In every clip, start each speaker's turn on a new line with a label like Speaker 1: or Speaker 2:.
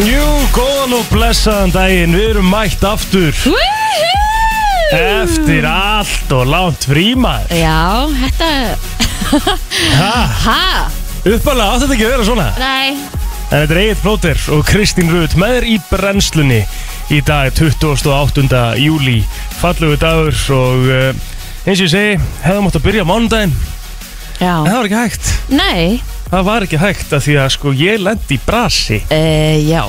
Speaker 1: Jú, góðan og blessaðan daginn, við erum mætt aftur Eftir allt og langt frímaður
Speaker 2: Já, þetta Ha?
Speaker 1: Uppalega átti þetta ekki að vera svona
Speaker 2: Nei
Speaker 1: En þetta er Egil Plóter og Kristín Rut með þér í brennslunni Í dag 28. júli Fallegu dagur og uh, eins og ég segi, hefðum átt að byrja á mánudaginn En
Speaker 2: Já
Speaker 1: það var ekki hægt
Speaker 2: Nei
Speaker 1: Það var ekki hægt að því að sko ég lendi í brasi
Speaker 2: uh, Já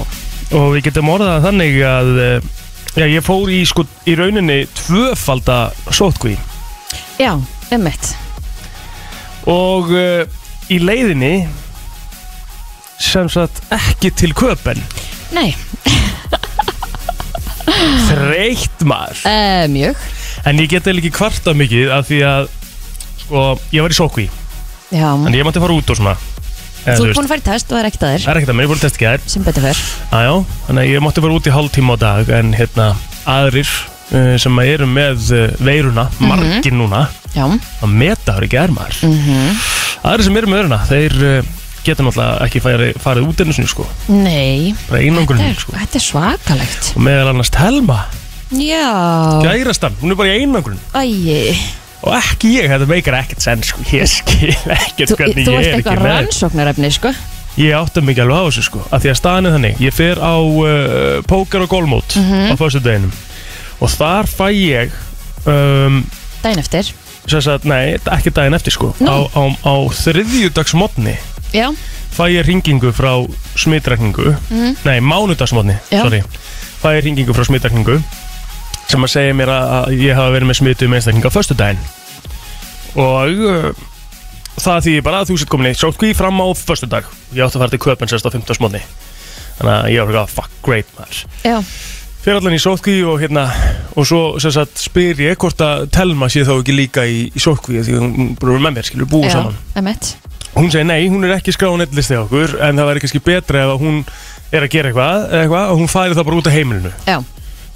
Speaker 1: og við getum orðað það þannig að eh, já, ég fór í sko í rauninni tvöfalda sótkví
Speaker 2: Já, ummitt
Speaker 1: og uh, í leiðinni sem sagt ekki til köpen
Speaker 2: Nei
Speaker 1: þreytt maður
Speaker 2: uh, Mjög
Speaker 1: en ég get eða ekki kvarta mikið af því að sko ég var í sótkví
Speaker 2: Já
Speaker 1: en ég mátti fara út og svona eða, þú
Speaker 2: Þú er
Speaker 1: veist,
Speaker 2: búin að fara í test og það er ekkert að þér
Speaker 1: það er ekkert að mér, ég fór að testa ekki þær
Speaker 2: Sem betur fyrr
Speaker 1: Aðjá, þannig að ég mátti fara út í hálftíma á dag en hérna aðrir uh, sem að eru með uh, veiruna,
Speaker 2: Mhm.
Speaker 1: margir núna
Speaker 2: Já
Speaker 1: að meta það ekki er maður
Speaker 2: Mhm.
Speaker 1: aðrir sem eru með öruna, þeir uh, geta náttúrulega ekki farið, farið út einu sinni sko,
Speaker 2: Nei
Speaker 1: bara
Speaker 2: þetta
Speaker 1: einangrun
Speaker 2: er,
Speaker 1: sko.
Speaker 2: þetta er svakalegt
Speaker 1: og meðal annars Telma,
Speaker 2: Já
Speaker 1: gærastan hún er bara í einangrun
Speaker 2: Æi
Speaker 1: og ekki ég, þetta meikar ekkert senn sko ég skil ekkert
Speaker 2: Þú, þú
Speaker 1: hvernig
Speaker 2: ert
Speaker 1: ég er ekki
Speaker 2: eitthvað
Speaker 1: með
Speaker 2: rannsóknarefni, sko
Speaker 1: ég átta mikið alveg á þessu sko, af því að staðan er þannig ég fer á uh, póker og gólmót
Speaker 2: Mhm.
Speaker 1: á föstudeginum og þar fæ ég um,
Speaker 2: Dæn eftir
Speaker 1: sem sagt, nei, ekki daginn eftir sko
Speaker 2: Nú.
Speaker 1: á, á, á þriðjudagsmotni
Speaker 2: Já
Speaker 1: fæ ég ringingu frá smittrækningu
Speaker 2: Mhm.
Speaker 1: nei, mánudagsmotni,
Speaker 2: Já.
Speaker 1: sorry fæ ég ringingu frá smittrækningu sem að segja mér að að ég hafa verið með smittu með einstaklinga á föstudaginn og uh, það því bara að þú sett komin í sótkví fram á föstudag ég átti að fara til köpun sérst á 15. smotni þannig að ég var ekki að fuck great maður
Speaker 2: Já
Speaker 1: fyrir allan í sótkví og hérna og svo sem sagt spyr ég hvort að Telma sé þá ekki líka í, í sótkví því hún hún bara er með mér skilur búið
Speaker 2: Já,
Speaker 1: saman
Speaker 2: ummitt
Speaker 1: hún segir nei, hún er ekki skráð á netlisti hjá okkur en það væri kannski betra ef að hún er að gera eitthvað, eða eitthvað og hún færi það bara út af heimilinu
Speaker 2: Já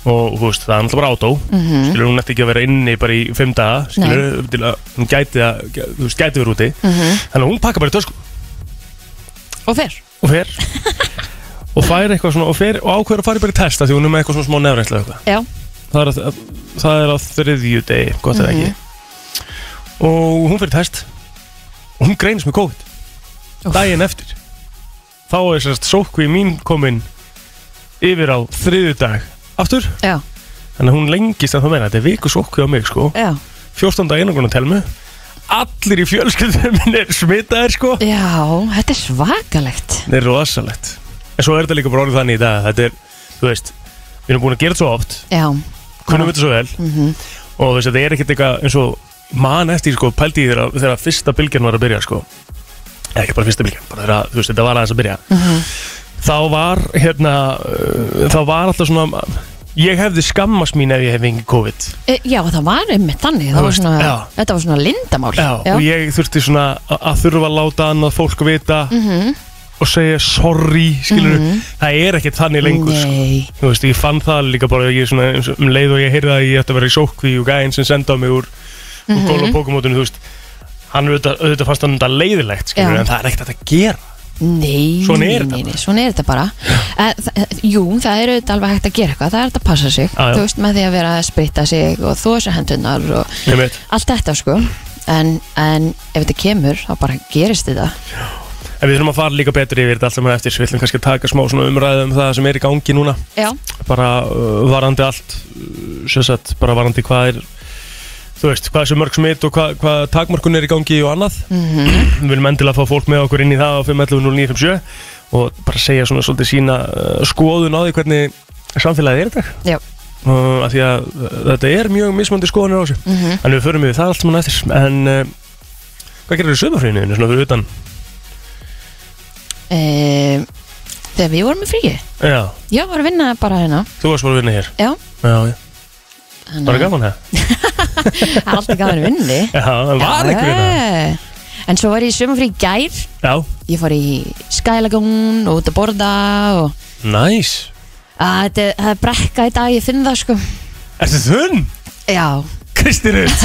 Speaker 1: og þú veist, það er náttúrulega bara átó
Speaker 2: Mhm.
Speaker 1: skilur hún eftir ekki að vera inni bara í fimm daga skilur, til að hún gæti að þú veist, gæti verið úti
Speaker 2: Mhm.
Speaker 1: þannig að hún pakka bara í tösku
Speaker 2: Og fyrr
Speaker 1: og fer og fær eitthvað svona og, fer, og ákveður að fara bara í test af því hún er með eitthvað svona smá nefnrænslega eitthvað
Speaker 2: Já
Speaker 1: það er, að, að, það er á þriðju degi, gott eða ekki og hún fyrir test og hún greinist með COVID
Speaker 2: Úff.
Speaker 1: daginn eftir þá er sérst sókvi mín komin yfir á þriðju dag aftur,
Speaker 2: Já
Speaker 1: þannig að hún lengist að það meina, þetta er viku sókvi á mig sko
Speaker 2: Já
Speaker 1: 14 dag einangrun á telmu allir í fjölskyldunum minn er smitaðir sko
Speaker 2: Já, þetta er svakalegt
Speaker 1: þetta er rosalegt en svo er þetta líka bara orðið þannig í dag þetta er, þú veist, við erum búin að gera þetta svo oft
Speaker 2: Já,
Speaker 1: kunum þetta svo vel og þú veist þetta er ekkert eitthvað eins og man eftir sko pældi í þegar, þegar fyrsta bylgjan var að byrja sko Eða ekki bara fyrsta bylgjan, bara þegar þú veist þetta var aðeins að byrja þá var hérna uh, þá var alltaf svona ég hefði skammast mín ef ég hefði engin COVID
Speaker 2: e, já það var einmitt þannig
Speaker 1: Þú
Speaker 2: Það var
Speaker 1: veist,
Speaker 2: svona,
Speaker 1: já.
Speaker 2: Þetta var svona lindamál
Speaker 1: Já, og ég þurfti svona a- að þurfa að láta annað fólk vita og segja sorry skilur, það er ekkert þannig lengur sko.
Speaker 2: Nei,
Speaker 1: þú veist, ég fann það líka bara ég svona, eins og- um leið og ég heyrði að ég ætti að vera í sókví og gæðin sem senda á mig úr, úr gól og pókumótinu, þú veist hann auðvitað, auðvitað fannst hann þetta leiðilegt skilur,
Speaker 2: Já.
Speaker 1: en það er ekkert hægt að gera
Speaker 2: nei,
Speaker 1: Svona er
Speaker 2: nei,
Speaker 1: þetta
Speaker 2: nei, nei, svona er þetta bara e, það, Jú, það er auðvitað alveg hægt að gera eitthvað Það er hægt að passa sig
Speaker 1: Já, já.
Speaker 2: Þú veist, með því að vera að spritta sig og þú þessu hendunar og
Speaker 1: Einmitt.
Speaker 2: allt þetta sko En, en ef þetta kemur, þá bara gerist þetta
Speaker 1: en við þurfum að fara líka betur yfir þetta allt saman eftir við ætlum kannski að taka smá svona umræðu um það sem er í gangi núna
Speaker 2: Já,
Speaker 1: bara uh, varandi allt uh, sem sagt, bara varandi hvað er þú veist, hvað er svo mörg smitt og hvað, hvað takmörkun er í gangi og annað við viljum endilega fá fólk með okkur inn í það á 511 og bara segja svona svolítið sína uh, skoðun á því hvernig samfélagið er í dag
Speaker 2: já,
Speaker 1: uh, af því að uh, þetta er mjög mismandi skoðunir á þessu
Speaker 2: mm
Speaker 1: en við förum yfir það allt mann eftir en uh, hvað gerir þú sömurfríðinu svona fyrir utan
Speaker 2: E, Þegar við vorum í fríi
Speaker 1: já,
Speaker 2: Já, var að vinna bara hérna
Speaker 1: þú varst bara að vinna hér
Speaker 2: Já,
Speaker 1: já, já.
Speaker 2: þannig
Speaker 1: bara
Speaker 2: að-
Speaker 1: gaman það
Speaker 2: Það er alltaf gaman að vinni
Speaker 1: já, en var einhver hérna
Speaker 2: Já. Eh, En svo var ég í sumafrí í gær
Speaker 1: já,
Speaker 2: Ég fór í skælagón og út að borða og
Speaker 1: næs nice.
Speaker 2: að, þetta, það er brekka í dag, ég finn það sko
Speaker 1: Ertu þunn?
Speaker 2: Já
Speaker 1: Kristi Rutt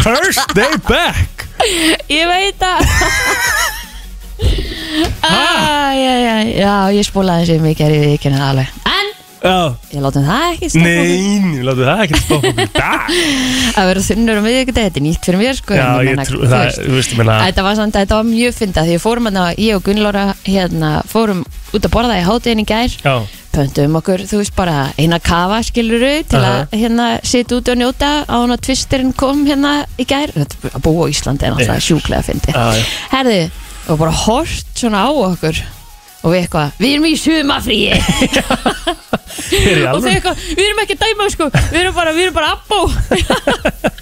Speaker 1: First day back
Speaker 2: Ég veit það Æ, æ, æ, Já, ég spólaði þessi mikið er ég ekki en alveg En
Speaker 1: Já,
Speaker 2: ég látum það ekki sko. stoppa okkur.
Speaker 1: nein, við látum það ekki stoppa okkur í dag
Speaker 2: Að vera þunnur og miðvikudegi, þetta er nýtt fyrir mér sko
Speaker 1: Já,
Speaker 2: en
Speaker 1: ég
Speaker 2: meina,
Speaker 1: trú,
Speaker 2: þú
Speaker 1: það,
Speaker 2: veist.
Speaker 1: þú veist, ég meina
Speaker 2: Þetta var samt, þetta var mjög fyndið Því við fórum hérna, ég og Gunnlóra hérna, fórum út að borða í hátíðin í gær
Speaker 1: Já,
Speaker 2: pöntum okkur, þú veist, bara eina kafa skiluru til að hérna sitja út og njóta á hann að tvisturinn kom hérna í gær, Þetta að búa á Íslandi
Speaker 1: Já.
Speaker 2: er alltaf sjúklega fyndi
Speaker 1: Já, já.
Speaker 2: herðu, og bara hort svona á okkur og við eitthvað, við erum í sumafríi
Speaker 1: þeir eru
Speaker 2: og þau
Speaker 1: alveg
Speaker 2: eitthvað, við erum ekki að dæma sko, við erum bara, við erum bara abbó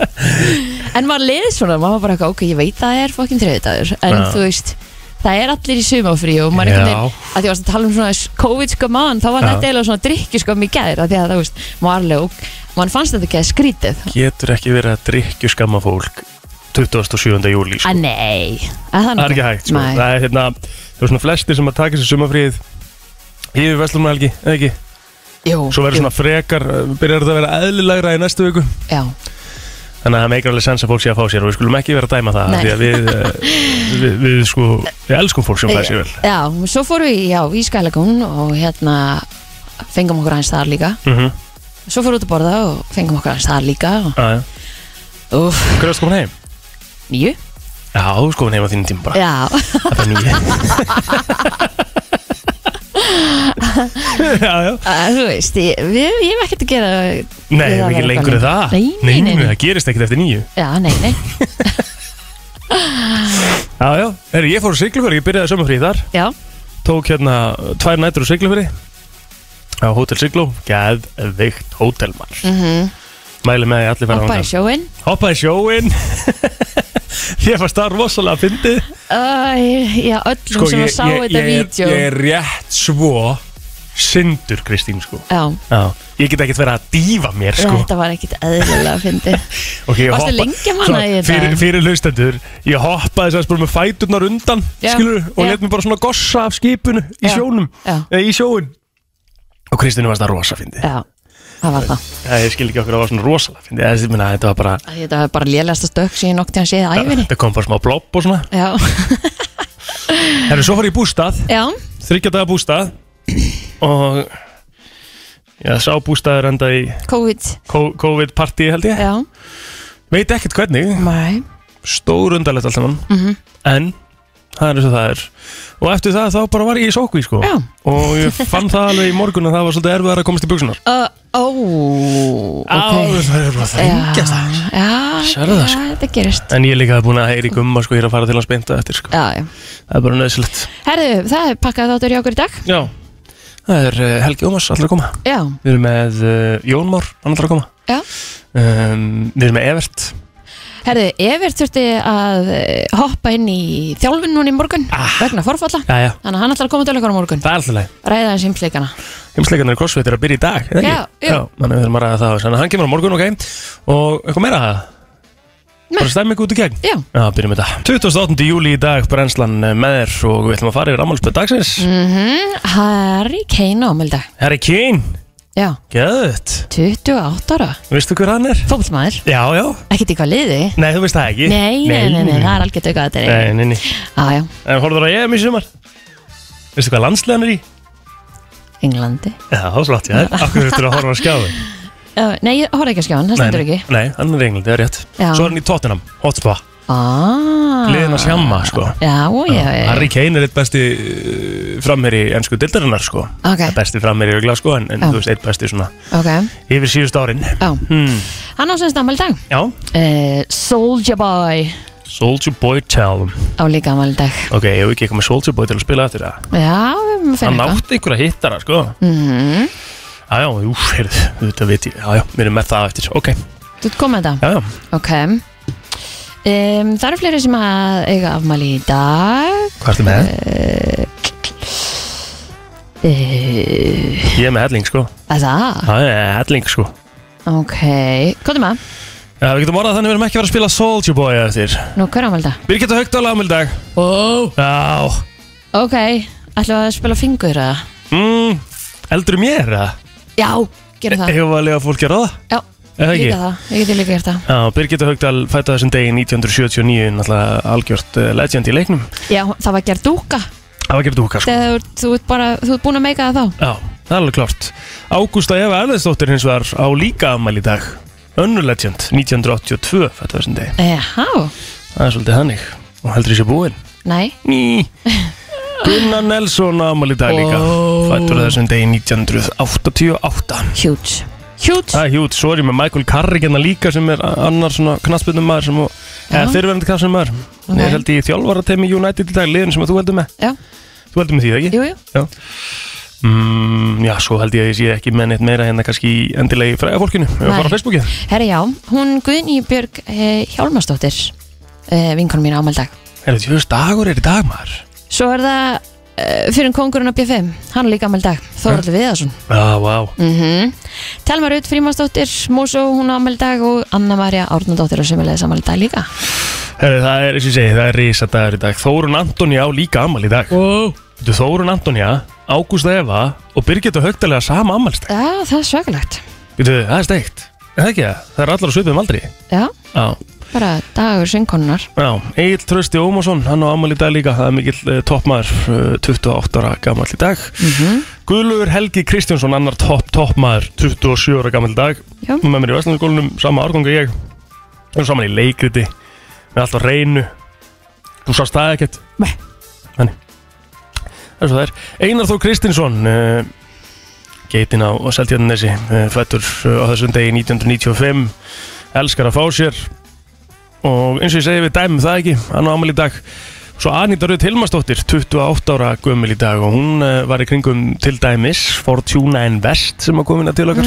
Speaker 2: en maður leiði svona maður var bara eitthvað, ok, ég veit að það er fokkin þriðdagur, en
Speaker 1: Já.
Speaker 2: þú veist það er allir í sumafrí og maður
Speaker 1: Já.
Speaker 2: einhvern veginn að því varst að tala um svona COVID sko mann, þá var
Speaker 1: Já.
Speaker 2: þetta eiginlega svona drikki sko mér gæðir, að því að það, þú veist, maður alveg ok, mann fannst þetta ekki að skrítið
Speaker 1: Getur ekki verið að drikju skamma fólk 27. júli sko.
Speaker 2: að nei, að það
Speaker 1: Það er ekki hægt sko.
Speaker 2: Nei.
Speaker 1: Það er hérna, það er svona flestir sem að taka sér sumafríð Yfir Vestlumælgi, eða ekki?
Speaker 2: jú,
Speaker 1: Svo verður svona frekar, uh, byrjar þetta að vera eðlilegra í næstu viku
Speaker 2: jú, já,
Speaker 1: Þannig að það meikir alveg sens að fólk sé að fá sér og við skulum ekki vera að dæma það
Speaker 2: Nei.
Speaker 1: Því að við, uh, við, við sko, við elskum fólk sem fær sér vel
Speaker 2: já, svo fórum við já, í Skælagún og hérna fengum okkur aðeins þar líka
Speaker 1: mm -hmm.
Speaker 2: svo fórum við út að borða og fengum okkur aðeins þar líka og,
Speaker 1: Hvernig
Speaker 2: uff,
Speaker 1: varst komin heim?
Speaker 2: nýju
Speaker 1: Já, þú varst komin heim á þínum tíma bara
Speaker 2: Já,
Speaker 1: Þetta er nýja Já, já
Speaker 2: að, þú veist, ég, við, ég hef ekkert að gera
Speaker 1: Nei, það er ekki lengur en það
Speaker 2: Nei, nei, nei, nei.
Speaker 1: það gerist ekkert eftir nýju
Speaker 2: Já, nei, nei
Speaker 1: Já, já, herri, ég fór á Siglufjörð, ég byrjaði sömufrið þar
Speaker 2: Já,
Speaker 1: Tók hérna uh, tvær nætur á Siglufjörði Á Hotel Siglu Geðveikt hótelmar mm
Speaker 2: Mhm.
Speaker 1: Mæli með því að allir fara
Speaker 2: hoppar í
Speaker 1: þangað.
Speaker 2: sjóin
Speaker 1: Hoppaði í sjóin Ég fannst það rosalega að fyndi
Speaker 2: Æ, Já, öllum sem að sá þetta
Speaker 1: Sko, ég,
Speaker 2: vídeo
Speaker 1: ég er rétt svo Sindur Kristín sko
Speaker 2: Já,
Speaker 1: Já, ég get ekkert verið að dýfa mér sko
Speaker 2: þetta var ekkert eðlilega að fyndi
Speaker 1: okay, ég
Speaker 2: Varstu
Speaker 1: hoppa-
Speaker 2: lengi að manna
Speaker 1: svona,
Speaker 2: í þetta?
Speaker 1: Fyrir, fyrir hlustendur, ég hoppaði þess að spyrum með fæturnar undan
Speaker 2: Já,
Speaker 1: skilur, og
Speaker 2: já.
Speaker 1: let mér bara svona gossa af skipinu í
Speaker 2: Já,
Speaker 1: sjónum,
Speaker 2: já.
Speaker 1: eða í sjóin og Kristínu varst það rosa fyndi
Speaker 2: Já, það var það
Speaker 1: ég skil ekki okkur að það var svona rosalega fyndi Eða, ég meina, þetta var bara,
Speaker 2: Æ, Þetta var bara lélegasta stökk sem ég nokti hann séð í æfinni
Speaker 1: þetta kom bara smá blopp og svona
Speaker 2: Já,
Speaker 1: Herru, svo fór ég í bústað,
Speaker 2: já,
Speaker 1: þryggja daga bústað og já, sá bústaður enda í
Speaker 2: COVID
Speaker 1: COVID-partíi held ég
Speaker 2: Já,
Speaker 1: veit ekkert hvernig,
Speaker 2: mæ
Speaker 1: stórundalegt allt saman
Speaker 2: Mhm.
Speaker 1: en það er eins og það er og eftir það þá bara var ég í sókví sko
Speaker 2: Já.
Speaker 1: og ég fann það alveg í morgun að það var svolítið erfiðar að komast í buksunar
Speaker 2: Ó, ok
Speaker 1: það er bara að
Speaker 2: Já,
Speaker 1: þengjast það
Speaker 2: já,
Speaker 1: Sérðu það,
Speaker 2: já,
Speaker 1: sko?
Speaker 2: þetta gerist
Speaker 1: en ég líka hafði búin að heyri gumma sko hér að fara til að speinta eftir sko
Speaker 2: Já, já
Speaker 1: það er bara nöðsilegt
Speaker 2: Herðu, það er pakkað þáttur hjá okkur í dag
Speaker 1: já það er uh, Helgi Ómars allir að koma
Speaker 2: Já,
Speaker 1: við erum með uh, Jón Már annar að koma
Speaker 2: já
Speaker 1: um, við erum með Evert
Speaker 2: Herðu, Evert þurfti að eh, hoppa inn í þjálfinn núna í morgun
Speaker 1: Ah.
Speaker 2: vegna forfalla
Speaker 1: já já
Speaker 2: Þannig að hann ætlar að koma til okkar á morgun
Speaker 1: það er alltaf leið
Speaker 2: Ræða hans heimsleikana
Speaker 1: heimsleikarnir í crossfit er að byrja í dag eða ekki?
Speaker 2: Já, jú.
Speaker 1: já Þannig við erum að ræða það Þannig að hann kemur á morgun, ok Og eitthvað meira að það?
Speaker 2: Nei.
Speaker 1: Bara stemming út í gegn?
Speaker 2: Já,
Speaker 1: Já, byrjum við þetta 28. júli í dag, brennslan eh, með þér Og við ætlum að fara yfir ammálspöð dagsins
Speaker 2: Mm. Mhm. Harry Kane á ámeldag
Speaker 1: Harry Kane,
Speaker 2: Já,
Speaker 1: gæðut
Speaker 2: 28 ára
Speaker 1: Vistu hver hann er?
Speaker 2: Fótbolmaður,
Speaker 1: Já, já
Speaker 2: ekkert í hvað liði
Speaker 1: Nei, þú veist það ekki
Speaker 2: Nei, nei, nei, nei, það er algjört aukað þetta er
Speaker 1: Nei, nei, nei
Speaker 2: Já, já,
Speaker 1: En horfður á EM í sumar Vistu hvað landslegan er í?
Speaker 2: Englandi
Speaker 1: Já, slátt ég það Akkur þetta er að horfa á skjáðu
Speaker 2: Já, Nei, ég horf ekki að skjáðan, það stendur
Speaker 1: nei,
Speaker 2: ekki
Speaker 1: nei, hann er í Englandi, það er rétt
Speaker 2: Já.
Speaker 1: Svo er hann í Tottenham, Hotspur
Speaker 2: Ah.
Speaker 1: Liðin að sjamma, sko
Speaker 2: Já, já, já
Speaker 1: Harry Kane er eitt besti uh, framherri ennsku dildarinnar sko
Speaker 2: Ok,
Speaker 1: okay. besti framherri örugglega, sko en, en
Speaker 2: Já.
Speaker 1: þú veist eitt besti svona
Speaker 2: ok
Speaker 1: yfir síðust árin
Speaker 2: Já,
Speaker 1: hmm.
Speaker 2: hann á sem stammaldag
Speaker 1: Já,
Speaker 2: uh, Soulja Boy
Speaker 1: Soldier Boy tell him
Speaker 2: á líka ammaldag
Speaker 1: Ok, ég hef ekki eitthvað með Soldier Boy til að spila eftir það
Speaker 2: Já, við maður
Speaker 1: Hann
Speaker 2: finnum eitthvað
Speaker 1: átti einhverja hittara sko
Speaker 2: Mhm.
Speaker 1: Já, já, jú, heyrðu, þetta veit ég Já, já, við erum með það eftir, ok Já,
Speaker 2: Þú ert komið þetta
Speaker 1: já,
Speaker 2: Ok um, Það eru fleiri sem að eiga afmæli í dag
Speaker 1: hvað ertu með?
Speaker 2: uh,
Speaker 1: Ég er með helling sko
Speaker 2: Það
Speaker 1: Já, ég er helling sko
Speaker 2: Ok Hvað er maður?
Speaker 1: Já, við getum orðað þannig við erum ekki að fara að spila Soldier Boy eftir
Speaker 2: Nú, hver afmæli þetta?
Speaker 1: Birgitta Haugdal ámildag
Speaker 2: Oh.
Speaker 1: Já,
Speaker 2: Ok Ætlum við að spila fingur eða?
Speaker 1: mm, eldur mér, eða?
Speaker 2: Já, gerum það
Speaker 1: Hefur að lega fólki að ráða?
Speaker 2: Já,
Speaker 1: Eh, Eða ekki?
Speaker 2: líka það Ég geti líka gert það
Speaker 1: Já, Birgitta Haugdal fætta þessum degi 1979 náttúrulega algjört eh, legend í leiknum
Speaker 2: Já, það var gert dúka
Speaker 1: Það var gefið húka sko
Speaker 2: þegar þú, ert- þú ert bara, þú ert búin að meika það þá
Speaker 1: Já, það er alveg klart Ágústa Eva Erðarsdóttir hins vegar á líka ammæli í dag Önnu legend, 1982 fættu þessum degi
Speaker 2: Eha,
Speaker 1: Það er svolítið hannig Og heldur þessi búin
Speaker 2: nei,
Speaker 1: Ný Gunnar Nelson ammæli í dag líka
Speaker 2: Ó.
Speaker 1: Fættur þessum degi 1988
Speaker 2: huge huge,
Speaker 1: Það er hjút, svo er ég með Michael Carrigan líka sem er annar svona knassbyrnum maður sem og, eða fyrirverandi knassbyrnum maður okay.
Speaker 2: Ok.
Speaker 1: er held í þjálfara teimi United í dag, liðin sem að þú heldur með
Speaker 2: já,
Speaker 1: Þú heldur með því, ekki?
Speaker 2: jú, jú
Speaker 1: Já. Mm, já, svo held ég að ég sé ekki með neitt meira hérna kannski í endilega í fræga fólkinu og
Speaker 2: Nei.
Speaker 1: bara á Facebooki
Speaker 2: Herra já, hún Guðný Björg eh, Hjálmarsdóttir eh, vinkonum mín ámaldag
Speaker 1: Er þetta fyrst dagur er í dag maður?
Speaker 2: Svo er það eh, fyrir kongurinn á B5 hann er líka ámaldag, Þorvaldur Viðarsson
Speaker 1: Já, vá
Speaker 2: mm -hmm. Telma Rut Frímansdóttir, Mósó hún ámaldag og Anna Marja Árnadóttir og semulegis ámaldag líka
Speaker 1: Herri, það er, eins og ég segi, það er risadagur í dag Þórun Antonja á líka amal í dag
Speaker 2: wow.
Speaker 1: Þetta er Þórun Antonja, Ágústa Eva og Birgitta Högtalega sama amalstæk
Speaker 2: Já, það er svakalegt
Speaker 1: Það er steikt, er það ekki það? Það er allar á svipum aldrei
Speaker 2: Já,
Speaker 1: Já,
Speaker 2: bara dagur sengkonunar
Speaker 1: Já, Egil Trösti Ómarsson, hann á amal í dag líka, það er mikill uh, toppmaður, uh, 28 ára gammal í dag. Mm
Speaker 2: Mhm.
Speaker 1: Guðlaugur Helgi Kristjánsson, annar topp toppmaður, 27 ára gammal í dag.
Speaker 2: Já.
Speaker 1: Hún Með mér í Vestlandskólanum, sama árgangu ég, við erum saman í leikriti, með allt á reynu. Þú sást það ekkert?
Speaker 2: Nei.
Speaker 1: Þannig. Það er svo það er. Einar Þór Kristinsson, uh, geitin á Seltjarnanesi, uh, fættur uh, á þessum degi 1995, elskar að fá sér, og eins og ég segi við dæmum það ekki hann á ámæli í dag svo Anita Rauð Hilmarsdóttir, 28 ára gömul í dag og hún uh, var í kringum til dæmis Fortuna Invest sem að komina til okkar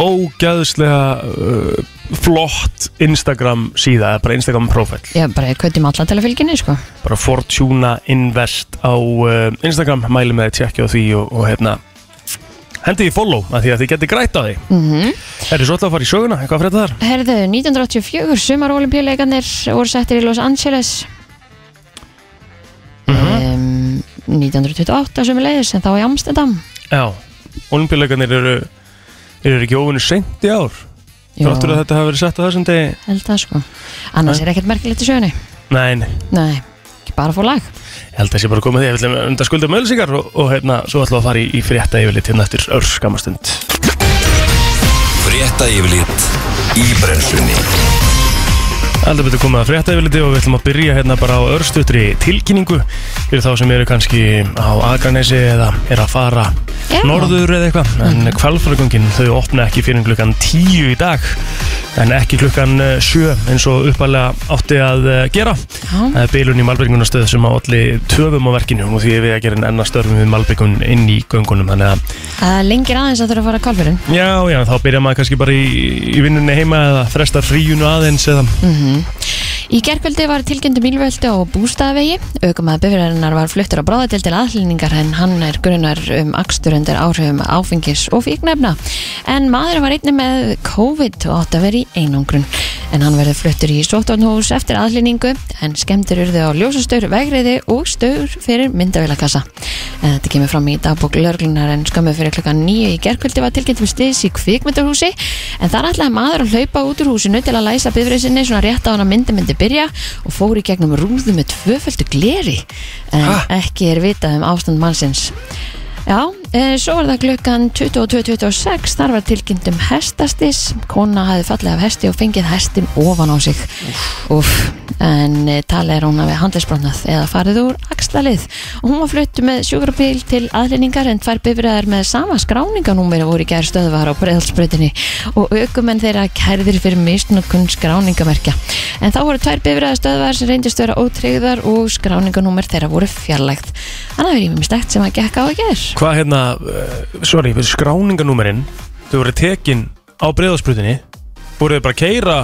Speaker 1: ógæðslega uh, flott Instagram síða eða bara Instagram profil
Speaker 2: Já, bara kvötum alla til að fylginni, sko
Speaker 1: bara Fortuna Invest á uh, Instagram, mæli með að tjekkja á því og, og hérna hendi því follow að því að þið geti grætt á því
Speaker 2: mm -hmm.
Speaker 1: Er þið svolítið að fara í söguna, eitthvað að frétta þar?
Speaker 2: Herðu, 1984, sumar olimpíuleikarnir voru settir í Los Angeles
Speaker 1: Mm
Speaker 2: um, 1928 sumulegis, en þá í Amsterdam
Speaker 1: Já, olimpíuleikarnir eru, eru ekki óvinni seint í ár
Speaker 2: Jú,
Speaker 1: Þráttur að þetta hafi verið sett á þessum degi
Speaker 2: held það sko annars er ekkert merkilegt í sögunni
Speaker 1: Nei, nei,
Speaker 2: nei, ekki bara að fá lag
Speaker 1: ég held að það sé bara komið því Ég vil undar skulda með ölsingar og, og hérna, svo ætlum við að fara í, í frétta yfirlit hérna eftir örskamastund
Speaker 3: Frétta yfirlit í brennslunni
Speaker 1: Aldrei betur komið að frétta yfirliti og við ætlum að byrja hérna bara á örstutri tilkynningu fyrir þá sem eru kannski á Akranesi eða er að fara
Speaker 2: Já. Mhm.
Speaker 1: norður eða eitthvað en kvalfragungin þau opna ekki fyrir klukkan 10 í dag en ekki klukkan 7 eins og uppalega átti að eh, gera
Speaker 2: Já.
Speaker 1: Það er bilun í Malbyggunastöð sem að olli töfum á verkinu og því er við að gera en enna störfum við Malbyggun inn í göngunum þannig að
Speaker 2: það lengir aðeins að þurfa að fara að kvalfyrin
Speaker 1: já, já, þá byrja maður kannski bara í, í vinnunni heima eða fresta fríunu aðeins eða
Speaker 2: í gerkveldi var tilgjöndu bílvöldu á bústaðavegi aukum að bifræðarinnar var fluttur á bráðatil til aðlýningar en hann er grunnar um akstur undir áhrifum áfengis og fíknefna en maður var einnig með COVID og átt að vera í einangrun en hann verður fluttur í sóttónhús eftir aðlýningu en skemmtir urðu á ljósastaur, vegriði og staur fyrir myndavélakassa. En Þetta kemur fram í dagbók lörglunar en skömmu fyrir klokkan 9 í gerkvöldi var tilkynnt um stis í kvikmyndahúsi en þar ætlaði maður að hlaupa út úr húsinu til að læsa bifrið sinni svona rétt á hann að myndi myndi byrja og fór í gegnum rúðu með tvöföldu gleri en
Speaker 1: Ha?
Speaker 2: ekki er vitað um ástand mannsins. Já, e, svo var það klukkan 22.26, þar var tilkynnt um hestastis, kona hafði fallið af hesti og fengið hestin ofan á sig Úf, en e, talið er hún hafi handlisbrotnað eða farið úr axlalið og hún var flutt með sjúkrabíl til aðlýningar en tvær bifræðar með sama skráninganúmeri voru í gerð stöðvar á breyðalsbrötinni og aukumenn þeirra kærðir fyrir misnokun skráningamerkja en þá voru tvær bifræðar stöðvar sem reyndist vera ótreyðar og skráninganúmer þeirra voru fjarlægt Þannig að við erum stegt sem að gekka á að gerð
Speaker 1: Hvað hérna, uh, sorry, skráninganúmerinn þau voru tekin á breyðasprutinni voru þau bara að keira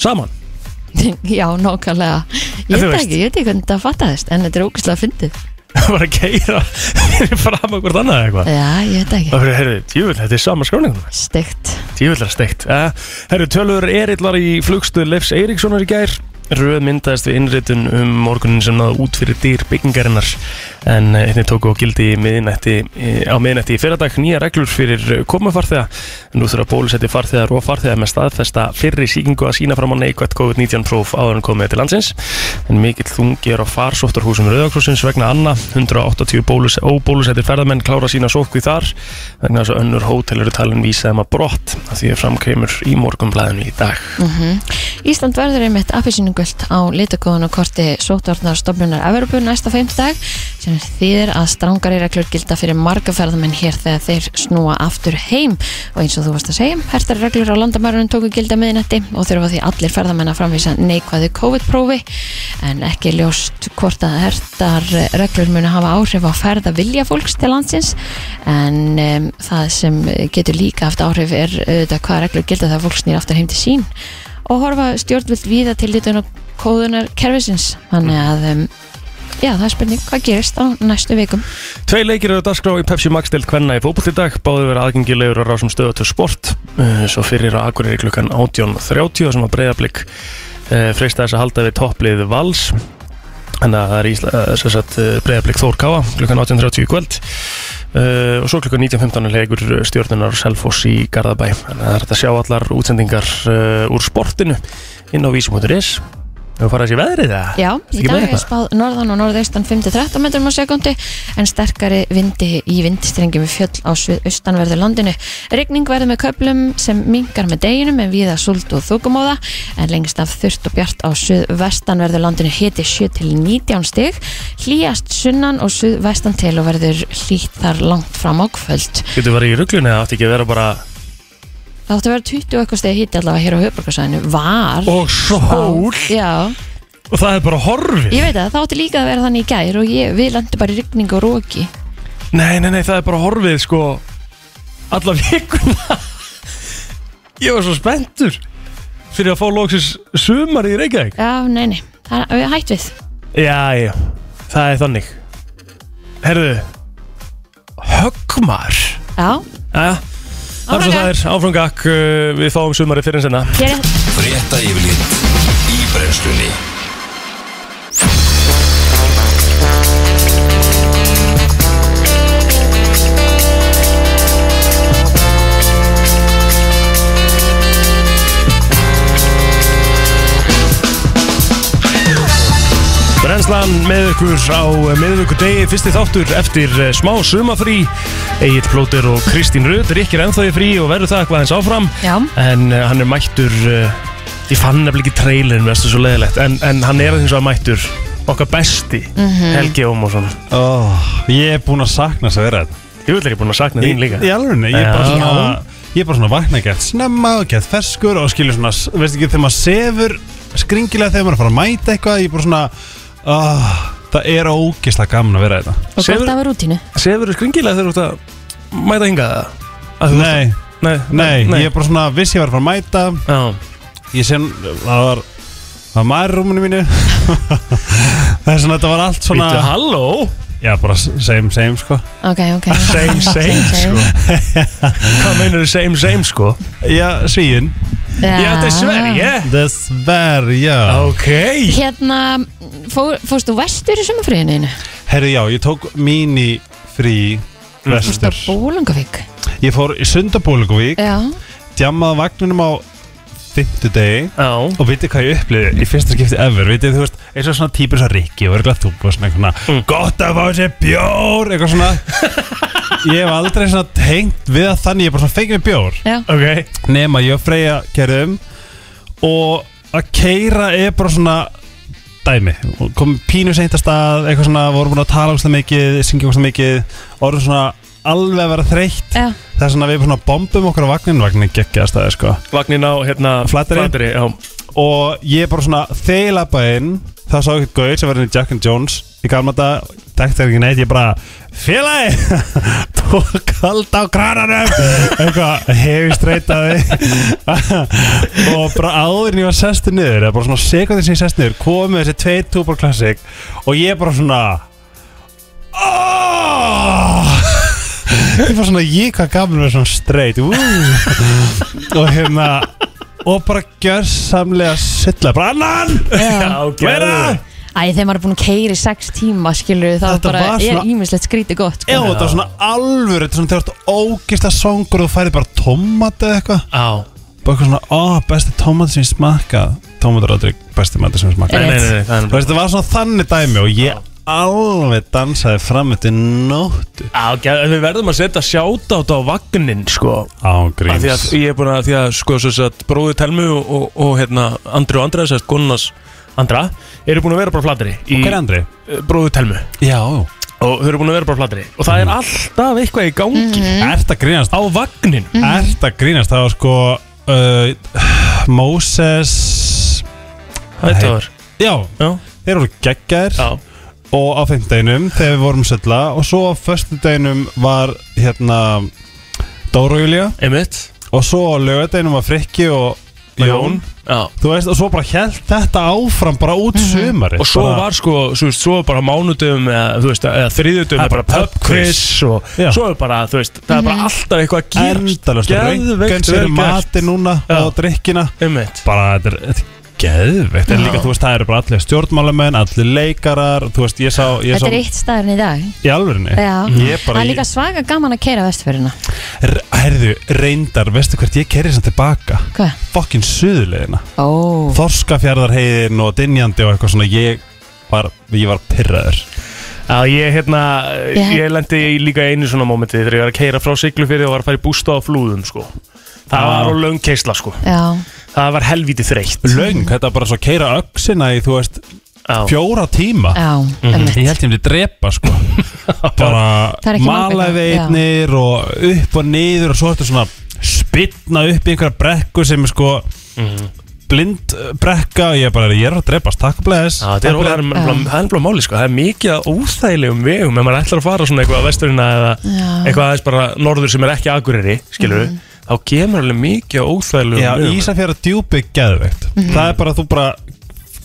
Speaker 1: saman
Speaker 2: Já, nákvæmlega
Speaker 1: En
Speaker 2: Ég
Speaker 1: þú
Speaker 2: veit
Speaker 1: veist.
Speaker 2: ekki, ég veit ekki hvernig það fattaðist En þetta er ógæslega fyndið
Speaker 1: bara að keira fyrir fram okkur annað eða eitthvað
Speaker 2: Já, ég veit ekki,
Speaker 1: Það fyrir, heyrðu, djúvill, þetta er sama skráninganúmer
Speaker 2: steikt
Speaker 1: Eh, Djöfullar steikt. Uh, herru, tölur erillar í flugstuð Leifs Eiríkssonar í gær. röð myndaðist við innritun um morgunin sem náðu út fyrir dýr byggingarinnar en eh, einnig tóku á gildi í miðnætti, eh, á miðnætti í fyrradag nýja reglur fyrir komufarþega nú þurfa bólusetti farþegar og farþegar með staðfesta fyrri síkingu að sína fram á neikvætt COVID-19 próf áður en komið til landsins en mikill þungi er á farsóttarhúsum Rauðakrossins vegna Anna 180 bólus, óbólusetti ferðamenn klára sína sókvi þar vegna þess að önnur hótel eru talin vísa þeim að brott að því er framkreymur í morgunblæðinu í dag
Speaker 2: Ísland verður einmitt afhersyningult á litakóðun og korti sótvarnar stofnunar Evropu næsta feimtudag sem þýðir að strangari reglur gilda fyrir marga ferðamenn hér þegar þeir snúa aftur heim og eins og þú varst að segja, hertar reglur á landamærunum tóku gilda miðinetti og þurfa því allir ferðamenn að framvísa neikvæðu COVID-prófi en ekki ljóst hvort að hertar reglur muni hafa áhrif á ferða vilja fólks til landsins en um, það sem getur líka haft áhrif er auðvitað hvaða reglur gilda þegar fólk snýr aftur heim til sín og horfa stjórnvöld víða til litun og kóðunar kerfisins þannig að um, já, það er spurning hvað gerist á næstu vikum
Speaker 1: Tvei leikir eru að dagskrá í Pepsi Max til hvenna í fótboll í dag, báðu vera aðgengilegur á rásum stöðu til sport, Eh, svo fyrir á Akureyri klukkan 18.30 sem að breyðablík freista þess að halda við topplið Vals þannig að það er Ísla, eh, sem sagt, breyðablík Þór Káa klukkan 18.30 í kvöld Eh, og svo klukkan 19.15 er leikur eh, stjórnunar Selfoss í Garðabæ þannig að það er hægt að sjá allar útsendingar eh, úr sportinu inn á vísum.is Við farað sér veðrið það?
Speaker 2: já,
Speaker 1: Ertu
Speaker 2: í
Speaker 1: ekki með
Speaker 2: dag er
Speaker 1: eitthvað?
Speaker 2: spáð norðan og norðaustan 5-13 metrum á sekundi en sterkari vindi í vindstrengjum við fjöll á austanverðu landinu regning verður með köplum sem mingar með deginum en viða súld og þokumóða en lengst af þurft og bjart á suðvestanverðu landinu hiti 7-19 stig hlýjast sunnan og suðvestan til og verður hlýtt þar langt fram á kvöld
Speaker 1: Getur verið í ruglunni eða átti ekki að vera bara
Speaker 2: Það átti að vera 20 og eitthvað stegi hitti allavega hér á höfbrukarsæðinu Var
Speaker 1: Og sól
Speaker 2: Já,
Speaker 1: Og það er bara horfið
Speaker 2: ég veit að það átti líka að vera þannig í gær og ég, við landi bara í rigningu og róki
Speaker 1: Nei, nei, nei, það er bara horfið sko Alla vikuna Ég var svo spenntur Fyrir að fá lóksins sumar í Reykjavík
Speaker 2: Já, nei, nei, það er við hætt við
Speaker 1: Já, já, það er þannig Herðu Höggmar
Speaker 2: Já,
Speaker 1: Jæja, það er svo það er áfram gakk uh, Við fáum sumari fyrir en senna
Speaker 2: hér er
Speaker 3: Frétta yfirlit í brennslunni
Speaker 1: Brennslan með ykkur á miðvöku degi, fyrsti þáttur eftir eh, smá sumafrí Egil Plóter og Kristín Röð er ekki ennþá í frí og verður það eitthvað eins áfram
Speaker 2: Já.
Speaker 1: En eh, hann er mættur, eh, ég fann nefnilega ekki trailerin, veist það svo leiðilegt En, en hann er eins og mættur, okkar besti,
Speaker 2: Mhm.
Speaker 1: Helgi Ómarsson
Speaker 4: oh, Ég er búinn að sakna þess að vera hérna.
Speaker 1: Ég
Speaker 4: þetta
Speaker 1: vil ekki búin að sakna þín líka
Speaker 4: Í alveg, ég er bara
Speaker 1: Já.
Speaker 4: svona Ég er bara svona vakna gett snemma og gett ferskur og skilur svona, veist ekki, þegar maður sefur skringilega þegar maður er að fara að mæta eitthvað ég er bara svona, oh, það er ógislega gaman að vera hérna. þetta
Speaker 2: og
Speaker 1: Sefur-
Speaker 2: gott af rútínu
Speaker 1: Sefur þú skringilega þegar þú ert að mæta hingað það? Að þú ert
Speaker 4: Nei,
Speaker 1: að- Nei,
Speaker 4: nei, ég er bara svona viss ég var að fara að mæta
Speaker 1: Já,
Speaker 4: ég sem, það var það var maður í rúminu mínu það er svona, þetta var allt svona
Speaker 1: býttu, halló
Speaker 4: já, bara same, same, sko
Speaker 2: Ok, ok
Speaker 1: Same, same, sko Hvað meinar þú same, same, sko?
Speaker 4: já, svíin,
Speaker 2: Já,
Speaker 1: Já, þetta er Sverige
Speaker 4: þess verð, já
Speaker 1: Ok
Speaker 2: Hérna, fór, fórstu vestur í sumarfríðinu einu?
Speaker 4: Herri já, ég tók mini frí
Speaker 2: Fórstu
Speaker 4: vestur
Speaker 2: á Bólungavík?
Speaker 4: Ég fór í Sundabólugavík
Speaker 2: Já
Speaker 4: Djammaði vagninum á fimmtudegi
Speaker 1: Já
Speaker 4: Og vitið hvað ég upplýði í fyrsta skipti ever Vitið þú veist, eins og svona típur svo Rikki Og örgulega þú og svona eitthvað svona Gott að fá sér bjór Eitthvað svona Ég hef aldrei svona tengt við að þannig Ég er bara svona fengið mér bjór
Speaker 2: Já,
Speaker 1: Ok
Speaker 4: nema ég og Freyja gerðum um. og að keira er bara svona dæmi, Og komum pínu seint að stað eitthvað svona, vorum búin að tala óslega mikið syngja óslega mikið, orðum svona alveg að vera þreytt,
Speaker 2: já,
Speaker 4: það er svona að við svona bombum okkur á vagnin, vagnin geggja að staði sko.
Speaker 1: Vagnin á hérna
Speaker 4: Flateyri.
Speaker 1: já
Speaker 4: og ég bara svona þeila bæinn, það sá ekkert gauð sem verður í Jack and Jones í gamla dag þekkti það ekki neitt, ég bara félagi, tók kald á krananum eitthvað hefi streytaði og bara áður en ég var sestu niður eða bara svona sekundin sem ég sestu niður komið þessi tveit túbor klassik og ég bara svona oh! ég var svona ég hvað gaman að vera svona streyt og hérna og bara gjörsamlega silla bara annan
Speaker 1: Já, gerðu
Speaker 4: Meira!
Speaker 1: það.
Speaker 2: Æ, þegar maður er búin að keira í sex tíma, skilur þá
Speaker 4: Þetta
Speaker 2: bara
Speaker 4: var
Speaker 2: er
Speaker 4: svona-
Speaker 2: ímislegt skrítið gott,
Speaker 4: Já,
Speaker 2: sko.
Speaker 4: þetta var svona alvöru, þetta er svona þegar þú ert ógist að svangur og þú færi bara tómat eða eitthvað
Speaker 1: Á,
Speaker 4: Bara eitthvað svona, ó, besti tómat sem ég smakkað Tómat er aldrei besti matur sem ég
Speaker 1: nei,
Speaker 4: smakkað
Speaker 1: nei, nei, nei, það er
Speaker 4: Þú veist, þetta var svona þannig dæmi og ég alveg dansaði fram eftir nóttu
Speaker 1: Á, gerðu- en við verðum að setja sjátátt á vagnin, sko Af
Speaker 4: Ángríns
Speaker 1: Því að ég er búin að, því að, sko, svo að bróði Telmu og, og, og hérna, Andri og Andra, sérst, konunas Andra Eru búin að vera bara á flatri í
Speaker 4: Hver er Andri?
Speaker 1: bróði Telmu
Speaker 4: Já
Speaker 1: Og þau eru búin að vera bara á flatri Og það er alltaf eitthvað í gangi
Speaker 4: Ert að grínast?
Speaker 1: Á vagnin
Speaker 4: Ert að grínast? Það var sko uh, Moses
Speaker 1: Þetta var,
Speaker 4: Já,
Speaker 1: já,
Speaker 4: þeir voru geggjær
Speaker 1: já
Speaker 4: og á fimmdeginum þegar við vorum sölla og svo á föstudeginum var hérna Dóra og Júlia
Speaker 1: Einmitt
Speaker 4: og svo á lögadeginum var Frikki og Jón
Speaker 1: Já
Speaker 4: Þú veist, og svo bara held þetta áfram bara út sumari
Speaker 1: Mhm. Og svo
Speaker 4: bara,
Speaker 1: var sko, svo, veist, svo bara mánudum eða, þú veist, eða þriðutum
Speaker 4: Það er
Speaker 1: eða bara
Speaker 4: bara
Speaker 1: pub quiz og
Speaker 4: Já.
Speaker 1: svo er bara, þú veist, það er bara alltaf eitthvað að gera
Speaker 4: endalust Röngan
Speaker 1: Geðveikt
Speaker 4: sér
Speaker 1: vel gert
Speaker 4: mati núna
Speaker 1: Já.
Speaker 4: og drikkina
Speaker 1: Einmitt
Speaker 4: bara þetta er, þetta er geðveikt en líka þú veist það eru bara allir stjórnmálamenn allir leikarar þú veist ég sá, ég sá
Speaker 2: Þetta er eitt staðurinn í dag.
Speaker 4: í alvörinni
Speaker 2: Já.
Speaker 4: ég
Speaker 2: Það
Speaker 4: bara
Speaker 2: er
Speaker 4: ég-
Speaker 2: líka svaga gaman að keira vestfyrirna.
Speaker 4: R- herðu reyndar veistu hvert ég kerði sem tilbaka
Speaker 2: Hvað?
Speaker 4: fokkin suðulegina
Speaker 2: Ó,
Speaker 4: Þorskafjarðarheiðin og Dinjandi og eitthvað svona ég var, ég var pirraður
Speaker 1: Já, ég hérna,
Speaker 2: Ég-
Speaker 1: ég lendi í líka einu svona mómenti þegar ég var að keira frá Siglufyrði og var að fara í bústa á flúðum, sko. Það
Speaker 4: Já.
Speaker 1: var á löng keisla, sko.
Speaker 2: já.
Speaker 1: Það var helvítið þreytt.
Speaker 4: Laung, þetta var bara svo að keira öxina í þú veist
Speaker 1: Já,
Speaker 4: fjóra tíma
Speaker 2: Já, emmitt.
Speaker 4: Ég held ég myndi drepa sko
Speaker 2: Það er
Speaker 4: Bara
Speaker 2: ekki málbæta,
Speaker 4: malaveitnir og upp og niður og svo ertu svona spilna upp í einhverja brekku sem er sko
Speaker 1: Mhm.
Speaker 4: blind eh, brekka og ég bara, ég er að drepast, takk bless
Speaker 1: Já, það er
Speaker 4: Takk, bless.
Speaker 1: alveg máli, sko. Það er mikið af óþægilegum vegum ef maður ætlar að fara svona eitthvað að vesturina eða
Speaker 2: Já.
Speaker 1: eitthvað aðeins bara norður sem er ekki akureyri, skilur við. Þá kemur alveg mikið af óþægilegum
Speaker 4: Já,
Speaker 1: vegum.
Speaker 4: Ísafjara djúpi geðveikt
Speaker 2: Mhm.
Speaker 4: Það er bara að þú bara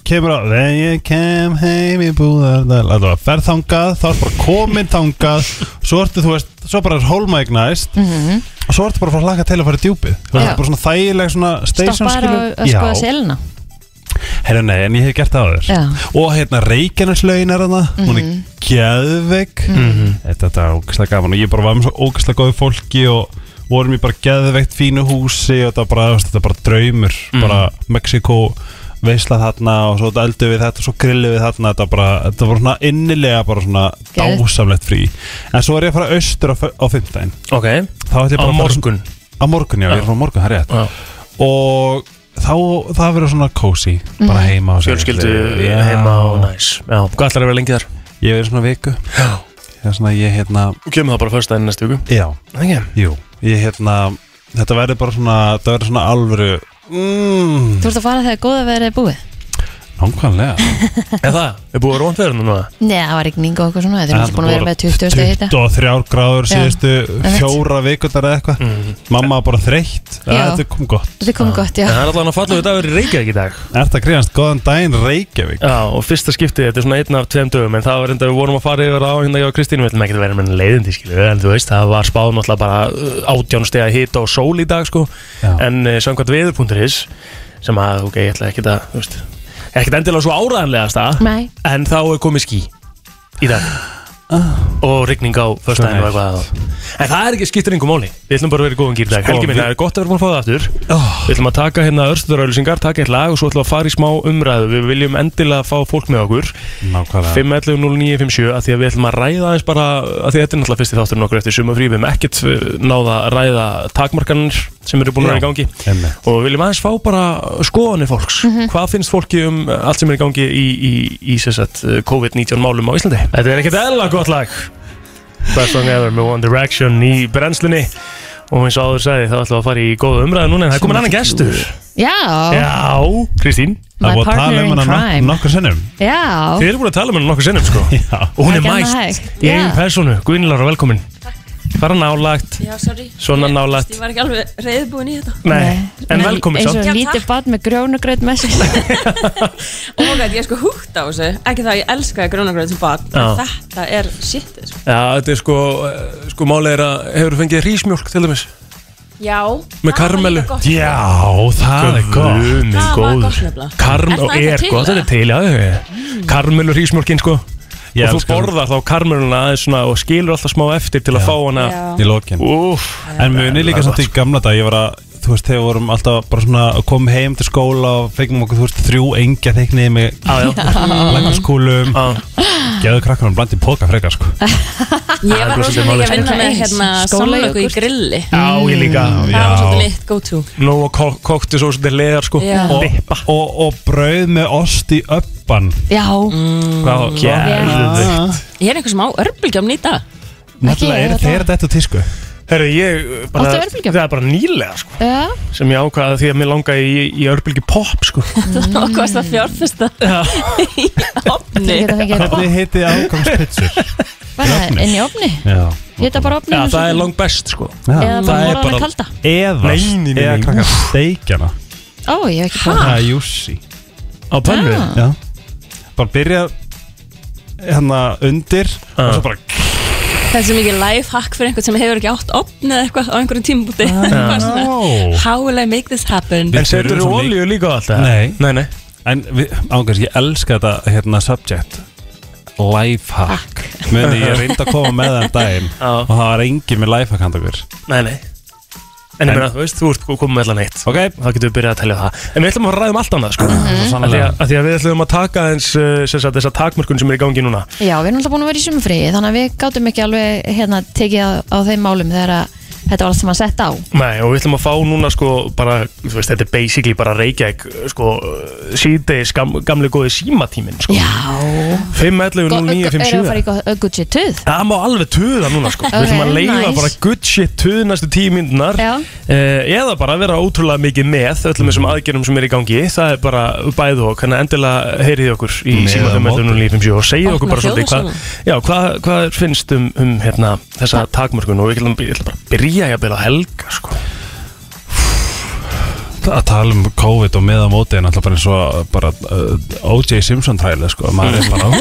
Speaker 4: kemur að Þegar ég kem heim í búðardal Það er bara ferð þangað, þá er bara komin þangað Svo ertu, þú veist, svo bara er hólmægnæst
Speaker 2: Mhm.
Speaker 4: Og svo ertu bara að fara að hlaka til að fara í djúpið Þú veist,
Speaker 2: Já.
Speaker 4: það er bara svona þægileg svona station
Speaker 2: Stoppar
Speaker 4: skilur.
Speaker 2: að skoða selina.
Speaker 4: herru nei, en ég hef gert það á
Speaker 2: Já. Mhm.
Speaker 4: þér Og hérna Reykjaneslaugin er hana Hún er geðveik Þetta þetta er ógæslega gaman Og ég bara var með svo ógæslega góðu fólki Og vorum í bara geðveikt fínu húsi Og þetta var bara, þú veist, þetta var bara draumur
Speaker 2: Mhm.
Speaker 4: Bara Mexiko veisla þarna Og svo eldu við þetta og svo grillu við þarna Þetta var bara, þetta var svona innilega Bara svona
Speaker 2: Geðveikt.
Speaker 4: dásamlegt frí En svo er ég að fara austur á, fö- á fimmtæn
Speaker 1: Ok,
Speaker 4: Á
Speaker 1: á morgun.
Speaker 4: Á morgun, já, ég er frá morgun, það er rétt
Speaker 1: Já.
Speaker 4: Og þá, það verður svona cozy
Speaker 2: Mhm.
Speaker 4: Bara heima á sér.
Speaker 1: Fjölskyldu eh,
Speaker 4: Já.
Speaker 1: heima og næs. Já, hvað ætlar að vera lengi þar?
Speaker 4: Ég verður svona viku
Speaker 1: Já.
Speaker 4: Það er svona, ég hérna
Speaker 1: Þú kemur það bara fyrst aðeins næstu viku.
Speaker 4: Já,
Speaker 1: Okay.
Speaker 4: jú Ég hérna, þetta verður bara svona Þetta verður svona alvöru mm,
Speaker 2: Þú ert að fara þegar góða verið er búið?
Speaker 4: Nákvæmlega
Speaker 1: Er það? Er búið að rónt verður núna?
Speaker 2: Nei, það var rigning og eitthvað svona. Þeir eru ekki búin að vera með 20 stegi hitta.
Speaker 4: 23 gráður
Speaker 2: Já,
Speaker 4: síðustu
Speaker 2: einmitt.
Speaker 4: fjóra vikundar eða eitthvað
Speaker 1: Mhm.
Speaker 4: Mamma var bara þreytt
Speaker 2: Já.
Speaker 4: Þetta kom gott
Speaker 2: Þetta kom gott, já.
Speaker 1: En það er alltaf hann að falla við dagur í Reykjavík í dag
Speaker 4: Er þetta gríðast góðan daginn Reykjavík
Speaker 1: Já, og fyrsta skiptið, þetta er svona einn af tveim dögum En það var enda, við vorum að fara yfir á hérna hjá Kristínu Við ætlum ekki að vera með leiðindi, skilju En þú veist, það var spáð náttúrulega bara uh, átján stega hita og sól í dag, sko
Speaker 4: Já.
Speaker 1: En uh, samkvæmt veður.is Sem að, ok, ég ætla ekki að, þú veist Ekkert endilega svo áraðanlegasta
Speaker 2: Nei.
Speaker 1: En þá er komið ský í dag
Speaker 4: Ah.
Speaker 1: Og rigning á föstudaginn og eitthvað En það er ekki skiptir engum máli Við ætlum bara að vera í góðum gýr í dag
Speaker 4: Sko,
Speaker 1: Helgi minn,
Speaker 4: við-
Speaker 1: það er gott að vera búin að fá það aftur
Speaker 4: oh.
Speaker 1: Við ætlum að taka hérna örstuðurauðlýsingar, taka eitt lag og svo ætlum við að fara í smá umræðu. Við viljum endilega fá fólk með okkur.
Speaker 4: Nákvæmlega
Speaker 1: 5.11.09.57 að því að við ætlum að ræða aðeins bara, að því að þetta er náttúrulega fyrsti þátturinn okkur eftir sumafrí. Við hefum ekkert eh, náð að ræða takmarkanir sem eru búin að vera í gangi.
Speaker 4: Einmitt.
Speaker 1: Og við viljum aðeins fá bara skoðanir fólks. Hvað finnst fólki um eh, allt sem er í gangi í, í, í, sem sagt, eh, COVID-19 málum á Íslandi? Þetta er ekkert eðla gott lag. Best song ever með One Direction í brennslunni. Og eins og áður sagði þá ætlum við að fara í góða umræðu núna en það er komin annan gestur.
Speaker 2: Já,
Speaker 1: Já, Kristín
Speaker 4: Það
Speaker 2: my
Speaker 4: var að tala
Speaker 2: partner in
Speaker 4: um hana nok-
Speaker 2: crime.
Speaker 4: nokkur sinnum
Speaker 2: Já.
Speaker 1: Þið eru búin að tala með henni nokkur sinnum sko
Speaker 4: Já
Speaker 1: Og hún er
Speaker 2: Ekki annað
Speaker 1: mætt
Speaker 2: hægt,
Speaker 1: í
Speaker 2: já.
Speaker 1: einu personu Guðnilára, velkomin Fara nálægt,
Speaker 5: Já, sorry.
Speaker 1: Svona
Speaker 5: Ég-
Speaker 1: nálægt.
Speaker 5: Ég var ekki alveg reyðbúin í þetta.
Speaker 1: nei, en velkomin
Speaker 2: eins
Speaker 1: samt
Speaker 2: og
Speaker 5: Já,
Speaker 2: lítið
Speaker 5: takk.
Speaker 2: barn með grjónugraut með sér
Speaker 5: Ógætt, ég er sko húgt á þessu. Ekki það að ég elskaði grónagröð sem bad.
Speaker 1: Já.
Speaker 5: Þetta er shitið, sko.
Speaker 1: Já, þetta er sko, eh, sko málega er að hefur fengið hrísmjólk til dæmis
Speaker 5: Já
Speaker 1: Með karmelu.
Speaker 4: Já, það er gott
Speaker 1: Guð minn
Speaker 5: Það var
Speaker 1: góður
Speaker 5: gott nefnilega.
Speaker 1: Karm
Speaker 5: Er það
Speaker 1: og
Speaker 5: ennþá
Speaker 1: er
Speaker 5: til,
Speaker 1: gott, þetta er
Speaker 5: eða?
Speaker 1: til, já Karmel og hrísmjölkin, sko
Speaker 4: Ég
Speaker 1: Og þú
Speaker 4: elska
Speaker 1: borðar þá karmeluna aðeins svona Og skilur alltaf smá eftir til að fá hana
Speaker 4: Í lokin
Speaker 1: Úf
Speaker 4: En munið líka samt í gamla dag, ég var að, þú veist, þegar við vorum alltaf bara svona að koma heim til skóla og fengum okkur, þú veist, þrjú engja þeiknið með langarskúlum, geðu krakkanum bland í póka frekar, sko.
Speaker 5: Ég var rosa mikið að vinna með
Speaker 2: Eins,
Speaker 5: hérna
Speaker 2: skólajógurt.
Speaker 5: samlöku í grilli
Speaker 1: Já, ég líka
Speaker 5: Það var svolítið
Speaker 4: Já.
Speaker 5: mitt go to
Speaker 1: Nó og kokti svo svolítið leðar, sko
Speaker 5: Já.
Speaker 1: Og
Speaker 4: Og, og brauð með ost í öppan.
Speaker 2: Já,
Speaker 1: hvað gerðu
Speaker 2: já.
Speaker 5: Ég er eitthvað sem á örbulgjum nýta
Speaker 4: Náttúrulega
Speaker 2: ég
Speaker 4: er
Speaker 2: veit
Speaker 4: þeir þetta úr tísku.
Speaker 1: Herru, ég bara,
Speaker 2: Áttu örbylgju?
Speaker 1: það er bara nýlega, sko
Speaker 2: Já,
Speaker 1: Sem ég ákvaða því að mér langaði í, í örbylgi pop, sko
Speaker 5: Þetta var hvað það fjárfesta í
Speaker 2: þú
Speaker 5: opni
Speaker 2: geta fengið þetta
Speaker 4: Hvernig heiti ákvæmspizzur?
Speaker 2: bara inn í ofni
Speaker 4: Já.
Speaker 2: Ég geta bara ofni
Speaker 1: Já, það er langt best, sko
Speaker 2: Eða
Speaker 4: Já.
Speaker 1: það
Speaker 2: bara
Speaker 1: er
Speaker 2: morðan
Speaker 1: bara-
Speaker 2: að kalda
Speaker 4: Eða,
Speaker 1: Nei, nei, nei,
Speaker 4: eða
Speaker 1: nei.
Speaker 4: krakkar steikjana.
Speaker 2: Ó, ég hef ekki búið
Speaker 4: Það er júsi.
Speaker 1: Á pönnu
Speaker 2: Já.
Speaker 4: Já. Bara byrja hérna undir
Speaker 1: Ah.
Speaker 4: og svo bara
Speaker 5: Það er svo mikið life hack fyrir einhvern sem hefur ekki átt opni eða eitthvað á einhverjum tímabúti Bara svona,
Speaker 4: Ó.
Speaker 5: How will I make this happen?
Speaker 4: Við
Speaker 1: En setur
Speaker 4: þurfum
Speaker 1: þú
Speaker 4: svo mikið-
Speaker 1: olíu líka á allt það?
Speaker 4: Nei.
Speaker 1: Nei, nei
Speaker 4: En við, ángast, ég elska þetta hérna subject Lifehack Muni, ég reyndi að koma með það um daginn
Speaker 1: Já.
Speaker 4: Og það var engin með lifehack handa okkur
Speaker 1: Nei, nei En ég meina, þú veist, þú ert komið með allan eitt
Speaker 4: Ok, Mhm.
Speaker 1: og þá getum við byrjað að telja það En við ætlum að ræða um allt annað, sko mm.
Speaker 4: svo
Speaker 1: að, því
Speaker 4: sannlega
Speaker 1: að, að því að við ætlum að taka eins uh, sem sagt, þessa takmörkun sem er í gangi núna
Speaker 2: Já, við erum alltaf búin að vera í sumfríi Þannig að við gátum ekki alveg hérna tekið á, á þeim málum Þegar að þetta var allt sem að setja á
Speaker 1: Nei, og við ætlum að fá núna, sko, bara þú veist, þetta er basically bara Reykjavík sko, síðdeis gam, gamli góði símatíminn, sko
Speaker 2: Já Sko,
Speaker 1: 511
Speaker 2: Er það að fara
Speaker 1: 0957
Speaker 2: í go- Gucci tuð?
Speaker 1: Það má alveg tuða núna, sko Við
Speaker 2: Ok,
Speaker 1: ætlum að leiða
Speaker 2: nice.
Speaker 1: bara good shit tuð næstu tíu myndunar
Speaker 2: Já.
Speaker 1: Eða bara að vera ótrúlega mikið með öllum þessum aðgerðum sem er í gangi Það er bara bæðu og Þannig að endilega heyriði okkur í
Speaker 4: Með
Speaker 1: símatum
Speaker 4: á móti.
Speaker 1: öllum lífum sjó Og segið
Speaker 5: Opna
Speaker 1: okkur bara svolítið hvað, já, hvað, hvað þér finnst um, um hérna, þessa takmörkun Og við ætlum, ég ætlum bara að byrja að byrja að helga sko.
Speaker 4: að tala um COVID og með á móti En alltaf bara eins og bara uh, O.J. Simpson træli, sko Maður er bara,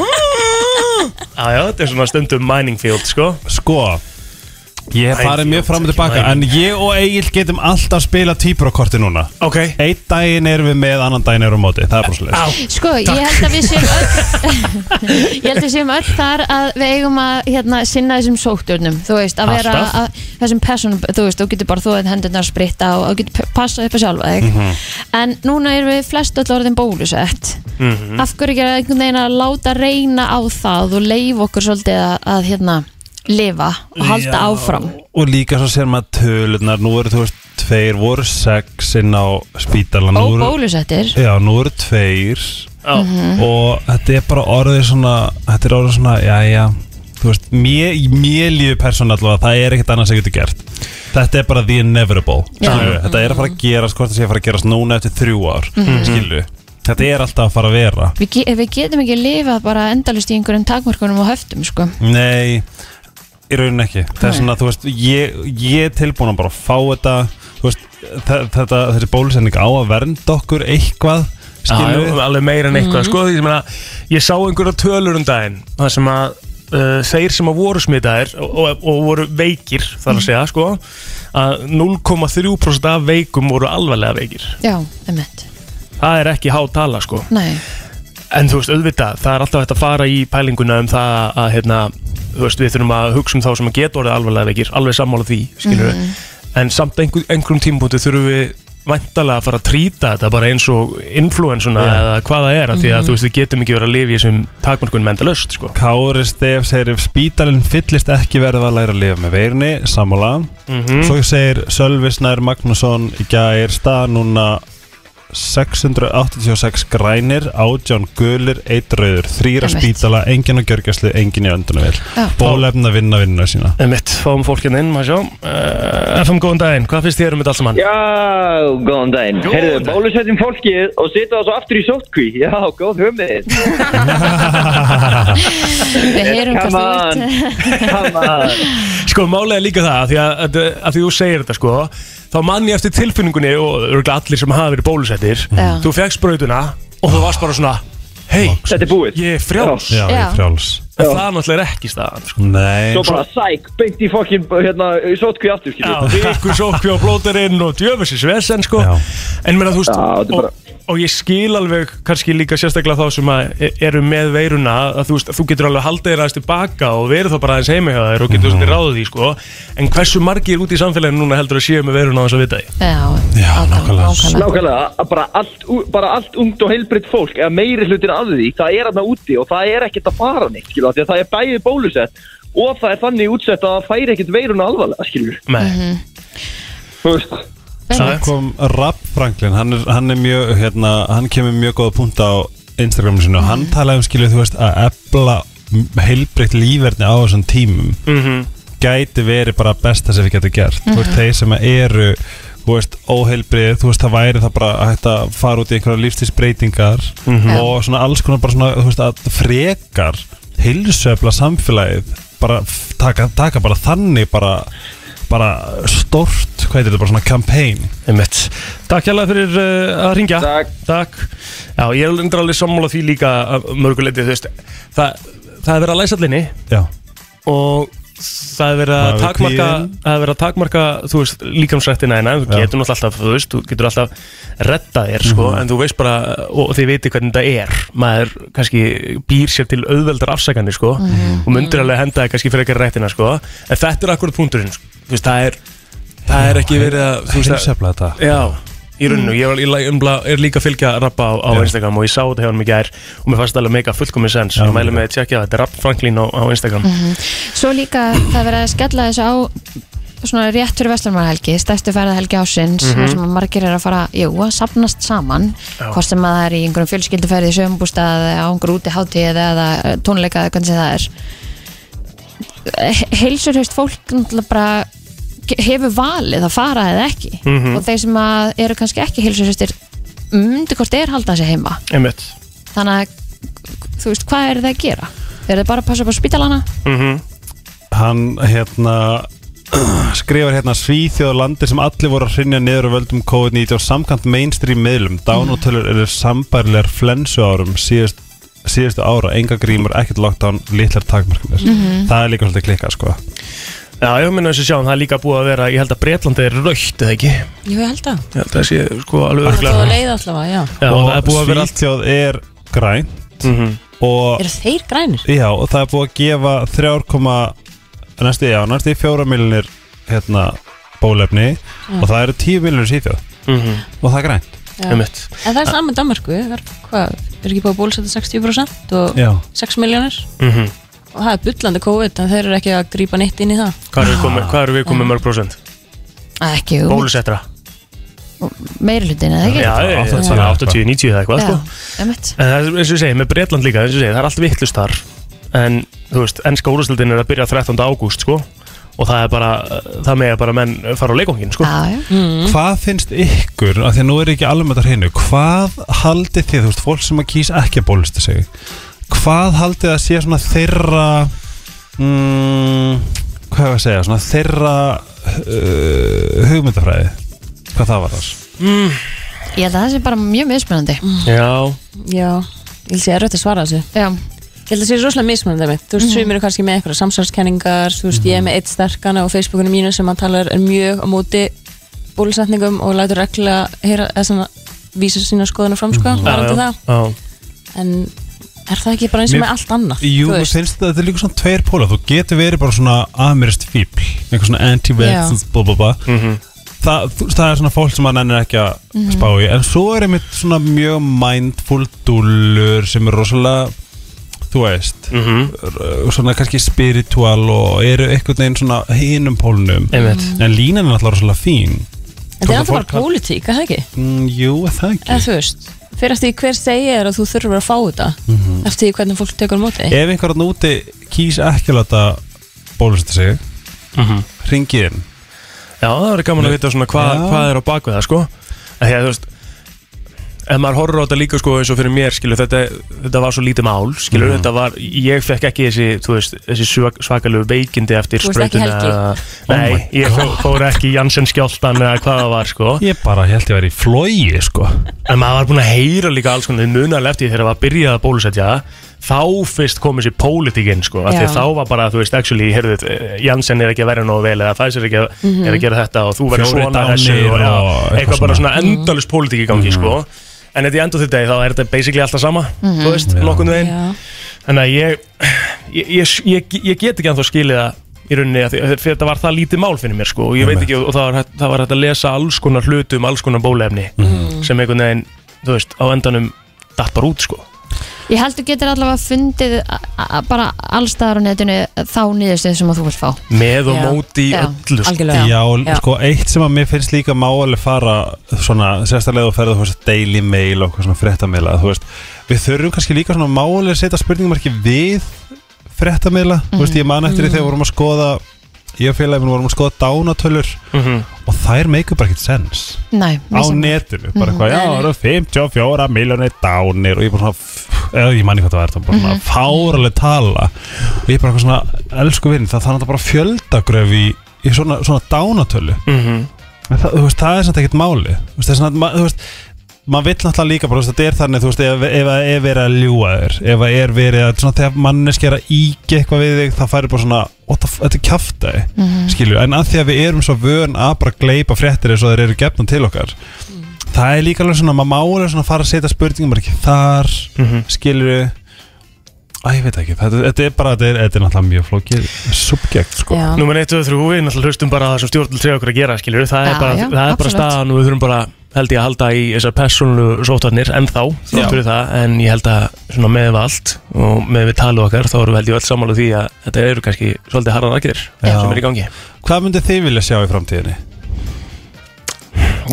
Speaker 1: Já, já, þetta er svona stundum mining field sko.
Speaker 4: sko Ég hef farið mjög fram og tilbaka En ég og Egil getum alltaf spila týpurakorti núna
Speaker 1: Ok
Speaker 4: Einn daginn erum við með, annan daginn erum við á móti Það er bara svolítið
Speaker 1: Á,
Speaker 2: Sko, ég held að við séum öll Ég held að við séum öll þar að við eigum að hérna, sinna þessum sótturnum Þú veist, að vera
Speaker 1: Alltaf.
Speaker 2: að, þessum personum Þú veist, þú getur bara þóðið hendurnar að spritta og þú getur p- passað upp að sjálfa þig
Speaker 4: Mhm.
Speaker 2: En núna erum við flest öll orðin bólusett
Speaker 4: Mhm.
Speaker 2: Af hverju ekki að einhvern veginn að láta reyna á það og leif okkur svolítið að, að hérna, lifa og halda
Speaker 4: Já.
Speaker 2: áfram
Speaker 4: Og líka svo sér maður tölunar, nú eru þú veist tveir, voru sex inn á spítala nú
Speaker 2: Og
Speaker 4: eru-
Speaker 2: bólusettir
Speaker 4: Já, nú eru tveir
Speaker 1: á,
Speaker 2: Mhm.
Speaker 4: og þetta er bara orðið svona, þetta er orðið svona, já, já, þú veist, mér, mér lífi persónu allavega, það er ekkert annað sem getur gert. Þetta er bara the inevitable,
Speaker 2: Já. Mhm.
Speaker 4: skilju, þetta er að fara að gerast, hvort það sé að fara að gerast núna eftir þrjú ár,
Speaker 2: Mhm.
Speaker 4: skilju, þetta er alltaf að fara að vera.
Speaker 2: Við, ge- við getum ekki lifað bara endalust í einhverjum takmörkunum og höftum sko.
Speaker 4: Nei, í rauninni ekki Það er svona, þú veist, ég, ég er tilbúin að bara fá þetta Þú veist, þe- þetta, þessi bólusending á að vernda okkur eitthvað Skilur
Speaker 1: Já,
Speaker 4: við
Speaker 1: alveg meira en eitthvað sko, því, ég, meina, ég sá einhverja tölur um daginn það sem að uh, þeir sem að voru smitaðir og, og, og voru veikir þar að segja sko, að 0,3% af veikum voru alvarlega veikir
Speaker 2: Já, emmett
Speaker 1: það er ekki há tala sko
Speaker 2: Nei,
Speaker 1: en þú veist auðvitað, það er alltaf hægt að fara í pælinguna um það að hérna, þú veist, við þurfum að hugsa um þá sem að geta orðið alvarlega veikir alveg sammála því, skilur en samt einhver, einhverjum tímpúti þurfum við væntalega að fara að trýta þetta bara eins og influensuna eða hvað það er af því að þú veist, við getum ekki verið að lifa í þessum takmarkunum enda löst, sko
Speaker 4: Kári Stef segir ef spítalinn fyllist ekki verða að læra að lifa með veirni, sammála
Speaker 1: Mhm.
Speaker 4: Svo segir Sölvi Snær Magnússon í gær stað núna 686 grænir, átján gulir, eitt rauður, þrýra
Speaker 2: Einmitt.
Speaker 4: spítala, engin á gjörgjæslu, engin í öndunum
Speaker 2: Já.
Speaker 4: Bólefna vinna vinna sína
Speaker 1: Mitt, fáum fólkinn inn, maður sjá uh, FM, góðan daginn, hvað finnst þér um þetta allt saman?
Speaker 6: Já, góðan daginn. Herðu, bólusetjum fólkið og setja það svo aftur í sóttkví. Já, góð hugmynd.
Speaker 2: við heyrum hvað þú ert
Speaker 6: Come Come on.
Speaker 1: Sko, málega líka það, af því að, að, að því þú segir þetta, sko þá mann ég eftir tilfinningunni og örugglega allir sem hafa verið bólusettir
Speaker 2: Já.
Speaker 1: þú fegst brautuna og þú varst bara svona hei,
Speaker 6: Þetta er búið
Speaker 1: ég er frjáls
Speaker 4: Já, ég
Speaker 2: Já.
Speaker 4: er frjáls
Speaker 1: En það er náttúrulega er ekki staðan sko.
Speaker 4: Nei,
Speaker 6: Svo bara sæk, beint í fokkin, hérna, sótkví aftur,
Speaker 1: Já,
Speaker 6: skilju
Speaker 1: ykkur sókvi á blóterinn og djöfisins vesen sko.
Speaker 4: Já.
Speaker 1: En mér þú veist
Speaker 6: Já, þetta er bara-
Speaker 1: og, og ég skil alveg kannski líka sérstaklega þá sem að e- eru með veiruna að þú, veist, að þú getur alveg haldið þér aðeins tilbaka og verið þá bara aðeins heima hjá þér og
Speaker 6: Mhm.
Speaker 1: getur svolítið ráðið því sko. En hversu margir út í samfélaginu núna heldur að séu með veiruna á þess að vita því?
Speaker 2: Já,
Speaker 4: Já, nákvæmlega.
Speaker 2: nákvæmlega
Speaker 6: Nákvæmlega, að bara allt, u- bara allt ungt og heilbritt fólk eða meiri hlutin af því, það er aðna úti og það er ekkert að fara neitt, skilju, af því að það er bæðið bólusett og það er þannig útsett að það færi ekkert veiruna alvarlega, skilju
Speaker 1: Nei,
Speaker 6: Þú veist,
Speaker 4: Svo kom Rapp Franklin hann er, hann er mjög, hérna, hann kemur mjög góða punkt á Instagraminu sinu og hann talaði um skilju, þú veist, að efla heilbreytt lífverðni á þessum tímum gæti verið bara besta sem við getum gert, þú veist, þeir sem eru þú veist, óheilbrið, þú veist, það væri það bara að hægt að fara út í einhverja lífstísbreytingar og svona alls konar bara svona, þú veist, að frekar heilsöfla samfélagið bara f- taka, taka bara þannig bara, bara stort, hvað heitir þetta, bara svona campaign
Speaker 1: einmitt. Takk hérlega fyrir uh, að ringja.
Speaker 6: Takk.
Speaker 1: Takk. Já, ég er undir alveg sammála því líka að mörguleiti, þú veist, það, það er verið að læsa allinni
Speaker 4: Já,
Speaker 1: og það er verið
Speaker 4: Maður
Speaker 1: að
Speaker 4: er
Speaker 1: takmarka
Speaker 4: kvíðinn.
Speaker 1: það er verið að takmarka, þú veist, líkamsrættina hérna, en þú
Speaker 4: Já.
Speaker 1: getur náttúrulega alltaf, þú veist, þú getur alltaf retta þér, sko,
Speaker 4: Mhm.
Speaker 1: en þú veist bara og þið veitir hvernig þetta er maður kannski býr sér til auðveldar afsakandi, sko, og myndir alveg henda þér kannski fyrir ekki rættina, sko, en þetta er akkurat punkturinn, sko. þú veist, það er það er ekki verið að, þú veist, að
Speaker 4: heilsöfla þetta
Speaker 1: Já, í rauninu, ég, var, ég, la- um, er líka að fylgja rappa á, á
Speaker 4: Já.
Speaker 1: Instagram og ég sá þetta hjá hann mikið er og mér fannst alveg meika fullkomis sens
Speaker 4: Já,
Speaker 1: ég mælu
Speaker 4: líka.
Speaker 1: með að tjekka þetta, rapp Franklín á, á Instagram
Speaker 2: Svo líka það verið að skella þessu á svona rétt fyrir Vestlumarhelgi, stærstu ferðahelgi ásins mm sem að margir er að fara, jú, að sapnast saman,
Speaker 1: Já.
Speaker 2: hvort sem að það er í einhverjum fjölskylduferði, í sögumbústað eða á einhverjum úti hátíð eða eh, tónleika eða hvernig sem það er heilsur hefst fólk náttúrulega bara ge- hefur valið að fara eða ekki og þeir sem að eru kannski ekki heilsur hefstir myndi hvort er halda sig heima
Speaker 1: Einmitt
Speaker 2: þannig að þú veist, hvað er það að gera? Er það bara að passa upp á spítalana?
Speaker 1: Mm.
Speaker 4: Hann hérna skrifar hérna Svíþjóð landi sem allir voru að hrinja niður á völdum COVID-19 samkant mainstream miðlum dánutölur eru sambærilegar flensu árum síðust, síðustu ára enga grímur, ekkert lockdown, litlar takmarkanir það er líka svolítið klikkað sko
Speaker 1: Já, ég minna þess að sjá hann, það er líka búið að vera, ég held að Breitland er raukt, eða ekki? Ég
Speaker 5: Jú, ég held að
Speaker 1: held að það sé, sko, alveg
Speaker 5: Það er
Speaker 1: örglega
Speaker 5: að leiða allavega, já
Speaker 1: Já, það er
Speaker 4: og
Speaker 1: búið að vera allt
Speaker 4: Svíþjóð er grænt og
Speaker 5: Eru þeir grænir?
Speaker 4: Já, og það er búið að gefa 3,4 næstu, já, næstu 4 miljonir hérna, bólefni og það eru 10 miljonir síðjóð og það er grænt
Speaker 5: Já. En
Speaker 1: Einmitt.
Speaker 5: það er saman Danmarku Það er, hvað, er ekki búið að bólusetja 60% og
Speaker 4: Já.
Speaker 5: 6 miljónir
Speaker 1: Mhm.
Speaker 5: og það er bullandi COVID en þeir eru ekki að grípa neitt inn í það
Speaker 1: Hvað erum við komið, hvað erum við komið mörg prosent?
Speaker 2: Ekki, jú,
Speaker 1: Bólusetra
Speaker 2: meiri hlutin eða ekki?
Speaker 1: Já,
Speaker 4: það er 80,
Speaker 1: 80-90 eða eitthvað, sko
Speaker 2: einmitt.
Speaker 1: En það er eins og ég segi, með Breitland líka, eins og ég segi, það er allt vittlust þar En, þú veist, ennska úrúslutin er að byrja 13. ágúst, sko Og það er bara, það með bara menn fara á leikongin, sko
Speaker 2: Já, já.
Speaker 4: Hvað finnst ykkur, af því að nú er ekki almennt á hreinu, hvað haldið þið, þú veist, fólk sem að kýs ekki að bólusta sig hvað haldið að sé svona þeirra mm, hvað hefur að segja, svona þeirra uh, hugmyndafræði hvað það var þar?
Speaker 2: Ég held að það sé bara mjög mismunandi
Speaker 1: Mm. Já,
Speaker 5: Já, ég held að ég er rögt að svara þessu
Speaker 2: Já,
Speaker 5: Ég held að það sé rosalega mismunandi með Þú veist, sumir eru kannski með eitthvað samsvarskenningar Þú veist, ég
Speaker 4: Mhm.
Speaker 5: er með eitt sterkana á Facebookinu mínu sem hann talar er mjög á móti bólusetningum og lætur regla heyra, eða svona, vísa sína skoðuna fram sko,
Speaker 4: Mhm.
Speaker 5: mm
Speaker 1: já,
Speaker 5: -hmm.
Speaker 1: já
Speaker 5: en er það ekki bara eins og
Speaker 4: Mér-
Speaker 5: með allt annað
Speaker 4: Jú,
Speaker 5: þú
Speaker 4: mér
Speaker 5: veist?
Speaker 4: finnst þetta, þetta er líka svona tveir póla Þú getur verið bara svona amirist fíbl Eitthvað svona anti-vax bla, bla, bla.
Speaker 1: Mhm,
Speaker 4: Þa, þú, það er svona fólk sem að nennir ekki að spá í En svo er einmitt svona mjög mindful dúllur sem er rosalega þú veist
Speaker 1: mhm.
Speaker 4: r- svona kannski spiritual og eru einhvern veginn svona hinum pólnum
Speaker 1: Einmitt.
Speaker 4: en línan er alltaf rosalega fín
Speaker 5: En það er
Speaker 4: Hvort að
Speaker 5: alltaf
Speaker 4: fólk
Speaker 5: bara pólitík, er það ekki?
Speaker 4: mm, Jú, er það ekki
Speaker 5: Eða þú veist, fyrir eftir því hver segir að þú þurfur að fá þetta
Speaker 1: Mhm.
Speaker 5: eftir því hvernig fólk tekur á móti
Speaker 4: Ef einhverjarn úti kýs ekki að láta bólusetta sig ringið inn
Speaker 1: Já, það verður gaman að
Speaker 4: Nei.
Speaker 1: vita svona hvað,
Speaker 4: Já.
Speaker 1: hvað er á bakvið það sko Þegar þú veist en maður horfður á þetta líka sko eins og fyrir mér skilur, þetta, þetta var svo lítið mál skilur,
Speaker 4: Mhm.
Speaker 1: þetta var, ég fekk ekki þessi, þú veist, þessi svak- svakalegu veikindi eftir
Speaker 5: Þú veist ekki
Speaker 1: sprautuna.
Speaker 4: Oh
Speaker 1: nei,
Speaker 4: my
Speaker 1: ég fó, fór ekki í Janssen skjáltan eða hvað það var sko
Speaker 4: Ég bara held ég að vera í flói sko
Speaker 1: en maður var búin að heyra líka alls konar munal eftir því þegar það var byrjað að bólusetja þá fyrst kom þessi pólitíkinn sko, af því
Speaker 5: Já.
Speaker 1: þá var bara, þú veist, actually heyrðu, eh, Janssen er ekki að vera nógu vel eða Pfizer er ekki að,
Speaker 5: Mhm.
Speaker 1: er að gera þetta og þú verður
Speaker 4: Fjórir
Speaker 1: svona
Speaker 4: dánir
Speaker 1: þessu og, og,
Speaker 4: og eitthvað
Speaker 1: eitthvað bara
Speaker 4: svona. Mhm.
Speaker 1: svona endalust pólitík í gangi sko en þetta í endur þetta þá er þetta basically alltaf sama þú veist, nokkurnu veginn
Speaker 5: Mhm. Já.
Speaker 1: þannig að ég ég, ég, ég, ég get ekki anþá skilið það í rauninni að því- að þetta var það lítið mál fyrir mér sko og ég veit ekki og það var, hægt- það var hægt að lesa alls konar hluti um alls konar bólefni sem einhvern veginn, þú veist, á endanum datt bara út sko
Speaker 2: Ég held þú getur allavega fundið a- a- bara allstaðar á netinu þá niðurstöð sem að þú vilt fá
Speaker 1: með og
Speaker 5: Já.
Speaker 1: móti í
Speaker 2: Já,
Speaker 1: öllu sko.
Speaker 5: algjörlega
Speaker 4: Já, sko, eitt sem að mér finnst líka máalega fara svona, sérstaklega þú ferðu þú veist, daily mail og eitthvað svona fréttamiðla, þú veist, við þurfum kannski líka svona máalega að setja spurningumarki við fréttamiðla, þú veist, ég man eftir því þegar vorum að skoða ég og félaginu vorum að skoða dánatölur
Speaker 1: Mhm.
Speaker 4: og þær make bara ekkert sens
Speaker 2: Nei,
Speaker 4: á
Speaker 2: mér sem-
Speaker 4: netinu, bara eitthvað, já, það eru 54 miljónir dánir og ég bara svona f- eða ég manni hvað það var, það var bara svona fáraleg tala og ég bara eitthvað svona elsku vinn, það þannig að bara fjöldagröf í, í svona, svona dánatölu
Speaker 1: Mhm.
Speaker 4: En það, þú veist, það er samt ekkert máli þú veist, það er svona, ma- þú veist maður vill náttúrulega líka bara, þú veist, þetta er þannig þú veist, ef, ef það er verið að ljúa þér ef það er verið að, svona, þegar manneski er að íki eitthvað við þig, það færi bara svona what the f- þetta er kjaftaði, mm
Speaker 2: Mhm.
Speaker 4: skilju en að því að við erum svo vön að bara gleypa fréttir eins og þeir eru gefnum til okkar það er líka alveg svona, maður má alveg svona fara að setja spurningum bara ekki þar mm
Speaker 1: Mhm.
Speaker 4: skilju að ég veit ekki, þetta, þetta er bara þetta er, þetta er náttúrulega mjög flókið subjekt, sko
Speaker 5: Já.
Speaker 1: Númer 1 og 3, við náttúrulega hlustum bara að það sem stjórnul segja okkur að gera, skilur, það er
Speaker 2: Já,
Speaker 1: bara,
Speaker 2: já,
Speaker 1: það er bara
Speaker 2: absolutt.
Speaker 1: staðan og við þurfum bara held ég að halda í þessar persónlu sótvarnir ennþá, þátt
Speaker 4: Já.
Speaker 1: fyrir það en ég held að svona með við allt og með við talið okkar, þá erum við held ég öll sammála því að þetta eru kannski svolítið harðan aðgerðir sem er í gangi.
Speaker 4: hvað myndið þið vilja sjá í framtíðinni?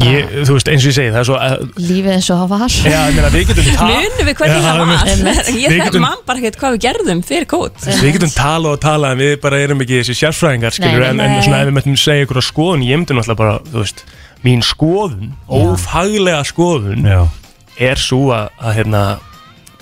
Speaker 1: Ég, þú veist, eins og ég segi, það er svo að,
Speaker 2: lífið eins og það var
Speaker 1: já, ég meina, við getum talað
Speaker 5: Munum við hvernig
Speaker 1: Já,
Speaker 5: það var Ég
Speaker 1: Við
Speaker 5: þarf
Speaker 1: getum-
Speaker 5: mann bara ekkert hvað við gerðum fyrir kót
Speaker 1: Við getum talað og talað en við bara erum ekki þessi sérfræðingar skilur,
Speaker 2: Nei,
Speaker 1: en,
Speaker 2: nei,
Speaker 1: en
Speaker 2: nei.
Speaker 1: svona ef við möttum segja ykkur á skoðun ég myndi náttúrulega bara, þú veist mín skoðun, ófaglega skoðun
Speaker 4: Já.
Speaker 1: er svo að, að hérna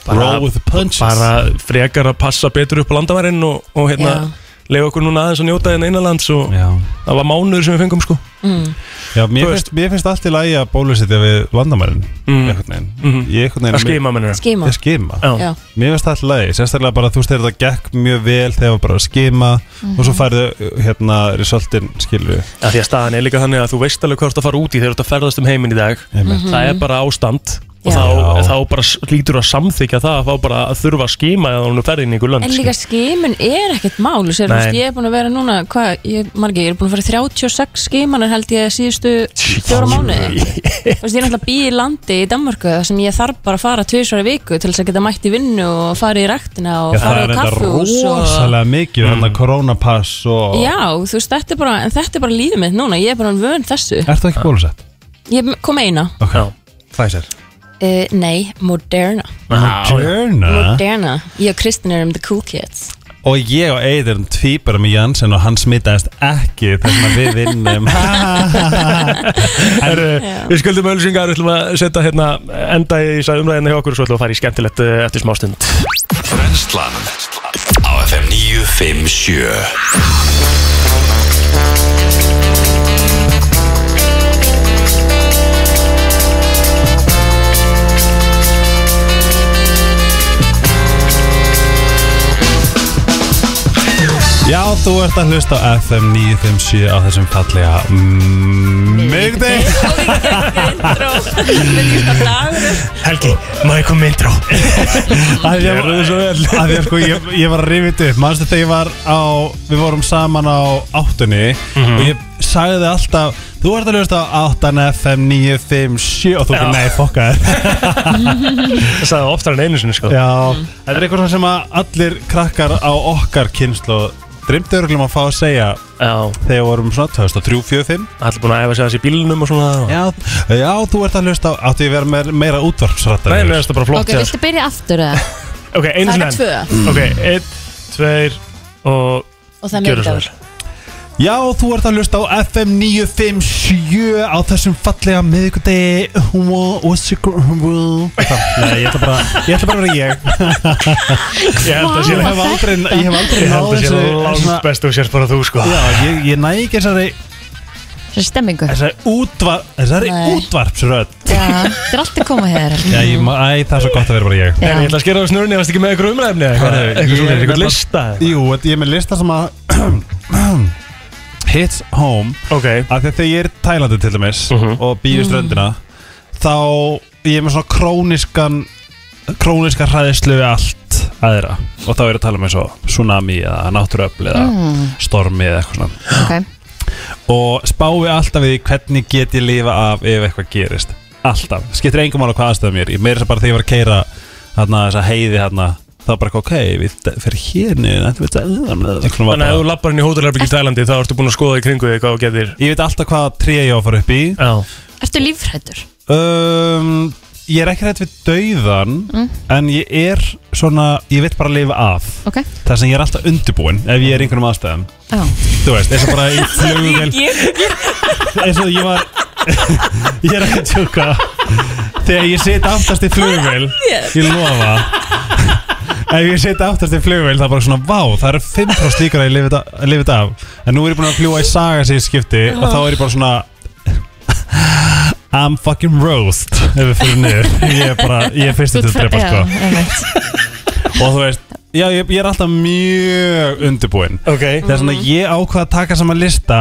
Speaker 4: Roll with the punches.
Speaker 1: bara frekar að passa betur upp á landamærin og, og hérna
Speaker 5: Já.
Speaker 1: leiða okkur núna aðeins að njóta þeirna innanlands og
Speaker 4: Já.
Speaker 1: það var mánuður sem við fengum sko
Speaker 5: Mm.
Speaker 4: Já, mér
Speaker 1: Þú
Speaker 4: finnst, mér finnst allt í lagi að bólusetja við landamærin
Speaker 1: Mm.
Speaker 4: einhvern veginn
Speaker 1: Mhm.
Speaker 4: Ég einhvern veginn
Speaker 1: að skima mennur
Speaker 5: Skima
Speaker 4: Ég skima
Speaker 1: já,
Speaker 5: Já,
Speaker 4: Mér finnst allt í lagi, sérstaklega bara þú veist þegar það gekk mjög vel þegar var bara að skima og svo færðu hérna resultin skilju
Speaker 1: Af því að staðan er líka þannig að þú veist alveg hvað þú ert að fara út í þegar þú ert að ferðast um heiminn í dag
Speaker 4: Einmitt.
Speaker 1: það er bara ástand og
Speaker 5: Mhm. Já.
Speaker 1: þá,
Speaker 4: Já.
Speaker 1: þá bara s- hlýtur þú að samþykja það að fá bara að þurfa að skima eða hún ferði inn í sko. ykkur land
Speaker 5: En líka skimun er ekkert mál sér,
Speaker 1: Nei.
Speaker 5: veist, Ég er búin að vera núna hvað, ég, margi, ég er búin að fara í 36 skimanir held ég síðustu fjóra mánuði Þú veist, Ég er náttúrulega bý í landi í Danmörku þar sem ég þarf bara að fara tvisvara viku til þess að geta mætt í vinnu og fara í rektina og
Speaker 4: Já, það
Speaker 5: fara
Speaker 4: er
Speaker 5: í
Speaker 4: enda
Speaker 5: kaffihús og...
Speaker 4: rosalega mikið mm. koronapass og
Speaker 5: Já, þú veist, þetta er bara, en þetta er bara lífið mitt núna Ég er bara vön þessu
Speaker 4: Ertu ekki bólusett?
Speaker 5: Ég kom eina,
Speaker 4: Ok,
Speaker 1: Já.
Speaker 4: Pfizer
Speaker 5: uh, nei, Moderna
Speaker 4: Moderna
Speaker 5: Moderna, ég og Kristinn erum the cool kids
Speaker 4: Og ég og Eidur um tvíbara með Janssen og hann smitaðist ekki þess að við vinnum
Speaker 1: Herru, Við skuldum ölsingar, við ætlum að setja hérna enda í umræðina hjá okkur og svo ætlum við að fara í skemmtilegt eh, eftir smástund
Speaker 3: Brenslan Á FM 957
Speaker 4: Já, þú ert að hlusta á FM 957 á þessum fallega Mögdi
Speaker 1: Helgi, má ég koma intro Gjörðu þið svo vel
Speaker 4: Af því að sko ég, ég var að rifja þetta upp Manstu þegar ég var á Við vorum saman á áttunni
Speaker 1: Mhm.
Speaker 4: Og ég sagði þið alltaf Þú ert að hlusta á 8 FM 957 Og þú ekki, nei, fokka þér
Speaker 1: Það sagði það oftar en einu sinni sko
Speaker 4: Já, þetta er eitthvað svona sem að allir krakkar á okkar kynslu Dreymdi örglum um að fá að segja
Speaker 1: Já,
Speaker 4: Þegar við vorum svona 2003, 4, 5
Speaker 1: allir búin að æfa sig aðeins í bílunum og svona og-
Speaker 4: Já, já, þú ert að hlusta á Áttu ég að vera meira, meira útvarpsrættar
Speaker 1: Nei, mér finnst það bara flott
Speaker 2: Ok,
Speaker 1: hjá
Speaker 2: viltu byrja aftur eða?
Speaker 1: þér. Ok, einu
Speaker 5: Það
Speaker 1: sinni
Speaker 5: er
Speaker 1: enn
Speaker 5: tvö
Speaker 1: Ok, einn, tveir og
Speaker 5: og það er
Speaker 1: gjörðu
Speaker 5: mjög
Speaker 1: svo
Speaker 5: dagur
Speaker 1: vel
Speaker 4: Já, þú ert að hlusta á FM 957 á þessum fallega miðvikudegi Wha- what's your gr- wha- Eitthvað. Nei, ég ætla bara ég ætla bara að vera ég
Speaker 1: Ég held að sé
Speaker 4: Ég hef aldrei, ég hef aldrei
Speaker 1: Ég
Speaker 4: náð
Speaker 1: held að sé
Speaker 4: þessu
Speaker 1: langt
Speaker 4: svona-
Speaker 1: best og sérst bara þú sko
Speaker 4: Já, ég, ég næ ekki þessari
Speaker 2: Þessari stemmingu
Speaker 4: þessari útvarp þessari
Speaker 5: Nei.
Speaker 4: útvarpsrödd
Speaker 2: Já, þetta er allt að koma hér
Speaker 4: Já, ég, ma- æ, það er svo gott að vera bara ég
Speaker 1: En ég ætla að skera á snurni, varst ekki með ykkur umræfni eða
Speaker 4: Herru,
Speaker 1: eitthvað? Eitthvað
Speaker 4: ég
Speaker 1: svona,
Speaker 4: er
Speaker 1: eitthvað
Speaker 4: nefnilega-
Speaker 1: lista eða?
Speaker 4: Jú, þetta- ég er með lista sem að hits home
Speaker 1: Ok,
Speaker 4: af því að þegar ég er í Tælandi til dæmis
Speaker 1: Mhm.
Speaker 4: og býður ströndina þá ég er með svona króniskan króniska hræðislu við allt aðra og þá er ég að tala með svo tsunami eða náttúröfl eða
Speaker 2: Mm.
Speaker 4: stormi eða eitthvað svona
Speaker 2: Ok,
Speaker 4: og spái alltaf við því hvernig get ég lifa af ef eitthvað gerist alltaf, skiptir engum mála hvað aðstöðum ég er ég meira þess að bara þegar ég var að keira þarna þessa heiði þarna þá bara eitthvað, ok, við d- fyrir hérni
Speaker 1: þannig að ef þú
Speaker 4: þannig
Speaker 1: lappar inn í hótelherbyggi í Tælandi þá ertu búin að skoða í kringu því hvað þú getur
Speaker 4: ég veit alltaf hvað tré ég á að fara upp í
Speaker 1: Já,
Speaker 2: ertu lífrættur?
Speaker 4: Um, ég er ekki hægt við dauðan En ég er svona Ég veit bara að lifa af
Speaker 2: Ok,
Speaker 4: Það sem ég er alltaf undirbúinn Ef ég er í einhvernum aðstæðum
Speaker 2: já
Speaker 4: Þú veist, eins og bara í flugvél Eins og ég var Ég er ekki að tjóka Þegar ég sit aftast í flugvél Ég lofa Ef ég sit aftast í flugvél Það er bara svona Vá, það eru 5% líkar að ég lifi þetta- lifi þetta af En nú er ég búin að fljúa í saga sér skipti Og þá er ég bara svona I'm fucking roast Ef við fyrir niður Ég er bara, ég er fyrst til að drepa sko
Speaker 2: Já, einmitt.
Speaker 4: Og þú veist, já, ég, ég er alltaf mjög undirbúinn
Speaker 1: ok
Speaker 4: Það er svona ég ákvað að taka saman lista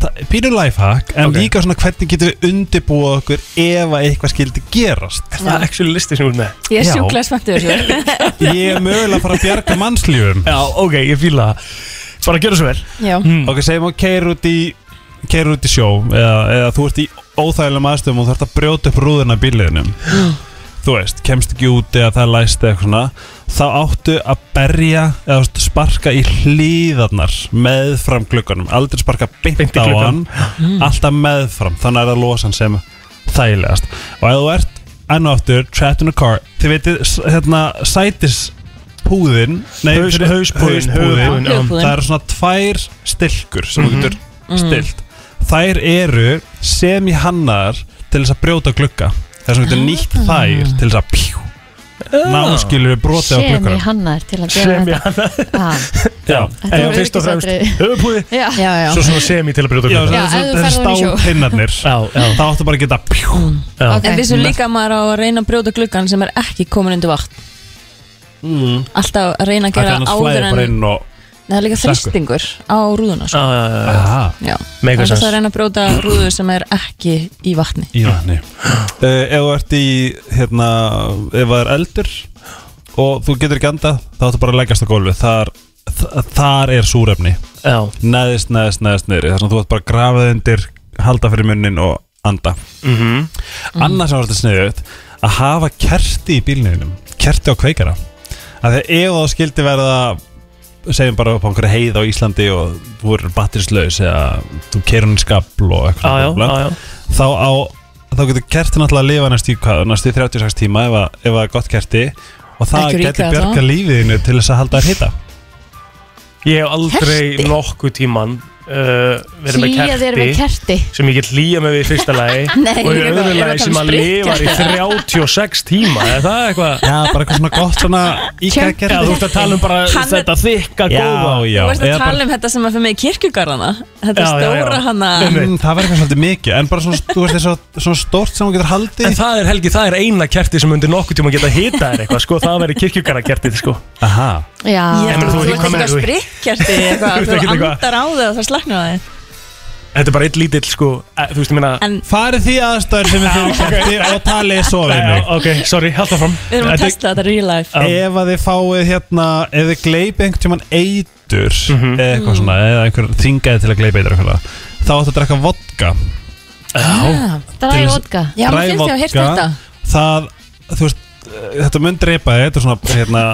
Speaker 4: það- Pínu lifehack En
Speaker 1: Ok.
Speaker 4: líka svona hvernig getum við undirbúið okkur Ef að eitthvað skildi gerast
Speaker 1: Það er actually listi sem þú ert með
Speaker 5: Ég er
Speaker 4: Já.
Speaker 5: sjúklega spenntið þessu
Speaker 4: Ég er mögulega að fara að bjarga mannslífum
Speaker 1: Já, ok, ég fíla það Mm. Bara gjöra svo vel
Speaker 5: Já,
Speaker 4: Ok, segjum og keir út í Keir út í sjó Eða, eða þú ert í óþægilegum aðstöðum Og þú ert að brjóta upp rúðuna í bíliðinum Þú veist, kemst ekki út Eða það er læst eða eitthvað svona Þá áttu að berja Eða þú veist, sparka í hlýðarnar Meðfram glugganum Aldrei sparka beint,
Speaker 1: Beint í
Speaker 4: á hann
Speaker 1: gluggann.
Speaker 4: Alltaf meðfram Þannig er það losan sem þægilegast Og ef þú ert enn og aftur Trapped in a car Þið veitir, s- hérna, sætis Húðin, nei,
Speaker 1: Haus-
Speaker 4: fyrir-
Speaker 1: hauspúðin,
Speaker 4: hauspúðin
Speaker 1: höfuðpúðin, já.
Speaker 4: það eru svona tvær stilkur sem
Speaker 2: Mhm.
Speaker 4: þú getur stilt þær eru sem í hannar til þess að brjóta glugga þess að
Speaker 2: Ah.
Speaker 4: þú getur nýtt þær til þess að pjú, náskilur brotið á
Speaker 2: Sem ég
Speaker 4: glugganum
Speaker 2: hannar til að gera
Speaker 1: Semi
Speaker 2: þetta
Speaker 1: hann
Speaker 2: Já,
Speaker 4: já,
Speaker 2: þetta
Speaker 1: En
Speaker 2: voru
Speaker 1: fyrst og fremst
Speaker 2: öryggisatriði.
Speaker 1: höfupúði
Speaker 2: Já,
Speaker 5: já, já
Speaker 1: Svo svona semi til að brjóta
Speaker 4: já,
Speaker 1: glugga.
Speaker 2: Já,
Speaker 4: já
Speaker 2: ef þú
Speaker 4: þessi
Speaker 2: ferð ofan í sjó. Mm.
Speaker 4: stápinnarnir
Speaker 1: já,
Speaker 4: þá áttu bara að geta pjú
Speaker 1: já
Speaker 2: ok
Speaker 5: En við svo líka að maður á að reyna að brjóta gluggan sem er ekki komin undir vatn Alltaf að reyna að
Speaker 4: það
Speaker 5: gera
Speaker 4: kannast
Speaker 5: áður
Speaker 4: flæðið
Speaker 5: en
Speaker 4: bara inn og
Speaker 5: Nei, Það er líka
Speaker 4: Slekkur.
Speaker 5: þristingur á rúðuna sko.
Speaker 1: Já, já, já, já.
Speaker 4: aha,
Speaker 5: Já,
Speaker 1: Make
Speaker 5: það er
Speaker 1: sense.
Speaker 5: að reyna að brjóta rúðu sem er ekki í vatni
Speaker 4: í vatni uh, ef þú ert í hérna, ef það er eldur og þú getur ekki andað þá áttu bara að leggjast á gólfið þar, þ- þar er súrefni
Speaker 1: já
Speaker 4: neðist, neðist, neðist niður þar sem þú ert bara grafið undir halda fyrir munnin og anda mm
Speaker 1: Mhm.
Speaker 4: -hmm. annars sem var þetta sniðut að hafa kerti í bílniðinum kerti á kveikara að því að ef það skildi verða segjum bara upp á einhverju heið á Íslandi og þú er batterislaus eða þú kerur hún í skabl og
Speaker 1: Já, já,
Speaker 4: eitthvað
Speaker 1: já, já
Speaker 4: þá á þá getur kerti náttúrulega að lifa næstu í hvað næstu í 36 tíma ef, að, ef það er gott kerti og það
Speaker 5: Ekki ríkja
Speaker 4: getur
Speaker 5: það.
Speaker 4: bjarga lífiðinu til þess að halda þér hita
Speaker 1: Ég hef aldrei
Speaker 5: Kerti?
Speaker 1: nokkuð tíman uh, verið með
Speaker 2: Hlýja þér með
Speaker 1: kerti
Speaker 2: kerti
Speaker 1: sem ég get hlýja með við í fyrsta lagi
Speaker 5: Nei,
Speaker 1: og í
Speaker 5: ég er
Speaker 1: öðru
Speaker 5: að- ég er að
Speaker 1: lagi
Speaker 5: tala
Speaker 1: sem
Speaker 5: um
Speaker 1: að lifa í 36 tíma er það eitthvað
Speaker 4: Já, bara eitthvað svona gott svona íkæða
Speaker 1: Já, þú ert að tala um bara
Speaker 5: Hann er-
Speaker 1: þetta þykka góða
Speaker 4: Já, já
Speaker 5: Þú veist að
Speaker 4: eða
Speaker 5: tala
Speaker 4: bara-
Speaker 5: um þetta sem er fyrir mig í kirkjugarðana Þetta
Speaker 1: Já, já, já.
Speaker 5: stóra hana
Speaker 1: Einmitt.
Speaker 4: Mm, Það var eitthvað svolítið mikið En bara svona, þú veist, þessu- svona stórt sem hún getur
Speaker 1: En
Speaker 4: haldið
Speaker 1: það er helgi, það er eina kerti sem undir nokkuð tíma geta hita þér eitthvað, sko, það verður kirkjugarakertið, sko.
Speaker 4: Aha
Speaker 2: Já,
Speaker 5: Ég
Speaker 1: En þú-
Speaker 5: held að Þú
Speaker 1: hvað
Speaker 5: ert eitthvað
Speaker 1: meinar þú?
Speaker 5: sprikkjarti
Speaker 1: Þú
Speaker 5: eitthvað,
Speaker 1: ert
Speaker 5: Þú
Speaker 1: ekkert eitthvað-
Speaker 5: andar á þig og það slaknar á þig
Speaker 1: Þetta er bara eitt lítill, sko, e, þú veist, ég meina...
Speaker 5: En
Speaker 4: Farið því aðstöður sem við þurfum kerti og talið svo við
Speaker 1: Nei, já,
Speaker 4: mig
Speaker 1: ok, sorry, hald það fram.
Speaker 5: við erum að testa þetta real life
Speaker 4: Ef að þið fáið hérna Ef þið gleipið einhvern tímann eitur Eða eitthvað svona Eða einhver þingaði til að gleipa eitur eitthvað Þá áttu að drekka vodka
Speaker 2: það
Speaker 4: til
Speaker 2: er
Speaker 4: þess-
Speaker 2: vodka
Speaker 5: Ah, Já, mér finnst ég að heyrta
Speaker 4: Drævodka,
Speaker 5: þetta
Speaker 4: Það, þú veist eh, Þetta mun dreipa þið, þetta er svona hérna,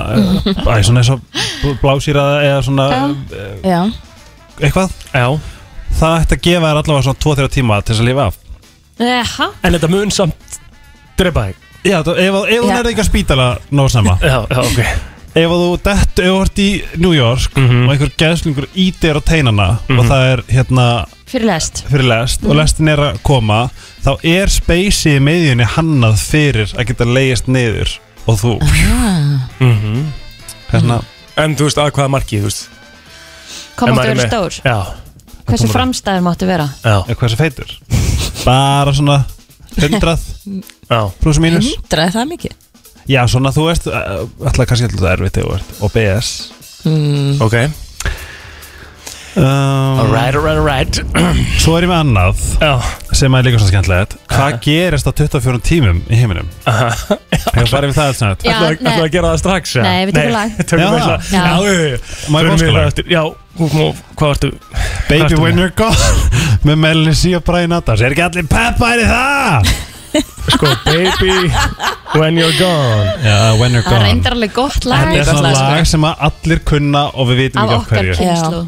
Speaker 4: eh, Æ, svona eins og blásýraða eða svona
Speaker 5: Já,
Speaker 4: eh, eitthvað
Speaker 1: Já,
Speaker 4: Það ætti að gefa þér allavega svona 2-3 tíma til þess að lifa af
Speaker 2: Eha,
Speaker 1: en þetta mun samt drepa þig.
Speaker 4: Já, þú- ef, ef hún
Speaker 5: Já.
Speaker 4: er ekki að spítala nóg snemma
Speaker 1: Já, já, ok.
Speaker 4: ef að þú dett, ef þú ert í New York
Speaker 1: Mhm.
Speaker 4: og einhver geðslingur ítir á teinana og það er hérna
Speaker 2: Fyrir lest
Speaker 4: fyrir lest og lestin er að koma þá er spacey í meðjunni hannað fyrir að geta leiðist niður og þú hérna,
Speaker 1: En þú veist, að hvaða marki, þú veist
Speaker 2: Hvað
Speaker 1: Ef
Speaker 2: máttu
Speaker 1: maður er
Speaker 2: vera
Speaker 1: með-
Speaker 2: stór?
Speaker 1: Já,
Speaker 2: Hversu
Speaker 1: maður-
Speaker 2: framstæður máttu vera?
Speaker 1: já,
Speaker 4: eða hvað þessi feitur bara svona 100
Speaker 1: já
Speaker 4: pluss og mínus
Speaker 5: Hundraði það mikið?
Speaker 4: já svona þú veist, uh, alltaf kannski alltaf það er erfitt þegar þú ert OBS
Speaker 1: Ok,
Speaker 4: um,
Speaker 1: alright, alright, alright
Speaker 4: svo er ég með annað
Speaker 1: Já,
Speaker 4: sem er líka svona skemmtilegt hvað gerist á 24 tímum í heiminum hefur farið við það alls nætt
Speaker 2: Já,
Speaker 1: ætlaðu
Speaker 2: nei.
Speaker 1: ætlaðu að gera það strax ja?
Speaker 2: Nei, við tökum lag.
Speaker 1: Tökum
Speaker 4: Já.
Speaker 1: við lag
Speaker 2: Já.
Speaker 1: Já, já, já
Speaker 4: Má ég
Speaker 1: Förum við
Speaker 4: bóðskala?
Speaker 1: það eftir- Já, hú- hú- hvað ertu
Speaker 4: Baby
Speaker 1: Ertu
Speaker 4: When You're Gone með Melanie C og Brian Adams er ekki allir peppaðir í það
Speaker 1: Sko, baby, when you're gone
Speaker 4: já, When You're
Speaker 2: Það er
Speaker 4: Gone
Speaker 2: eindarlega gott lag
Speaker 4: þetta er svona lag sem að allir kunna og við vitum
Speaker 2: Af
Speaker 4: ekki af
Speaker 2: sko. okkar
Speaker 4: hverju
Speaker 2: kynslu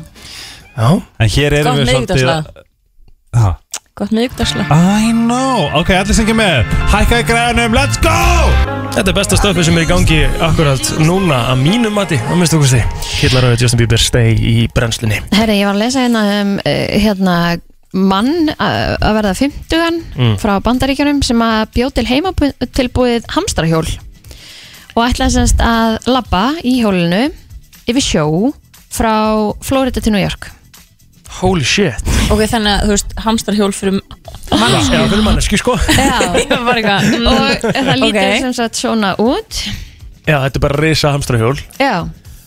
Speaker 1: Já,
Speaker 4: en hér erum
Speaker 5: Gott
Speaker 4: við svolítið
Speaker 5: miðvikudagslag.
Speaker 4: Ha?
Speaker 5: Gott miðugdarslag
Speaker 4: I know, ok, allir syngja með hækka í græðunum, let's go
Speaker 1: Þetta er besta stöfið sem er í gangi akkurat núna að mínum mati, að minnstu okkur þið. Killaröðu Justin Bieber stay í brennslunni.
Speaker 2: Herri, ég var að lesa hérna um eh, hérna mann að að verða 50 frá bandaríkjunum sem að bjó til heimatilbúið hamstrahjól og ætlaði semst að labba í hjólinu yfir sjó frá Florida til New York
Speaker 1: Holy shit.
Speaker 5: Ok, þannig að þú veist, hamstarhjól fyrir
Speaker 1: Manneski. Já, fyrir manneski, sko.
Speaker 2: Já,
Speaker 5: Það var eitthvað mm.
Speaker 2: og það lítur
Speaker 5: Ok.
Speaker 2: sem sagt svona út
Speaker 1: Já, þetta er bara risa hamstrahjól
Speaker 2: Já,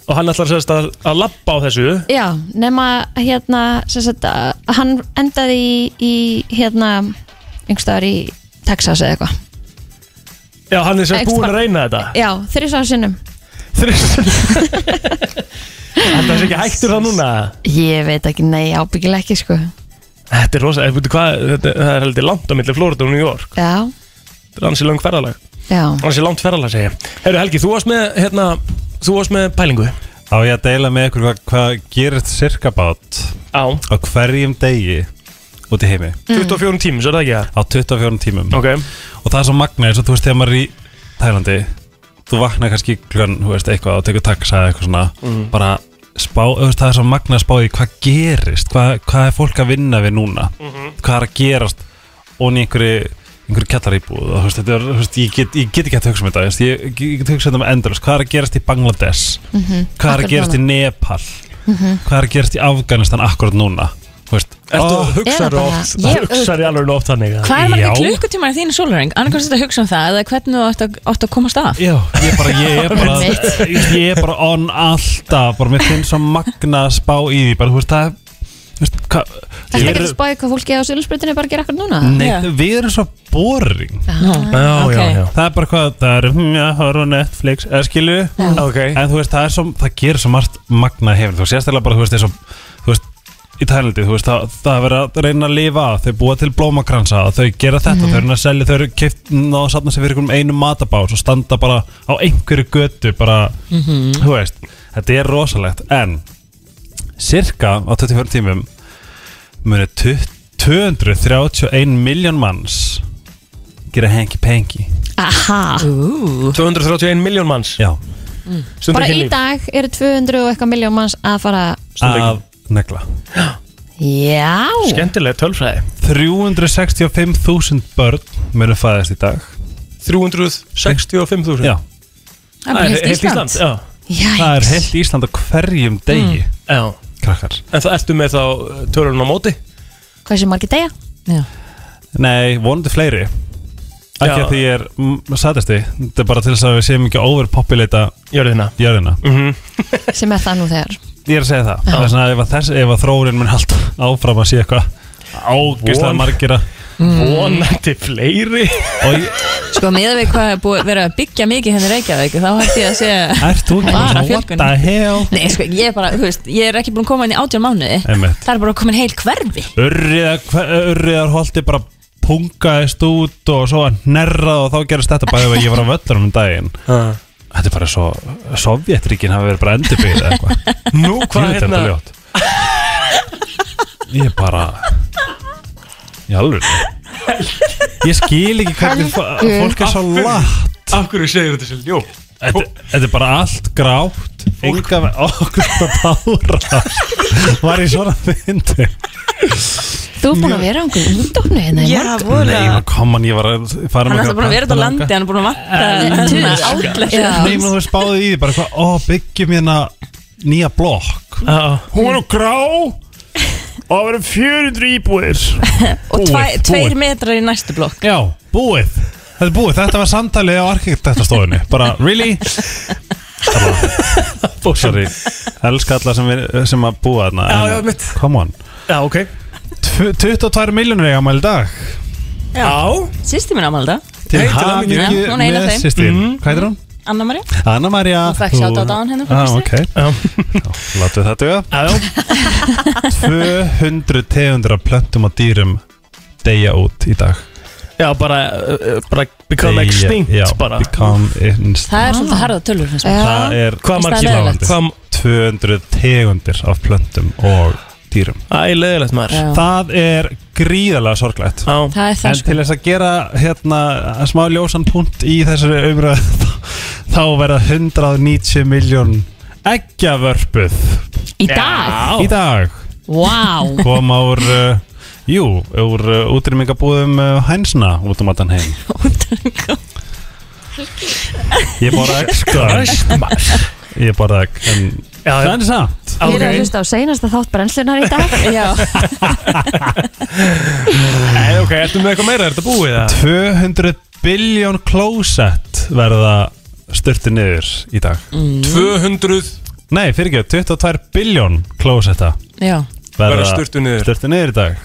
Speaker 1: og hann ætlar sérst að, að lappa á þessu.
Speaker 2: já, nema hérna sem sagt að hann endaði í, í hérna yngstaðar í Texas eða eitthvað
Speaker 1: Já, hann er sérst
Speaker 2: Extra-
Speaker 1: búin að reyna þetta.
Speaker 2: Já, þrísar sinnum
Speaker 1: Þrjustur. Þetta er ekki hægtur það núna.
Speaker 2: Ég veit ekki, nei, ábyggilega ekki sko
Speaker 1: Þetta er rosa, eh, veitu hvað, þetta, það er heldur langt á milli Florida og New York.
Speaker 2: Já,
Speaker 1: Þetta er hansi langt ferðalag.
Speaker 2: já
Speaker 1: Hansi langt ferðalag, segi ég. Herru Helgi, þú varst með, hérna, þú varst með pælingu.
Speaker 4: Á ég að deila með ykkur hvað, hvað gerist sirkabát
Speaker 1: Á.
Speaker 4: á hverjum degi út í heimi
Speaker 1: 24 tími, svo er það ekki það?
Speaker 4: á 24 tímum
Speaker 1: Ok.
Speaker 4: og það er svo magna eins og þú veist þegar maður er í Tælandi þú vaknar kannski klukkan, þú veist, eitthvað og tekur taxa eða eitthvað svona bara spá, þú veist, það er svo magna að spá í hvað gerist hvað, hvað er fólk að vinna við núna hvað er að gerast og í einhverju einhverju kjallaríbúð og þú veist, þetta er, þú veist, ég get, ég get ekki hægt að hugsa um þetta, þú veist, ég, ég get hugsað um þetta endalust, hvað er að gerast í Bangladesh hvað er
Speaker 2: Akkurat
Speaker 4: að gerast í Nepal hvað er að gerast í Afganistan akkurat núna þú veist,
Speaker 1: Ertu
Speaker 4: ó,
Speaker 1: að hugsa
Speaker 2: Eða bara-
Speaker 1: rótt?
Speaker 2: Ég-
Speaker 1: Hugsa í alveg rótt þannig að-
Speaker 5: Hvað er margir
Speaker 4: Já.
Speaker 5: klukkutímar í þínu sólurring? Annarkvæmst þetta að hugsa um það eða hvernig þú átt að, átt að komast af
Speaker 4: Já, ég er bara, ég er bara,
Speaker 2: Einmitt.
Speaker 4: ég er bara on alltaf, bara mér finnst svo magna að spá í því, bara þú veist það, er- þú veist, hvað,
Speaker 2: Þetta
Speaker 4: ég Mm.
Speaker 2: ekki
Speaker 4: er,
Speaker 2: að spáði hvað fólki á Silsbrutinu bara að gera akkur núna
Speaker 4: nei,
Speaker 5: Já.
Speaker 4: við erum svo boring,
Speaker 1: Já,
Speaker 5: Ok.
Speaker 1: já, já
Speaker 4: það er bara hvað, það er, hm, já, horfa á Netflix, eða skilu,
Speaker 1: Ok
Speaker 4: en þú veist, það er svo, það gerir svo margt magna hefn, þú veist, sérstaklega bara, þú veist, eins og, þú veist, í Tælandi, þú veist, það, það er verið að reyna að lifa af, þau búa til blómakransa og þau gera þetta, þau reyna að selja, þau eru keift og safna sér fyrir einhverjum einum matabás og standa bara á einhverju götu bara, þú veist, þetta er rosalegt en, cirka á 24 tímum muni 20 231 miljón manns gera hengi pengi
Speaker 2: Aha,
Speaker 1: 231 miljón manns
Speaker 4: Já,
Speaker 1: Stundur
Speaker 2: bara
Speaker 1: ekki
Speaker 2: í
Speaker 1: líf
Speaker 2: dag eru 200 og eitthvað miljón manns að fara
Speaker 4: að
Speaker 1: Stundur
Speaker 4: negla
Speaker 2: Já,
Speaker 1: ekki Skemmtilega tölfræði
Speaker 4: 365.000 börn munu fæðast í dag
Speaker 1: 365.000
Speaker 4: Já,
Speaker 5: Það er bara heilt Ísland
Speaker 1: Já,
Speaker 4: það er
Speaker 2: jæks
Speaker 4: heilt Ísland á hverjum degi
Speaker 5: Mm.
Speaker 1: já
Speaker 4: krakkar
Speaker 1: En það ertu með þá tölunum á móti
Speaker 2: Hversu margir degja?
Speaker 5: Já.
Speaker 4: Nei, vonandi fleiri ekki
Speaker 1: Já.
Speaker 4: að því ég er mm, sætasti þetta er bara til þess að við séum ekki overpopulata
Speaker 1: Jörðina
Speaker 4: jörðina
Speaker 1: Mm.
Speaker 2: sem er það nú þegar
Speaker 4: Ég er að segja það Það er svona ef að, þess, ef að þróunin mun halda áfram að sé eitthvað ágæslega
Speaker 1: Von.
Speaker 4: margir að
Speaker 5: Mm.
Speaker 1: Vonandi fleiri
Speaker 4: Og ég-
Speaker 5: Sko, miðað við hvað er búið verið að byggja mikið henni Reykjavík þá hætti ég að segja
Speaker 4: ert þú ekki
Speaker 5: Bara
Speaker 4: bara svona what
Speaker 5: fjölgun.
Speaker 4: the hell
Speaker 5: Nei, sko, ég er bara, þú veist, ég er ekki búin að koma inn í átján mánuði
Speaker 4: Einmitt.
Speaker 5: Það er bara komin heil hverfi
Speaker 4: Urriðar- hve- Urriðarholti bara pungaðist út og svo að nerrað og þá gerist þetta bæðið að ég var á völlunum um daginn Þetta er bara svo Sovjetríkin hafi verið bara endurbyggð eða eitthvað
Speaker 1: Nú
Speaker 4: Hvað
Speaker 1: hvað hérna
Speaker 4: ljótt Ég er bara Í alveg Ég skil ekki hvernig fó- fólk er svo látt
Speaker 1: Af hverju segir þetta sér ljótt?
Speaker 4: Þetta þetta er bara allt grátt Enga með okkur að bára Var ég svona fyndi
Speaker 2: Þú er búin að vera á einhverjum útdóknu hérna í
Speaker 5: Já,
Speaker 2: morgun
Speaker 4: Nei,
Speaker 5: vorulega
Speaker 4: koman, ég var að fara
Speaker 5: Hann er
Speaker 4: með
Speaker 5: alltaf búin að vera út á landi, hann er búin að
Speaker 2: En þú-
Speaker 5: vanta Outlet
Speaker 2: Já.
Speaker 4: Nei, menn þú spáði í því bara hvað Ó, byggjum hérna nýja blokk
Speaker 1: Hún er grá og það verður 400 íbúðir
Speaker 5: Og tvæ-
Speaker 4: Búið,
Speaker 5: tveir
Speaker 4: búið.
Speaker 5: metrar í næstu blokk
Speaker 4: Já, búið Þetta er búið, þetta var samtalið á arkitektastofunni Bara, really? Bara, Sorry Elska alla sem, við, sem að búa þarna
Speaker 1: Já,
Speaker 4: en-
Speaker 1: já, mitt.
Speaker 4: Come on
Speaker 1: Já, ok
Speaker 4: Tv- 22 miljonur eiga mæli dag
Speaker 1: Já,
Speaker 5: Sýsti mín ámalda,
Speaker 4: Til
Speaker 1: Hey, til hamingju.
Speaker 4: hamingju
Speaker 5: Hún er ein af
Speaker 4: með
Speaker 5: þeim.
Speaker 4: sýstir Hvað heitir hún?
Speaker 5: Anna Maria
Speaker 4: Anna-Maria
Speaker 5: Hún fékk shoutout á hann hérna frá
Speaker 4: ah,
Speaker 5: Kristi.
Speaker 4: okay.
Speaker 1: Já.
Speaker 4: Láttu það duga
Speaker 1: já, já
Speaker 4: 200 tegundur af plöntum og dýrum deyja út í dag
Speaker 1: Já, bara, uh, bara become
Speaker 4: Deyja-
Speaker 1: extinct
Speaker 4: já,
Speaker 1: bara
Speaker 4: Become extinct
Speaker 5: Það er svolítið harða tölur finnst mér
Speaker 4: Það er
Speaker 1: Hvað
Speaker 5: Finnst það
Speaker 1: margir
Speaker 5: leiðinlegt?
Speaker 1: Hvað,
Speaker 4: 200 tegundir af plöntum og dýrum
Speaker 1: Æ, leðilegt maður
Speaker 5: Já.
Speaker 4: Það er gríðarlega sorglegt
Speaker 1: Já,
Speaker 5: Það er
Speaker 4: En
Speaker 5: það sko
Speaker 4: til þess að gera hérna að smá ljósan punkt í þessari umröð þá verða 190 miljón eggjavörpuð
Speaker 2: Í dag?
Speaker 4: í dag
Speaker 2: Vá
Speaker 4: koma úr uh, jú, úr uh, útrýmingabúðum uh, hænsna út um allan heim ég borða egg sko
Speaker 1: Christ, maður.
Speaker 4: ég borða egg en
Speaker 1: Já, Ah. já,
Speaker 4: það er samt
Speaker 2: Ég er að
Speaker 1: ok
Speaker 2: hlusta á seinasta þátt brennslunar í dag
Speaker 5: Já,
Speaker 1: Nei, ok, ertu með eitthvað meira, er þetta búið það?
Speaker 4: 200 biljón klósett verða styrti niður í dag
Speaker 1: 200
Speaker 4: nei, fyrir ekki, 22 biljón klósetta
Speaker 5: já
Speaker 1: Verða sturtu niður.
Speaker 4: styrtu niður í dag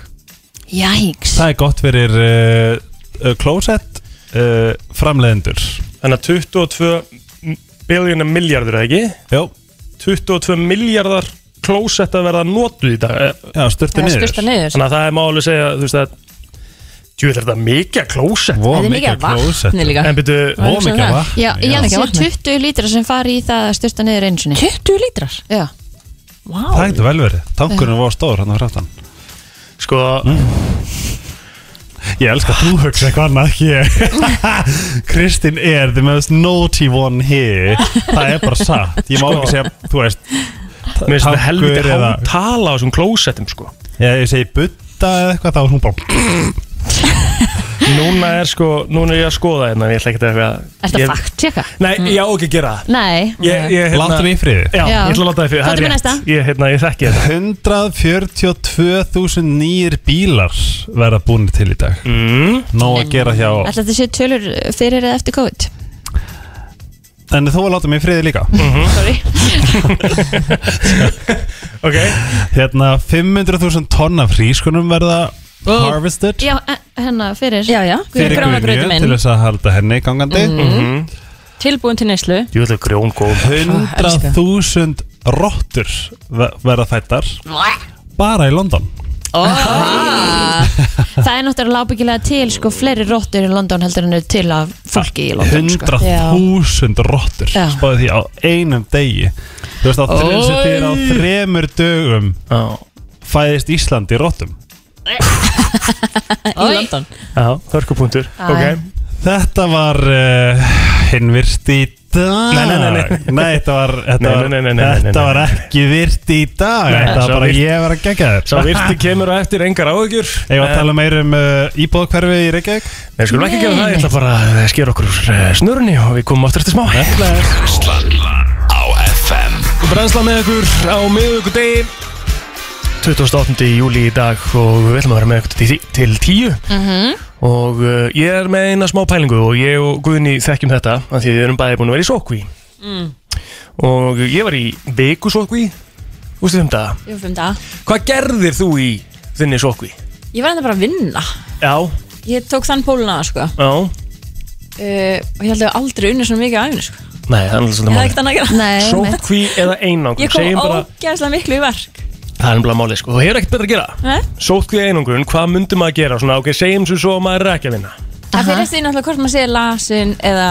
Speaker 2: Jæks
Speaker 4: það er gott fyrir uh, uh, klósett uh, framleiðendur
Speaker 1: Þannig að 22 biljónar miljardur, eða ekki?
Speaker 4: jú,
Speaker 1: 22 miljardar klósett að verða notuð í dag Eh,
Speaker 4: já, styrti
Speaker 5: Það er
Speaker 4: niður
Speaker 5: styrta niður
Speaker 1: Þannig að það er máli að segja, þú veist að Jú, þetta er mikið að klósett
Speaker 4: Vó,
Speaker 5: Það er mikið
Speaker 4: mikið
Speaker 5: af vatni
Speaker 4: klósett
Speaker 5: líka
Speaker 1: En byrju,
Speaker 4: Ó,
Speaker 5: Vó,
Speaker 4: mikið
Speaker 5: Já.
Speaker 4: vatn
Speaker 2: Já, ég held að
Speaker 5: Ekki vatnið.
Speaker 2: 20 lítra sem fari í það að styrta niður einu sinni
Speaker 5: 20 lítrar
Speaker 2: Já,
Speaker 5: Vá
Speaker 4: Það getur vel verið, tankurinn var stór hann á fráttan
Speaker 1: sko
Speaker 4: Mm. Ég elska að þú hugsa eitthvað annað ekki ég. Kristín er the most naughty one here Það er bara satt Ég má
Speaker 1: Sko.
Speaker 4: ekki segja, þú veist
Speaker 1: Mér finnst þetta helviti
Speaker 4: tankur eða-
Speaker 1: há tala á þessum klósettum, sko
Speaker 4: Ég, ég segi butta eða eitthvað þá er hún bara
Speaker 1: Núna er sko, núna er ég að skoða hérna Ég ætla ekki að
Speaker 2: er þetta
Speaker 1: ég-
Speaker 2: fakt Mm. tjekka?
Speaker 1: Nei, ég á ekki að gera það
Speaker 2: Nei
Speaker 1: Ég, ég, hérna-
Speaker 4: Láttu mig í friði
Speaker 1: Já,
Speaker 2: Já.
Speaker 1: ég ætla að láta það fyrir, það er
Speaker 2: Komdu með
Speaker 1: rétt
Speaker 2: næsta.
Speaker 1: Ég, hérna, ég þekki þetta
Speaker 4: 142.000 nýjir bílar verða búinir til í dag
Speaker 1: mm.
Speaker 4: Nó að gera hjá
Speaker 2: Ætla þetta sé tölur fyrir eða eftir COVID
Speaker 4: En
Speaker 5: Hérna.
Speaker 4: þú að láta mig í friði líka
Speaker 1: Mm.
Speaker 2: Sorry
Speaker 1: Ok,
Speaker 4: Hérna 500.000 tonn af hrískunum verða
Speaker 1: Oh.
Speaker 4: harvested
Speaker 2: Já, eh, hérna fyrir
Speaker 5: Já, já
Speaker 4: fyrir
Speaker 5: Grjónagrautur
Speaker 4: grunju til
Speaker 5: minn
Speaker 4: þess að halda henni gangandi
Speaker 1: Mm.
Speaker 5: Tilbúin til neyslu
Speaker 1: ég ætla grjón góð
Speaker 4: 100.000 rottur ve- verða fættar bara í London
Speaker 2: Það er náttúrulega ábyggilega til sko fleiri róttur í London heldur en eru til af fólki í London sko.
Speaker 4: 100.000 rottur
Speaker 2: Já.
Speaker 4: spáði því á einum degi þú veist á þrjum sem þið er á þremur dögum fæðist Ísland í rottum
Speaker 5: Í London
Speaker 1: Já, hörkupunktur
Speaker 2: Já,
Speaker 1: Ok,
Speaker 2: já.
Speaker 4: þetta var uh, hinn virt í dag
Speaker 1: Nei, nei, nei, nei.
Speaker 4: þetta var, þetta
Speaker 1: Nei,
Speaker 4: var,
Speaker 1: nei, nei, nei, nei, nei,
Speaker 4: þetta
Speaker 1: nei.
Speaker 4: var ekki virt í dag
Speaker 1: Nei,
Speaker 4: þetta
Speaker 1: sá
Speaker 4: var bara
Speaker 1: virt-
Speaker 4: ég var að gegja þér
Speaker 1: sá virti kemur á eftir engar áhugjur
Speaker 4: Ég var að tala meir um uh, íbóðkverfi í Reykjavík
Speaker 1: Við skulum ekki gera það, ég
Speaker 2: Nei,
Speaker 1: ætla bara að skera okkur úr eh, snörunni og við komum aftur eftir smá
Speaker 3: Brennslan á FM
Speaker 1: Brænsla með okkur á miðugudegi 28. júli í dag og við ætlum að vera með okkur til, til tíu
Speaker 5: Mhm.
Speaker 1: og uh, ég er með eina smá pælingu og ég og Guðni þekkjum þetta af því við erum bæði búin að vera í sókví
Speaker 5: Mm.
Speaker 1: og ég var í viku sókví um ústu þeim daga
Speaker 5: Jú, fimm dag
Speaker 1: Hvað gerðir þú í þinni sókví?
Speaker 5: Ég var enda bara að vinna
Speaker 1: Já,
Speaker 5: Ég tók þann póluna sko
Speaker 1: já
Speaker 5: Uh, og ég held að ég hef aldrei unni svona mikið á æfinu sko.
Speaker 1: Nei, það er alveg
Speaker 5: ég
Speaker 1: svolítið
Speaker 5: hafði
Speaker 1: máli
Speaker 5: ekkert annað að gera
Speaker 2: Nei, einmitt.
Speaker 1: Sókví eða einangrun
Speaker 5: ég kom
Speaker 1: Segjum bara,
Speaker 5: ógeðslega miklu í verk
Speaker 1: Það er nefnilega málið sko, þú hefur ekkert betra að gera
Speaker 5: Nei?
Speaker 1: Sótkví einangrun, hvað myndum maður að gera? Svona, ok, segjum svo svo að maður er ekki að vinna
Speaker 5: það fyrir því náttúrulega hvort maður sé lasin eða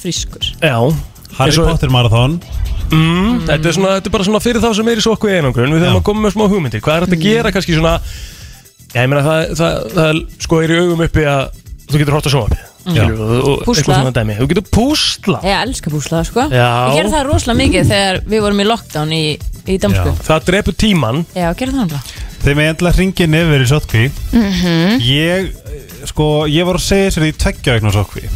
Speaker 5: frískur
Speaker 1: Já
Speaker 4: Harry
Speaker 1: Eins og-
Speaker 4: Potter marathon
Speaker 1: mm, þetta, er svona, þetta er bara svona fyrir þá sem er í sótkví einangrun Við þurfum
Speaker 4: Já.
Speaker 1: að koma með smá hugmyndir Hvað er þetta að gera kannski svona Já, Eh. ég meina það, það, það, sko er í augum uppi að þú getur hort að sjóma skilur, og, og
Speaker 5: Púsla.
Speaker 1: eitthvað svona dæmi Þú getur púsla
Speaker 5: Ég elska púslað sko
Speaker 1: Já.
Speaker 5: Ég gerði það rosalega mikið þegar við vorum í lockdown í, í Damsku Já,
Speaker 1: Það drepur tíman
Speaker 5: Já gerði það náttúrulega
Speaker 4: Þegar við endla hringin yfir í sótkví
Speaker 5: Mhm.
Speaker 4: Ég, eh, sko, ég var að segja sér í tveggja vegna sótkví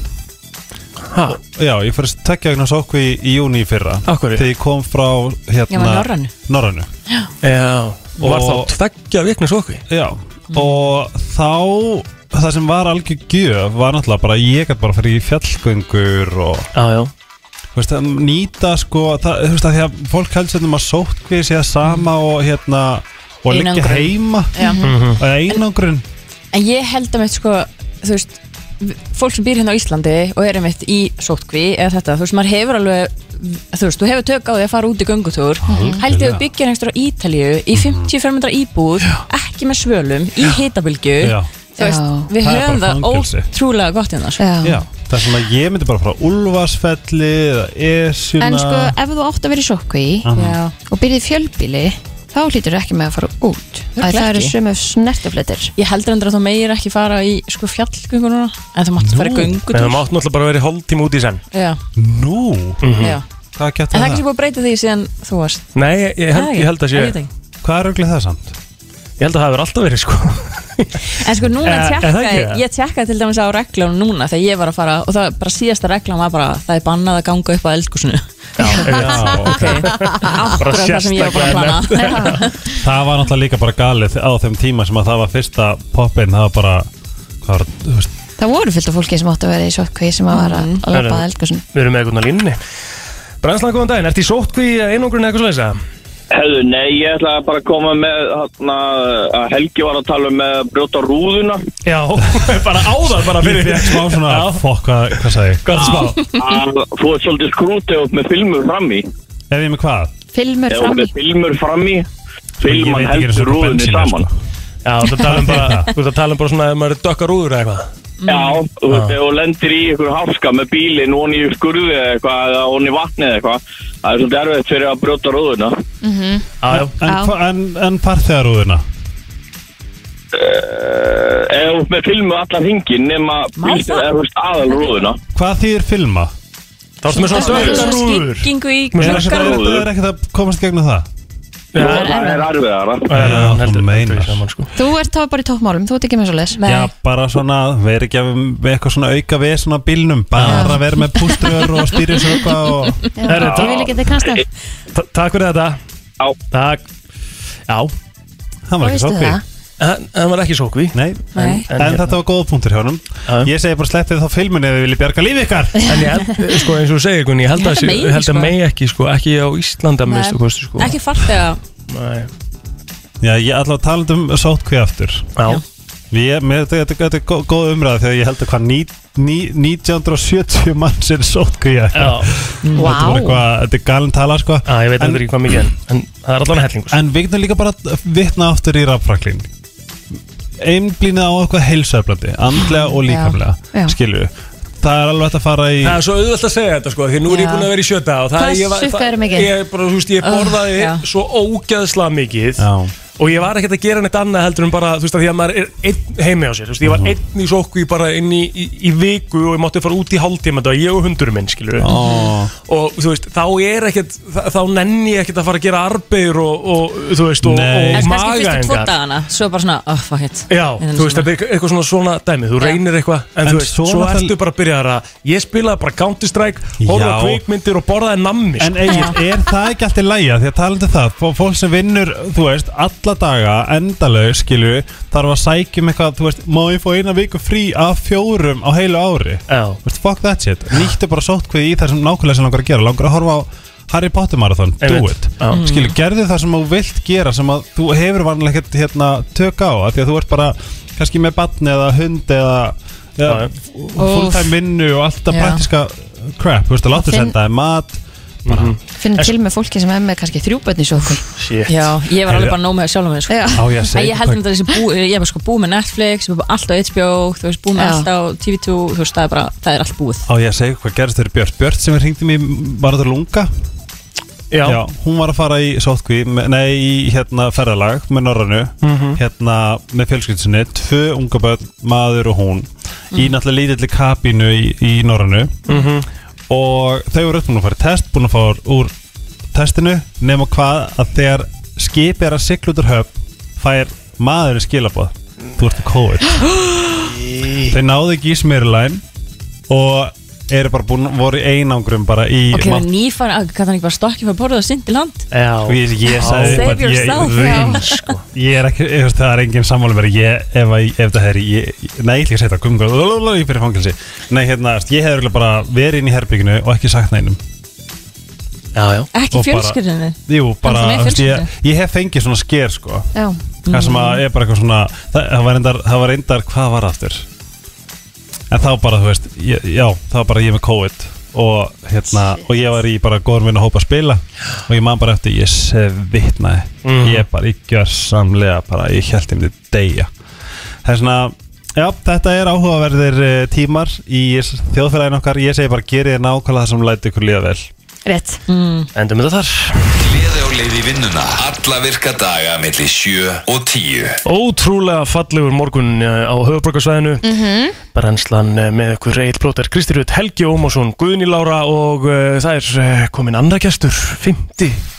Speaker 1: ha,
Speaker 4: Já, ég fyrir tveggja vegna sótkví í júni í fyrra
Speaker 1: Af hverju?
Speaker 4: Þegar ég kom frá hérna
Speaker 5: Ég var Norrænu.
Speaker 4: Norrænu.
Speaker 1: Já, og var þá
Speaker 4: Og-
Speaker 1: tveggja vikna svo okkur
Speaker 4: Já,
Speaker 5: Mhm.
Speaker 4: og þá það sem var algjör gjöf var náttúrulega bara ég gæti bara fyrir í fjallgöngur og
Speaker 1: Já, já,
Speaker 4: þú veist, að nýta sko það, þú veist að því að fólk heldur sem að sótkvið sé það sama og hérna og liggja
Speaker 5: Einangrun.
Speaker 4: heima
Speaker 5: Já.
Speaker 4: og einangrun
Speaker 5: En ég held að mitt sko, þú veist v- fólk sem býr hérna á Íslandi og er einmitt í sótkví eða þetta, þú veist, maður hefur alveg þú veist, þú hefur tök á því að fara út í göngutúr held ég að byggja einhverjum á Ítalíu í 55 íbúð, ekki með svölum í hitabilgju
Speaker 4: Mhm. Já.
Speaker 5: þú veist,
Speaker 2: Já.
Speaker 5: við
Speaker 4: Það er
Speaker 5: höfum
Speaker 4: bara
Speaker 5: það
Speaker 4: fangelsi.
Speaker 5: ótrúlega gott hérna sko.
Speaker 2: Já.
Speaker 4: Já, það er svona að ég myndi bara frá Ulfarsfelli eða Esjuna
Speaker 2: En sko, ef þú átt að vera í sokku í
Speaker 5: Já,
Speaker 2: og byrðið fjölbíli þá hlýtur ekki með að fara út
Speaker 5: Örugglega
Speaker 2: að það eru
Speaker 5: ekki.
Speaker 2: sömu snertufletir
Speaker 5: ég heldur endur að þú meir ekki fara í sko fjallgöngu núna en þú mátt fara í
Speaker 1: en það
Speaker 5: göngutúr
Speaker 1: mátt náttúrulega bara verið hálftíma út í senn
Speaker 5: Já,
Speaker 4: Nú,
Speaker 5: já
Speaker 4: hvað
Speaker 5: En
Speaker 4: getur
Speaker 5: það er
Speaker 4: það?
Speaker 5: ekki sem búið að breyta því síðan þú varst
Speaker 1: Nei, ég, ég, held, ég held að sé
Speaker 5: Ég veit
Speaker 1: Ég
Speaker 5: ekki.
Speaker 4: Hvað er auðvitað það samt?
Speaker 1: held að það hefur alltaf verið sko
Speaker 5: En sko núna
Speaker 1: Eh, er það
Speaker 5: tjekkaði,
Speaker 1: ekki það?
Speaker 5: ég tjekkaði til dæmis á reglum núna þegar ég var að fara og það bara síðasta reglan var bara það er bannað að ganga upp á eldgúsinu
Speaker 4: Já, ok
Speaker 5: Akkurat það sem ég var búin að
Speaker 1: sérstaklega
Speaker 5: plana
Speaker 4: Það var náttúrulega líka bara galið á þeim tíma sem að það var fyrsta poppin það var bara, hvað var, þú veist
Speaker 2: Það voru fyllt af fólki sem átt að vera í sokku sem að vera að
Speaker 1: Herru.
Speaker 2: lappa að eldgjósun
Speaker 1: Við erum með eitthvað á línni Brænslan, góðan daginn, ertu í sótkví einangrun eða eitthvað svo leysa?
Speaker 6: Hefðu, nei, ég ætla bara að koma með hana, uh, að Helgi var að tala um að brjóta rúðuna
Speaker 1: Já, bara áðan bara
Speaker 4: Ég
Speaker 1: fyrir
Speaker 4: fekk smá svona,
Speaker 1: Já.
Speaker 4: fokk, hvað, hvað sagði ég?
Speaker 1: Gott smá
Speaker 6: að þú ert svolítið skrútið upp með filmur frammi
Speaker 4: Ef ég með hvað?
Speaker 2: Filmur
Speaker 6: eða
Speaker 2: fram í
Speaker 6: með filmur frammi
Speaker 4: Ég veit
Speaker 6: filman
Speaker 4: ekki einu sinni
Speaker 6: heldur
Speaker 4: hvað
Speaker 6: rúðunni
Speaker 4: bensín er,
Speaker 6: saman
Speaker 4: sko.
Speaker 1: Já, þú ert að tala um bara, þú ert að tala um bara svona ef maður er dökkar úður eða eitthvað
Speaker 5: Mm.
Speaker 6: Já, þú veist, ef þú lendir í einhverju hafska með bílinn og hún í skurði eða eitthvað eða hún í vatni eða eitthvað það er svolítið erfitt fyrir að brjóta rúðuna
Speaker 1: Já, já,
Speaker 2: Já.
Speaker 4: En, hva- en, en farþegarúðuna?
Speaker 6: Eh, ef þú ert með filmu allan hringin nema
Speaker 5: Má
Speaker 6: bílstjóri-
Speaker 5: það?
Speaker 6: eða þú veist, aðal rúðuna
Speaker 4: Hvað þýðir filma?
Speaker 1: þá ertu með svona dökkar úður
Speaker 5: Skikkingu í
Speaker 1: Með svona
Speaker 4: Er ekki
Speaker 6: Gluggarúður.
Speaker 4: þetta er ekkert að komast gegna það?
Speaker 6: það er erfiðara
Speaker 4: Já, þú
Speaker 1: heldur-
Speaker 4: meinar.
Speaker 1: heldur saman, sko.
Speaker 2: Þú ert þá bara í toppmálum, þú ert ekki með svo leis
Speaker 5: Nei.
Speaker 4: Já, bara svona, verið ekki að við eitthvað svona auka við svona bílnum bara að vera með pústur og stýri svo eitthvað og
Speaker 1: Herru,
Speaker 2: Ég vil
Speaker 1: ta-
Speaker 2: ekki þetta kannast af
Speaker 1: ta- Takk fyrir þetta
Speaker 6: Já.
Speaker 1: Takk Já,
Speaker 4: það var ekki
Speaker 2: Veistu
Speaker 4: soppi
Speaker 2: það?
Speaker 1: en það var ekki sótkví
Speaker 4: Nei,
Speaker 5: Nei.
Speaker 4: en, þetta var góða punktur hjá honum
Speaker 1: Já.
Speaker 4: Ég segi bara sleppið þá filmunni eða þið viljið bjarga lífi ykkar
Speaker 1: En ég held, sko eins og þú segir Gunni, ég held að,
Speaker 5: Ég held að megi,
Speaker 1: ég held að
Speaker 5: sko.
Speaker 1: megi ekki, sko, ekki á Íslanda að minnstu kosti, sko.
Speaker 5: Ekki fartega
Speaker 1: Nei.
Speaker 4: Já, ég ætla að tala um sótkví aftur
Speaker 1: Já.
Speaker 4: Ég, mér, þetta, þetta, þetta er gó- góð umræða þegar ég held að hvað ní, ní, 1970 manns er sótkvíja
Speaker 1: Já.
Speaker 4: Þetta var
Speaker 2: Vá,
Speaker 4: eitthvað, þetta er galin tala sko
Speaker 1: Já, ég veit
Speaker 4: en,
Speaker 1: endur ekki hvað mikið, en, en það er allavega hellingus.
Speaker 4: en við getum líka bara að vitna aftur í rafraklin Einblínið á eitthvað heilsöflandi, andlega og
Speaker 2: Já.
Speaker 4: líkamlega skilju Það er alveg hægt að fara í
Speaker 1: Það er svo auðvöld að segja þetta, sko, því nú er ég
Speaker 5: Já.
Speaker 1: búin að vera í sjöta og það
Speaker 2: Hvað
Speaker 1: ég var-
Speaker 2: sukkaðirðu
Speaker 1: það-
Speaker 2: mikið?
Speaker 1: Ég bara, þú veist, ég borðaði
Speaker 5: Ah, já.
Speaker 1: svo ógæðslega mikið
Speaker 4: Já.
Speaker 1: og ég var ekkert að gera neitt annað heldur en bara, þú veist, að því að maður er einn heimi á sér, þú veist,
Speaker 4: Mhm.
Speaker 1: ég var einn í sókvi bara inn í, í, í viku og ég mátti fara út í hálftíma, þetta var ég og hundurum minn, skilur
Speaker 4: Ó,
Speaker 1: og þú veist, þá er ekkert þá- þá nenni ég ekkert að fara að gera arbeir og, og þú veist, og,
Speaker 4: Nei.
Speaker 5: En
Speaker 1: og
Speaker 5: kannski fyrstu tvo
Speaker 1: magaengar
Speaker 5: dagana Svo bara svona, oh fuck it
Speaker 1: Já,
Speaker 5: Ég
Speaker 1: þú
Speaker 5: er
Speaker 1: veist,
Speaker 5: svona-
Speaker 1: þetta er eitthvað- eitthvað svona svona dæmi, þú
Speaker 5: Já.
Speaker 1: reynir eitthvað en,
Speaker 4: En
Speaker 1: þú veist,
Speaker 4: svo
Speaker 1: svo,
Speaker 4: náttúrulega-
Speaker 1: ertu bara að byrja að ég spilaði bara Counter Strike horfði á
Speaker 4: Já.
Speaker 1: kveikmyndir og borðaði nammi sko.
Speaker 4: En eigin, er það ekki alltaf lægja? Því að talandi um það, fó- fólk sem vinnur, þú veist, alla daga, endalaug, skilju, þarf að sækjum eitthvað, þú veist, má ég fá eina viku frí af fjórum á heilu ári?
Speaker 1: Já.
Speaker 4: Þú veist, fuck that shit. Nýttu bara sótkvið í það sem nákvæmlega sem langar að gera. Langar að horfa á Harry Potter marathon, do
Speaker 1: Einmitt.
Speaker 4: it.
Speaker 1: Já.
Speaker 5: Mm.
Speaker 4: Skilju, gerðu það sem þú vilt gera, sem að þú hefur vanlega ekkert hérna tök á, af því að þú ert bara, kannski með batni eða hund eða,
Speaker 1: Já, já.
Speaker 4: eða fulltime vinnu og allt það
Speaker 5: Já.
Speaker 4: praktiska crap, þú veist, láttu
Speaker 2: Þinn-
Speaker 4: senda þér mat,
Speaker 2: finnir til með fólki sem er með kannski þrjúbönni í sokku
Speaker 1: Shit.
Speaker 5: Já, ég var alveg
Speaker 4: Heyrðu.
Speaker 5: bara nóg með sjálfum mig sko.
Speaker 2: Já.
Speaker 4: Á ég að
Speaker 5: En
Speaker 4: segja
Speaker 5: ég held um þetta þessi bú, ég var sko búið með Netflix, ég var bara allt á HBO, þú veist, búið með
Speaker 2: Já.
Speaker 5: allt á TV2, þú veist, það er bara, það er allt búið.
Speaker 4: Á ég að segja hvað gerist þegar Björn Björn sem hringdi mér var þetta lunga
Speaker 1: Já. Já.
Speaker 4: Hún var að fara í sótkví með- Nei, í hérna ferðalag með Norrannu Hérna með fjölskyldsinni Tvö unga börn, maður og hún í náttúrulega lítilli kapínu í, í Norrannu og þau voru öll búin að fara í test búin að fara úr testinu nema hvað að þegar skip er að sigla út úr höfn fær maðurinn skilabóð þú ert í COVID þau náðu ekki í smyrlæn og eru bara búin voru í einangrum bara í
Speaker 5: Ok,
Speaker 4: mátt-
Speaker 5: það nýfara, kann hann ekki bara stokki fyrir borðið og syndi land?
Speaker 4: Og
Speaker 1: Já,
Speaker 4: Ég, ég sagði
Speaker 5: Save
Speaker 4: bara- ég,
Speaker 5: yourself,
Speaker 4: ég, sko. ég er ekki, ég, veist, það er engin sammáli mér ég, ef, að- ef það er, ég, nei, ég ætla ekki að segja það gungur, ég fyrir fangilsi nei, hérna, veist, ég hef örugglega bara verið inn í herbygginu og ekki sagt neinum
Speaker 1: já, já
Speaker 5: Ekki
Speaker 4: Og bara-
Speaker 5: fjölskyldinni?
Speaker 4: Jú, bara,
Speaker 5: Þannig að þú með
Speaker 4: veist, ég,
Speaker 5: fjölskyldu?
Speaker 4: ég hef fengið svona sker, sko
Speaker 2: Já,
Speaker 4: það sem að er bara eitthvað svona það, það, var reyndar, það var reyndar, hvað var aftur en þá bara, þú veist ég, já, það var bara ég með COVID og, hérna, og ég var í bara góður minn að hópa að spila og ég man bara eftir, ég svitnaði ég bara, ég gjör samlega bara, ég held ég myndi deyja það er svona Já, þetta er áhugaverðir eh, tímar í þjóðfélagin okkar. Ég segi bara, gerið þér nákvæmlega það sem læti ykkur líða vel.
Speaker 2: rétt
Speaker 1: Endum þetta þar
Speaker 3: Gleði á leið í vinnuna Alla virka daga millir 7 og 10
Speaker 1: Ótrúlega fallegur morgun eh, á höfuborgarsvæðinu Brennslan eh, með ykkur Egil Plóter, Kristi Rut, Helgi Ómarsson, Guðni Lára og uh, það er eh, komin annar gestur, 50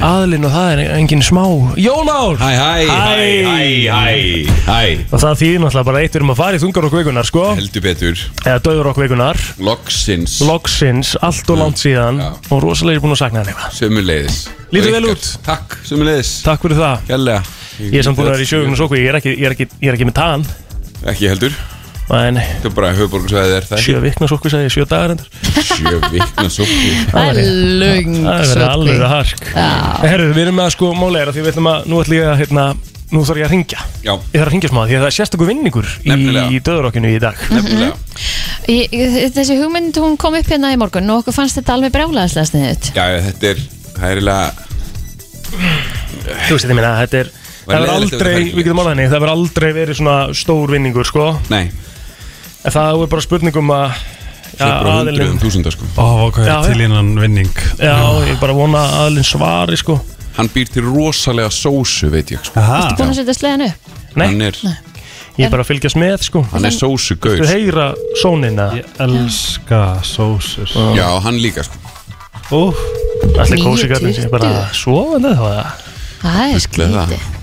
Speaker 1: aðlinn og það er engin smá Jón Ár
Speaker 7: Mhm. Hæ, hæ, hæ, hæ, hæ, hæ
Speaker 1: og það þýðir náttúrulega bara eitt við erum að fara í þungar okkur vikunar sko
Speaker 7: Heldur betur
Speaker 1: eða döður okkur vikunar,
Speaker 7: Loksins Mm.
Speaker 1: loksins, allt og langt síðan
Speaker 7: Já.
Speaker 1: og rosalega er búin að sakna hann eitthvað
Speaker 7: Sömuleiðis
Speaker 1: Lítur
Speaker 7: Og
Speaker 1: vel
Speaker 7: ykkar.
Speaker 1: út.
Speaker 7: Takk, sömuleiðis
Speaker 1: Takk fyrir það,
Speaker 7: Kjærlega
Speaker 1: ég er samt búin að vera í sjögunum svo ég er ekki, ég er ekki, ég er ekki með taðan
Speaker 7: Ekki heldur
Speaker 1: en
Speaker 7: Þetta er bara höfuborgarsvæðið er það
Speaker 1: sjö vikna svo sagði ég, sjö dagar endur
Speaker 7: ekki? Sjö vikna sókvi
Speaker 2: Það er löng
Speaker 1: Það er verið alveg að hark Herru, við erum með að sko málega er að því við ætlum að Nú ætlum ég að, hérna, nú þarf ég að ringja
Speaker 7: Já,
Speaker 1: Ég þarf að ringja smá því að það er sérstakur vinningur
Speaker 7: Nefnilega.
Speaker 1: Í döðurokkinu í dag
Speaker 7: nefnilega
Speaker 2: Ég- ég- Þessi hugmynd hún kom upp hérna í morgun og okkur fannst þetta alveg brjálæðislega sniðut
Speaker 7: Já, já, þetta er Það er eiginlega
Speaker 1: Þú veist, ég meina, þetta er Það verður
Speaker 7: leiðilegt ef það
Speaker 1: aldrei,
Speaker 7: fer ekki.
Speaker 1: við getum orðað henni Það verður aldrei verið svona stór vinningur, sko
Speaker 7: Nei,
Speaker 1: En það er bara spurningum að Já,
Speaker 7: það er bara
Speaker 1: aðilinn
Speaker 7: hundruðum þúsunda sko
Speaker 4: Ó, ok,
Speaker 1: Já,
Speaker 4: til innan vinning.
Speaker 1: Já, ég bara vona að aðilinn svari, sko
Speaker 7: Hann býr til rosalega sósu, veit ég sko
Speaker 4: Aha.
Speaker 2: Búin að setja sleðan upp
Speaker 1: Nei,
Speaker 7: Hann er,
Speaker 1: ég er bara að fylgjast með, sko
Speaker 7: hann er sósugaur
Speaker 1: Þú heyra sónina
Speaker 4: Ég elska sósur
Speaker 7: Já, hann líka sko
Speaker 4: Úf,
Speaker 1: Allir kósikarnir sem bara svovandi þá það
Speaker 2: Það er
Speaker 7: Líklega það.
Speaker 2: skrítið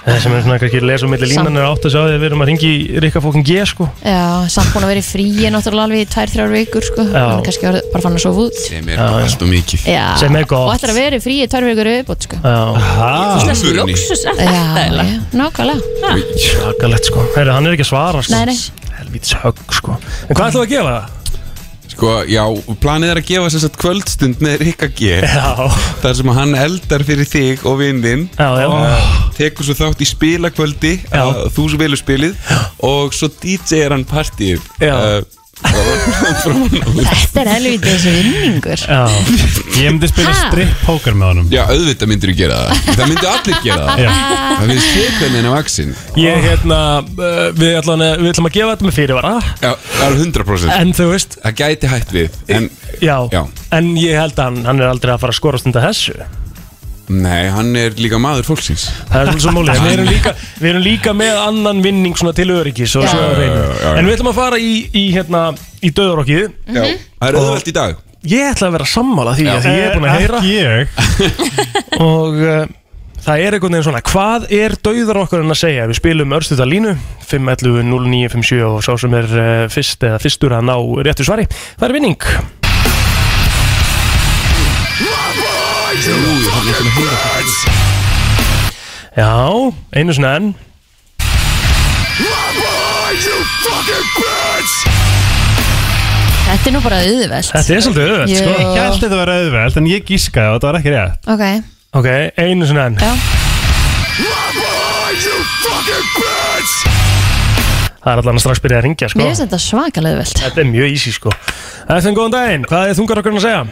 Speaker 1: Það sem er svona kannski lesa um milli línan er átt að sjá því að við erum að ringi í Rikka fókin G sko
Speaker 2: Já, samt búin að vera í fríi náttúrulega alveg í tvær, þrjár vikur sko
Speaker 1: Já.
Speaker 2: Hann er kannski orðið- bara fann að sofa út
Speaker 7: Sem er bara allt og mikið
Speaker 2: Já,
Speaker 1: Sem er gott.
Speaker 2: Og ætlar að vera í fríi tvær vikur upp sko.
Speaker 1: Já,
Speaker 7: Það
Speaker 5: Þessi lóksus
Speaker 2: Já,
Speaker 5: er þetta
Speaker 2: já,
Speaker 5: eiginlega?
Speaker 2: nákvæmlega
Speaker 1: svakalegt sko Herru, hann er ekki að svara sko
Speaker 2: Nei, nei.
Speaker 1: Helvítis högg sko En hvað ætlum við að gefa það?
Speaker 7: Sko, já, planið er að gefa sér satt kvöldstund með Rikka G
Speaker 1: Já,
Speaker 7: þar sem hann eldar fyrir þig og vindinn
Speaker 1: já, já
Speaker 7: tekur svo þátt í spilakvöldi
Speaker 1: Já.
Speaker 7: að þú sem velur spilið og svo DJ er hann Eh, partíð
Speaker 1: Já.
Speaker 2: Þetta er helvítið þessi vinningur
Speaker 1: Já,
Speaker 4: ég myndi spila
Speaker 2: Ha?
Speaker 4: stripp póker með honum
Speaker 7: Já, auðvitað myndir þú gera það Það myndir allir gera það
Speaker 4: Já.
Speaker 7: Það við séð hvernig henni á axin
Speaker 1: ég hérna uh, Við ætlum að, við ætlum að gefa þetta með fyrirvara
Speaker 7: Já, það er 100%
Speaker 1: En þú veist,
Speaker 7: Það gæti hætt við En
Speaker 1: já,
Speaker 7: Já.
Speaker 1: En ég held að hann, hann er aldrei að fara að skorast undan þessu
Speaker 7: nei, hann er líka maður fólksins
Speaker 1: Það er svolítið svo mólið við, erum líka- við erum líka með annan vinning svona til öryggis og svo
Speaker 7: Já, já,
Speaker 1: reynu
Speaker 7: já, já.
Speaker 1: En við ætlum að fara í, í hérna Í döðurokkið
Speaker 7: Já Það er auðvelt í dag
Speaker 1: Ég ætla að vera sammála því að ég er búin að heyra
Speaker 4: Ekki ég
Speaker 1: og uh, það er einhvern veginn svona hvað er dauðar okkur en að segja við spilum örstuða línu 511 0957 og sá sem er uh, fyrst eða fyrstur að ná réttu svari það er vinning Já, einu svona enn
Speaker 2: Þetta er nú bara auðvelt
Speaker 1: Þetta er svolítið auðveld,
Speaker 2: Jú.
Speaker 1: sko
Speaker 4: Ég held þetta að vera auðveld en ég gískaði og þetta var ekki rétt
Speaker 2: Ok,
Speaker 1: Ok, einu svona enn
Speaker 2: já
Speaker 1: Það er allan að strax byrja að ringja, sko
Speaker 2: Mér finnst þetta svakalega auðvelt
Speaker 1: Þetta er mjög easy, sko Eftir góðan daginn, hvað er þungar okkur en að segja?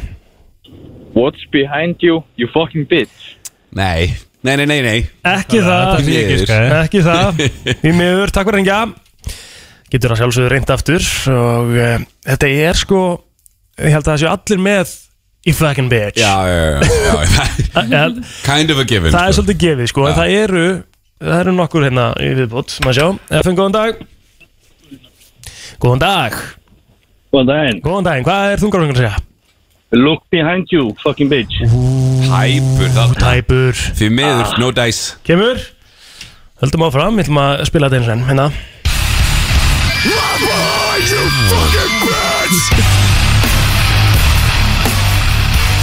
Speaker 6: What's behind you, you fucking bitch
Speaker 7: Nei, nei, nei, nei, nei.
Speaker 1: Ekki sko. það
Speaker 4: Ég gískaði
Speaker 1: Ekki það, í miður, takk fyrir hengja Getur að sjálfsögðu reynd aftur og uh, þetta er sko ég held að það séu allir með í fucking bitch
Speaker 7: Já, já, já, já, já.
Speaker 1: Þa- það,
Speaker 7: Kind of a given
Speaker 1: það er
Speaker 7: sko.
Speaker 1: svolítið gefið sko, en það eru það eru nokkur hérna í viðbót, maður sjá FN, góðan dag Góðan dag
Speaker 8: Góðan daginn
Speaker 1: Góðan daginn, hvað er þungarvöngun að segja?
Speaker 8: Look behind you, fucking bitch
Speaker 7: Hæpur það
Speaker 1: Tæpur
Speaker 7: Því miður, no dice
Speaker 1: Kemur Höldum áfram, við ætlum að spila þetta eins og enn Hérna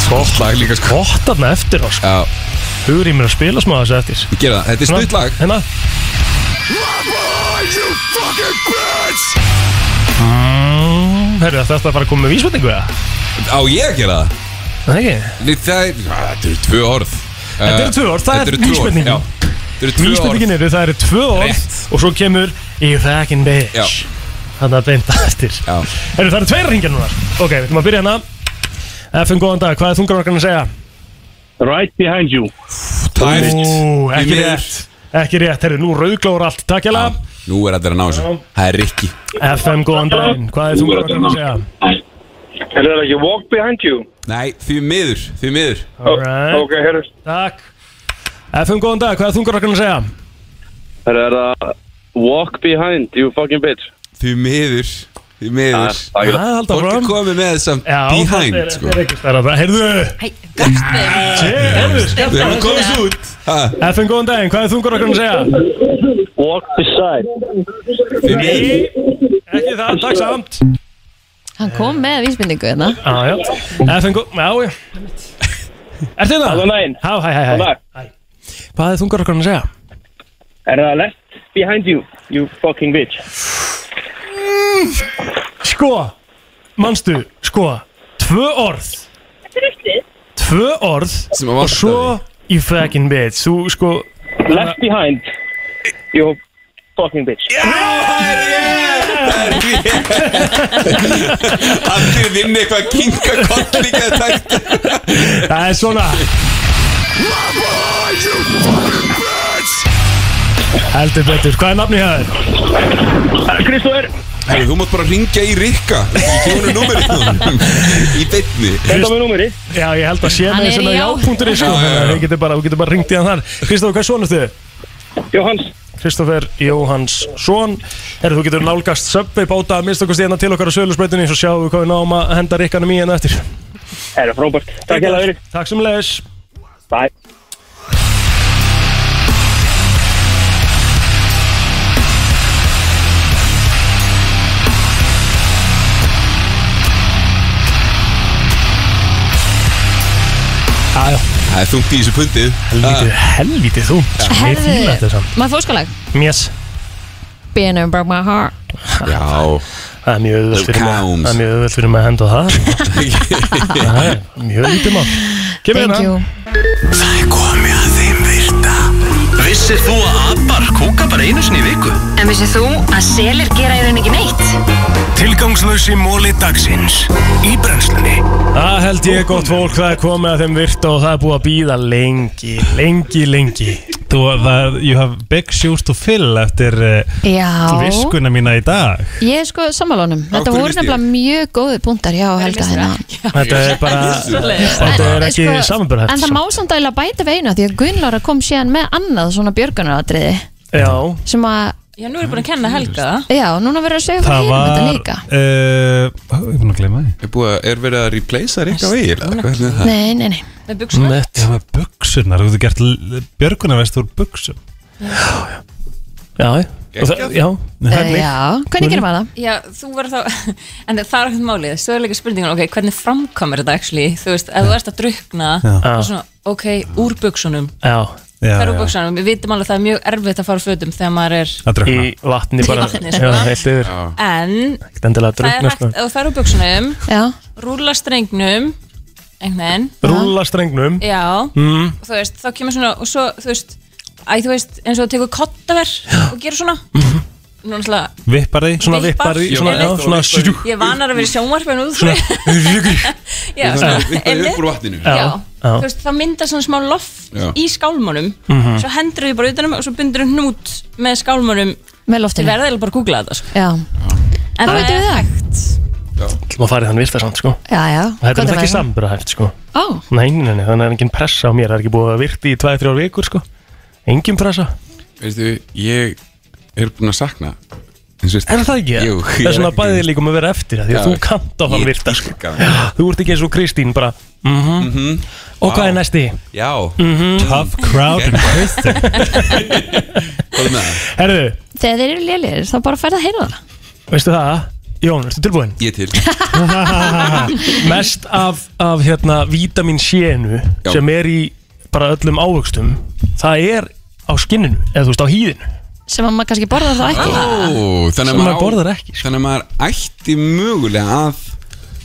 Speaker 7: Gott lag líka sko
Speaker 1: Gott aðna eftir á sko
Speaker 7: Já,
Speaker 1: Hugur í mér að spila smá þessu eftir
Speaker 7: ég gera það, þetta er
Speaker 1: Hérna,
Speaker 7: stutt lag
Speaker 1: Hérna Mm, Herru, þetta er bara að koma með vísbendingu eða?
Speaker 7: Á ég að gera það
Speaker 1: Það ekki?
Speaker 7: Nei, það er- Já, Þetta eru tvö orð Eh,
Speaker 1: Þetta eru tvö orð, það
Speaker 7: Þetta
Speaker 1: er
Speaker 7: eru tvö orð,
Speaker 1: vísbendingin.
Speaker 7: já. Þetta eru tvö orð
Speaker 1: Vísbendingin eru, það eru tvö orð
Speaker 7: Rétt.
Speaker 1: Og svo kemur You fucking bitch
Speaker 7: Já.
Speaker 1: Þannig að beinta eftir
Speaker 7: Já.
Speaker 1: Herru, það eru tveir ringjar núna Ok, við ætlum að byrja hérna FN, góðan dag, hvað er þungarvarkarinn að segja?
Speaker 8: Right behind you
Speaker 7: Tæft
Speaker 1: Ú, ekki
Speaker 7: Því miður.
Speaker 1: rétt Ekki rétt, herru, nú rauglóður allt Takk
Speaker 7: Já,
Speaker 1: jæla
Speaker 7: Nú er þetta að ná þessu Það er Rikki
Speaker 1: FM, góðan daginn, hvað er þungarvarkarinn að segja?
Speaker 8: Er það ekki walk behind you?
Speaker 7: Nei, því miður, því miður
Speaker 1: Alright,
Speaker 8: Ok, herru
Speaker 1: takk FM, góðan dag, hvað er þungarvarkarinn að segja?
Speaker 8: Herru, er það walk behind you, fucking bitch
Speaker 7: Því miður, því
Speaker 8: Það
Speaker 7: miður
Speaker 8: er- það er
Speaker 1: Það er haldið
Speaker 7: Fólk er
Speaker 1: áfram
Speaker 7: komið með samt
Speaker 1: Já,
Speaker 7: behind
Speaker 1: þetta er-
Speaker 7: sko
Speaker 1: þetta er ekki stærra bara. Heyrðu,
Speaker 2: Hei, gafstu
Speaker 1: heyrðu, skemmt
Speaker 7: Við erum
Speaker 1: aðeins.
Speaker 7: komið svo út Ha,
Speaker 1: FN góðan daginn, hvað er þungur okkur um að segja?
Speaker 8: Walk beside
Speaker 7: Því miður
Speaker 1: Nei, ekki það, takk samt
Speaker 2: Hann kom með vísbendingu hérna
Speaker 1: Já, já, FN góðan, já, já Er þetta?
Speaker 8: Góðan daginn.
Speaker 1: Há, hæ, hæ, hæ
Speaker 8: dag.
Speaker 1: Hæ. Hvað er þungur okkur um að segja?
Speaker 8: Er það left behind you, you fucking bitch
Speaker 1: Sko, manstu, sko Tvö orð Tvö orð
Speaker 7: Sem að
Speaker 1: Og
Speaker 7: vantaði.
Speaker 1: svo í fucking bitch Þú, sko
Speaker 8: Left behind you, fucking bitch
Speaker 7: Allir vinni eitthvað kinga kolli ekki að tækta
Speaker 1: Það er svona Heldur betur, hvað er nafni hér?
Speaker 8: Kristóður
Speaker 7: Herru, þú mátt bara ringja í Rikka Ég kemur númerið Í beinni
Speaker 8: Þetta með númeri
Speaker 1: Já, ég held að sé
Speaker 2: Hann
Speaker 1: með
Speaker 2: er
Speaker 1: þess að
Speaker 2: í já.
Speaker 1: já.ri sko,
Speaker 7: Já, já, já.
Speaker 1: við getum bara, við getum bara ringt í hann þar Kristóf, hvað svona ertu?
Speaker 8: Jóhanns
Speaker 1: Kristófer Jóhannsson Herru, þú getur nálgast söpvi báta að minnstakosti hérna til okkar á sölusbreytinni svo sjáum við hvað við náum að henda rikkanum í hérna eftir
Speaker 8: Er það frábært Takk hella fyrir
Speaker 1: Takk sem leis
Speaker 8: Bye
Speaker 1: Æjó,
Speaker 7: Það er þungt í þessu Ah. pundið
Speaker 1: helvítið, helvítið þú Mér fíla þetta
Speaker 2: Herðu,
Speaker 1: samt
Speaker 2: maður fóskalag
Speaker 1: Mjess,
Speaker 2: Being a broke my heart
Speaker 7: Já
Speaker 1: það er mjög auðvöld fyrir mig
Speaker 7: Counts.
Speaker 1: Það er mjög auðvöld fyrir mig að henda á það Það er Mjög lítið mál Kemur
Speaker 2: Thank
Speaker 1: hérna
Speaker 2: you
Speaker 3: Það er komið að þeim virta Vissir þú að abar kúka bara einu sinni í viku?
Speaker 9: En vissið þú að selir gera í rauninni ekki neitt?
Speaker 3: Tilgangslösi móli dagsins Í brennslunni
Speaker 1: Það held ég gott fólk, það er komið að þeim virta og það er búið að býða lengi, lengi, lengi
Speaker 4: Þú, það, you have big shoes to fill eftir uh,
Speaker 2: Já,
Speaker 4: viskuna mína í dag
Speaker 2: ég er sko sammálunum Þetta
Speaker 7: hverju
Speaker 2: voru
Speaker 7: missti ég?
Speaker 2: nefnilega mjög góði punktar Já, Helga hérna
Speaker 1: Þetta er bara Þetta er ekki
Speaker 2: Sko,
Speaker 1: samanbörhæft
Speaker 2: En það má samt að bæta veina því að Gunnlára kom síðan með annað svona björgunaratriði
Speaker 1: Já,
Speaker 2: sem að,
Speaker 5: Já, nú er ég búin að kenna Helga það
Speaker 2: já, núna verður að segja okkur
Speaker 4: Það
Speaker 2: hinum þetta
Speaker 4: var
Speaker 2: líka
Speaker 4: uh, Ég er búin að gleyma því
Speaker 7: Er, búið, að- er verið að replacea Rikka vegið? Hvernig er það?
Speaker 2: Nei, nei, nei
Speaker 5: Með buksuna
Speaker 1: nett
Speaker 4: Það var buksurnar, þú getur gert l- björgunarvest úr buksum
Speaker 1: Já, og það, já
Speaker 2: Eh, Já, hvernig gerum við það?
Speaker 5: Já, þú verður þá En það er ekkert málið Svo er líka spurningun Ok, hvernig framkomir þetta actually Þú veist, ef þú ert að drukna þá er svona, Ok, úr buksunum
Speaker 1: Já,
Speaker 4: Já,
Speaker 5: Það er úr
Speaker 4: já,
Speaker 5: buksunum Við vitum alveg að það er mjög erfitt að fara á fötum Þegar maður er
Speaker 4: að
Speaker 1: í
Speaker 4: drökna
Speaker 1: vatni bara
Speaker 5: Í vatni, sko.
Speaker 1: Já, heilt yfir
Speaker 5: En
Speaker 1: Ekkert endilega að
Speaker 5: það er
Speaker 1: drukna
Speaker 5: hægt
Speaker 1: sko.
Speaker 5: Ef þú fer úr buksunum
Speaker 2: Já,
Speaker 5: Rúla strengnum Einhvern veginn
Speaker 1: Rúla strengnum
Speaker 5: Já mm. Þú veist, þá kemur svona Og svo, þú veist Æ, þú veist, eins og þú tekur kottaver Og gerur svona Nú náttúrulega
Speaker 4: Vippar því
Speaker 1: Svona vippar í, svona, já, svona sjú-
Speaker 5: Ég er vanar að vera í sjónvarpinu út frá Já,
Speaker 7: Það er vippað
Speaker 5: einmitt.
Speaker 7: upp úr vatninu
Speaker 1: Já,
Speaker 5: Já,
Speaker 1: já.
Speaker 5: þú veist, það myndar svona smá loft
Speaker 7: Já.
Speaker 5: í skálmónum Svo hendur þau bara utanum og svo bindur þau hnút með skálmónum
Speaker 2: með
Speaker 5: Þið
Speaker 2: loftinu
Speaker 5: verða eiginlega bara að googla þetta sko.
Speaker 2: Já,
Speaker 5: En
Speaker 2: þá veitum við það
Speaker 1: Má farið þann virta samt, sko
Speaker 2: Já, já,
Speaker 1: Þetta
Speaker 2: gott
Speaker 1: er
Speaker 2: að
Speaker 1: ekki
Speaker 2: vita.
Speaker 1: samanbörhæft, sko
Speaker 2: Ó,
Speaker 1: Nei, nei, nei, þannig er engin pressa á mér Það er ekki búið að virti í 2-3 vikur, sko Engin pressa
Speaker 7: Veistu, ég er búin að sakna veist,
Speaker 1: Er það ekki?
Speaker 7: Jú,
Speaker 1: það er svona bæðið líkum að vera eftir það, því að
Speaker 7: Já.
Speaker 1: þú kannt á hann
Speaker 7: Ég
Speaker 1: virta sko.
Speaker 7: dýrka hann.
Speaker 1: Þú ert ekki eins og Kristín bara mm
Speaker 7: Mhm.
Speaker 1: Og hvað
Speaker 7: Vá.
Speaker 1: er næsti?
Speaker 7: Já,
Speaker 4: Tough crowd and Kristen
Speaker 7: hvað er með það?
Speaker 1: Herðu,
Speaker 2: Þegar þeir eru lélir þá bara færð að heyra það
Speaker 1: veistu það? Jón, ertu tilbúin?
Speaker 7: Ég er til
Speaker 1: Mest af, af hérna vítamin sénu
Speaker 7: Já.
Speaker 1: sem er í bara öllum ávöxtum það er á skinninu eða þú veist á hýðinu
Speaker 2: sem að maður kannski borðar þá ekki
Speaker 7: Ó, Þannig
Speaker 1: Sem
Speaker 7: að
Speaker 1: maður
Speaker 7: á-
Speaker 1: borðar ekki, sko.
Speaker 7: Þannig að maður ætti mögulega að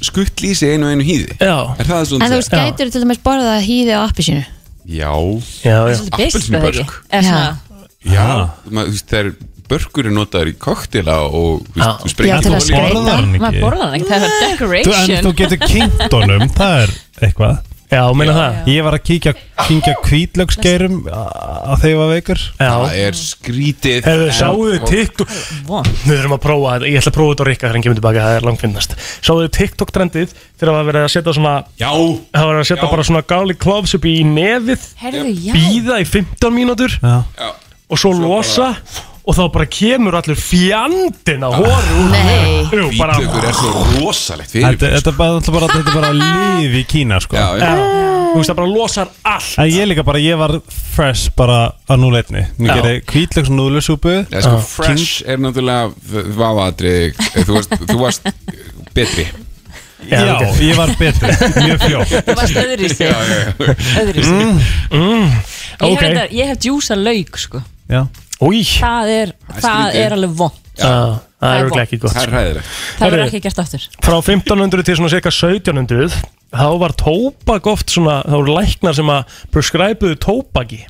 Speaker 7: skuttla í sig einu og einu hýði
Speaker 1: Já,
Speaker 7: Er það
Speaker 2: En
Speaker 7: svona
Speaker 2: þú veist,
Speaker 1: Já.
Speaker 2: gætur til dæmis borða hýði á appi sínu
Speaker 7: Já,
Speaker 1: já, já
Speaker 5: Svolítið beiskt,
Speaker 7: Appelsínu
Speaker 5: er það
Speaker 7: börk.
Speaker 5: ekki? Eða svona-
Speaker 7: já Ma, þú veist, Þegar börkur er notaður í koktela og þú
Speaker 1: Já.
Speaker 7: veist, þú sprengir
Speaker 2: Já, til að
Speaker 7: olíu.
Speaker 2: skreyta.
Speaker 4: Borðar hann
Speaker 5: Maður
Speaker 4: ekki
Speaker 5: borðar hann ekki, það er
Speaker 4: Þú- En þú
Speaker 5: decoration
Speaker 4: getur kynnt honum, það er eitthvað
Speaker 1: Já, meina það
Speaker 4: Ég var að kíkja, kíkja kvítlöksgeirum að þeir var veikur
Speaker 1: Já,
Speaker 7: Það er skrítið
Speaker 1: hefur þið sáuðu TikTok Við þurfum að prófa þetta, ég ætla að prófa þetta á Rikka þegar hann kemur tilbaka, það er langfinnast Sáuðu TikTok trendið þegar það var verið að setja svona
Speaker 7: Já,
Speaker 1: það var verið að setja
Speaker 7: Já.
Speaker 1: bara svona gáli klófs upp í nefið
Speaker 5: Herðu, já
Speaker 1: býða í 15 mínútur
Speaker 7: já
Speaker 1: og svo, losa og þá bara kemur allur fjandinn á hóru úr
Speaker 2: Nei.
Speaker 1: nefinu. Jú, bara
Speaker 7: Hvítlaukur er svo rosalegt fyrir
Speaker 4: Þetta þetta er bara, þetta er bara, þetta er bara líf í Kína sko.
Speaker 7: Já, já,
Speaker 1: Já, þú veist það bara losar allt
Speaker 4: En ég líka bara, ég var fresh bara að núleitni Mér
Speaker 1: Já.
Speaker 4: gerði kvítlöksnúðlusúpu
Speaker 7: Já, sko, fresh er náttúrulega vafaðri, þú varst, þú varst eh, betri
Speaker 4: Já,
Speaker 1: ok.
Speaker 4: ég var betri, mjög fljótt
Speaker 5: Þú varst öðri í sig, öðri í sig Mm. Ég
Speaker 1: Mm. ok.
Speaker 5: hef reyndar- Ég hef djúsa lauk, sko
Speaker 4: Já,
Speaker 1: Új,
Speaker 5: Það er, það
Speaker 7: skrítið.
Speaker 5: er alveg vond
Speaker 1: Já, það er
Speaker 5: er
Speaker 1: örugglega
Speaker 5: vont.
Speaker 1: ekki gott
Speaker 7: Það er hæðilegt
Speaker 5: Það verður
Speaker 1: Herðu.
Speaker 5: ekki gert aftur
Speaker 1: Frá 1500 til svona cirka 1700 þá var tóbak oft svona þá voru læknar sem að preskræpuðu tóbaki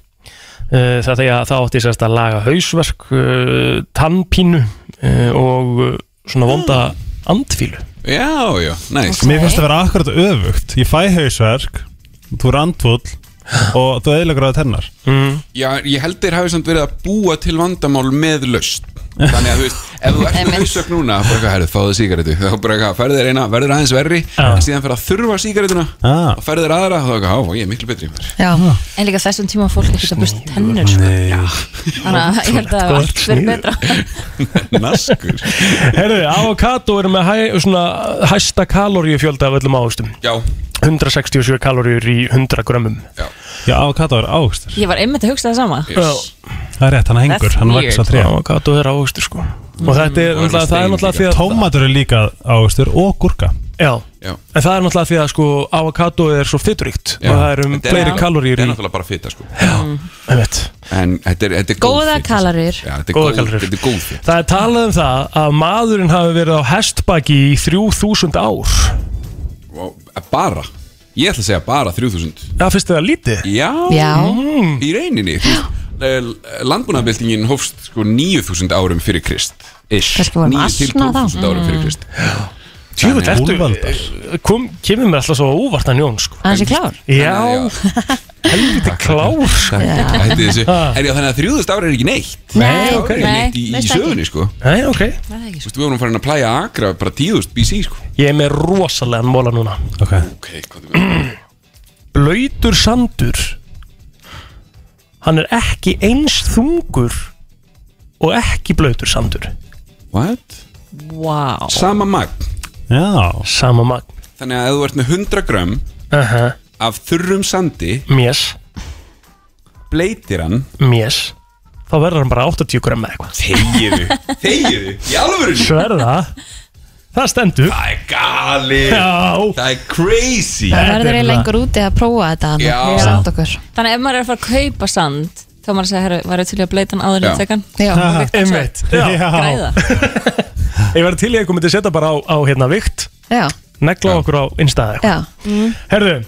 Speaker 1: Eh, það þegar það átti sérst að laga hausverk eh, tannpínu eh, og eh, svona vonda andfílu
Speaker 7: Já, já, næs
Speaker 4: mér finnst það vera akkurat öfugt Ég fæ hausverk, þú er andfull og þú eðilegur að tennar
Speaker 7: Já, Ah, ég held þeir hafi samt verið að búa til vandamál með laust Þannig að þú veist, ef þú ert með hausök núna bara eitthvað, herrðu, fáðu sígarettu þá bara eitthvað, færðu þeir eina, verður aðeins verri
Speaker 1: Já.
Speaker 7: en síðan fer að þurfa sígarettuna
Speaker 4: Ah.
Speaker 7: og færðu þeir aðra, þá eitthvað, á, ég er miklu betri maður."
Speaker 2: Já,
Speaker 1: Ah,
Speaker 5: En líka þessum tíma var fólk ekki að busta tennur sko. Þannig að ég held að
Speaker 1: Þú ert
Speaker 5: allt verður
Speaker 1: sniðug.
Speaker 5: betra
Speaker 7: Naskur
Speaker 1: Herðu, avokado eru með hæ, svona, hæsta kaloríufjölda af öllum ávöxtum
Speaker 7: Já,
Speaker 1: 167 kaloríur í 100 grömmum
Speaker 7: já,
Speaker 4: Já, avokado er ágstur
Speaker 5: Ég var einmitt að hugsa það sama
Speaker 7: yes
Speaker 4: Það er rétt, hann hengur,
Speaker 5: That's
Speaker 4: hann
Speaker 5: weird.
Speaker 4: vaks að tré
Speaker 1: avokado er ávöxtur sko og þetta er
Speaker 7: og er með
Speaker 1: náttúrulega, það er
Speaker 7: stein
Speaker 1: náttúrulega
Speaker 7: Mm, líka.
Speaker 1: því að
Speaker 4: Tómatur er líka ágstur og gúrka
Speaker 1: Já,
Speaker 7: Já.
Speaker 1: en það er náttúrulega því að sko avokado er svo fyturíkt og það er um
Speaker 7: Þetta
Speaker 1: fleiri
Speaker 7: Þetta
Speaker 1: kaloríur í
Speaker 7: er náttúrulega bara fita, sko
Speaker 1: einmitt.
Speaker 7: En þetta er, þetta er góð
Speaker 2: góða
Speaker 7: fita, sko.
Speaker 2: kalorir
Speaker 7: Já, þetta er
Speaker 1: Góða
Speaker 7: góð-
Speaker 1: kaloríur.
Speaker 7: þetta er góð fita
Speaker 1: Það er talað um það að maðurinn hafi verið á hestbaki í 3000 ár
Speaker 7: Vá, eh, Bara, ég ætla að segja bara 3000
Speaker 1: Það finnst þið það lítið?
Speaker 7: Já,
Speaker 2: Já,
Speaker 7: í reyninni Landbúnaðabildingin eh, hófst sko 9000 árum fyrir Krist Ish,
Speaker 2: Kannski vorum
Speaker 7: 9 til
Speaker 2: asna
Speaker 7: 12000
Speaker 2: þá.
Speaker 7: árum fyrir Krist
Speaker 1: Tjúfut,
Speaker 7: Þannig að-
Speaker 1: ertu, kom, kemur mér alltaf svo óvart að njón sko
Speaker 2: hans er klár
Speaker 1: Já, helviti klár sko
Speaker 7: Hætti þessu En já, þannig að 3000 ára er ekki neitt
Speaker 1: Nei,
Speaker 7: Það
Speaker 1: ok
Speaker 7: er ekki neitt í, í
Speaker 2: veist ekki. sko-
Speaker 7: sögunni sko
Speaker 1: Nei, ok
Speaker 7: Þú veist, við vorum farin að plæja akra bara 10.000 BC sko
Speaker 1: Ég er með rosalega móla núna
Speaker 4: okay.
Speaker 7: Ok, hvað þú veist
Speaker 1: Blöytur sandur Hann er ekki eins þungur og ekki blöytur sandur
Speaker 7: What?
Speaker 5: Vá
Speaker 7: Sama magn
Speaker 4: Já,
Speaker 1: Sama magn
Speaker 7: Þannig að ef þú ert með 100 gram
Speaker 1: Aha,
Speaker 7: af þurrum sandi
Speaker 1: Mjess,
Speaker 7: bleitir hann
Speaker 1: mjess Þá verður hann bara 80 gram með eitthvað
Speaker 7: Þegiðu, þegiðu Í alvöru
Speaker 1: Sverða Það stendur
Speaker 7: Það er gali
Speaker 1: Já
Speaker 7: Það er crazy
Speaker 1: Þetta
Speaker 2: Það
Speaker 1: er
Speaker 2: verður eiginlega
Speaker 1: það.
Speaker 2: einhver úti að prófa þetta hann
Speaker 7: Já.
Speaker 2: og senda okkur
Speaker 5: Þannig að ef maður er að fara að kaupa sand þá maður að segja, herru, varu til í að bleita hann
Speaker 7: Já.
Speaker 5: áður en tekan
Speaker 2: Já,
Speaker 1: Einmitt Já.
Speaker 5: Græða
Speaker 1: Ég verður til í eitthvað myndi setja bara á, á hérna vikt
Speaker 2: já,
Speaker 1: Negla okkur á innstæði
Speaker 2: já
Speaker 1: Herðu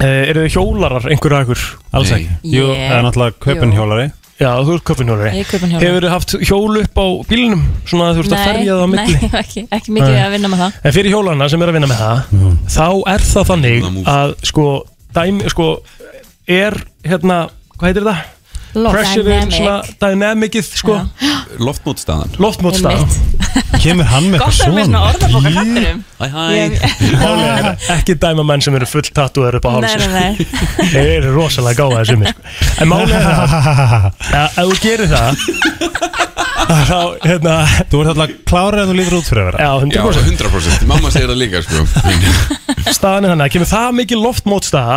Speaker 1: Uh, eru þið hjólarar einhverju að ykkur?
Speaker 4: alls
Speaker 7: Nei.
Speaker 4: ekki Jú,
Speaker 5: Ég-
Speaker 4: það er náttúrulega kaupin
Speaker 5: Jú.
Speaker 4: hjólari
Speaker 1: Já, þú ert köpunhjólari
Speaker 5: Ég er kaupinhjólari.
Speaker 1: Hefur þið haft hjól upp á bílinum Svona að þú ert að ferja það á milli
Speaker 5: nei, ekki, ekki mikið
Speaker 1: Nei.
Speaker 5: að vinna með það
Speaker 1: En fyrir hjólana sem er að vinna með það Þá er það
Speaker 7: Svona
Speaker 1: þannig
Speaker 7: mús.
Speaker 1: að sko, dæmi, sko Er hérna, hvað heitir það? Pressure er svona dynamicið sko,
Speaker 7: Loftmótstaðan
Speaker 1: Loftmótstað
Speaker 4: Kemur hann með
Speaker 5: Gott að
Speaker 4: eitthvað
Speaker 5: við svona
Speaker 4: svona
Speaker 5: orðabók að kattinum
Speaker 7: Hæ hæ
Speaker 1: Málega, Ekki dæma menn sem eru full tattúar upp á
Speaker 5: Nei, nei,
Speaker 1: hálsir
Speaker 5: nei
Speaker 1: Þeir eru rosalega gáða þessum sko. En málega það að Ef þú gerir það þá, hérna,
Speaker 4: Þú ert alltaf klárið að þú lítur út fyrir að vera
Speaker 1: já,
Speaker 7: Já,
Speaker 1: 100%
Speaker 7: 100% Mamma segir það líka sko
Speaker 1: staðan er þannig að kemur það mikið loftmótstaða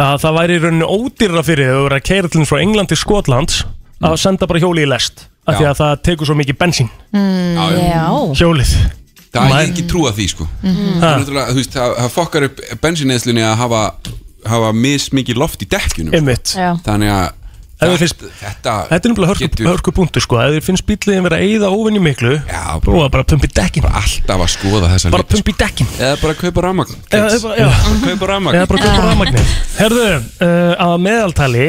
Speaker 1: að það væri í rauninu ódýrra fyrir þau að vera keirillin frá England til Skotlands að senda bara hjóli í lest af því
Speaker 7: Já.
Speaker 1: að það tekur svo mikið bensín
Speaker 7: Já, já.
Speaker 5: Já,
Speaker 1: hjólið
Speaker 7: Það er
Speaker 1: Maður-
Speaker 7: ekki trú að því sko Það er
Speaker 1: Ha,
Speaker 7: náttúrulega, þú veist, það það fokkar upp bensinneðslunni að hafa, hafa mismikið loft í dekkjunum sko.
Speaker 1: einmitt
Speaker 5: já,
Speaker 7: Þannig að
Speaker 1: Ef þú
Speaker 7: þetta,
Speaker 1: finnst-
Speaker 7: þetta,
Speaker 1: Þetta er nefnilega hörku,
Speaker 7: getur
Speaker 1: hörku punktu sko að þið finnst bíliðin vera að eyða óvinni miklu
Speaker 7: Já,
Speaker 1: og að bara pumpi dekkin bara,
Speaker 7: alltaf að skoða þessa
Speaker 1: bara
Speaker 7: hluti, sko.
Speaker 1: pumpi dekkin
Speaker 7: Eða bara kaupa rafmagn
Speaker 1: eða eða
Speaker 7: kids.
Speaker 1: bara, já,
Speaker 7: Kaupa rafmagn
Speaker 1: eða bara kaupa rafmagnir Herðu, uh, að meðaltali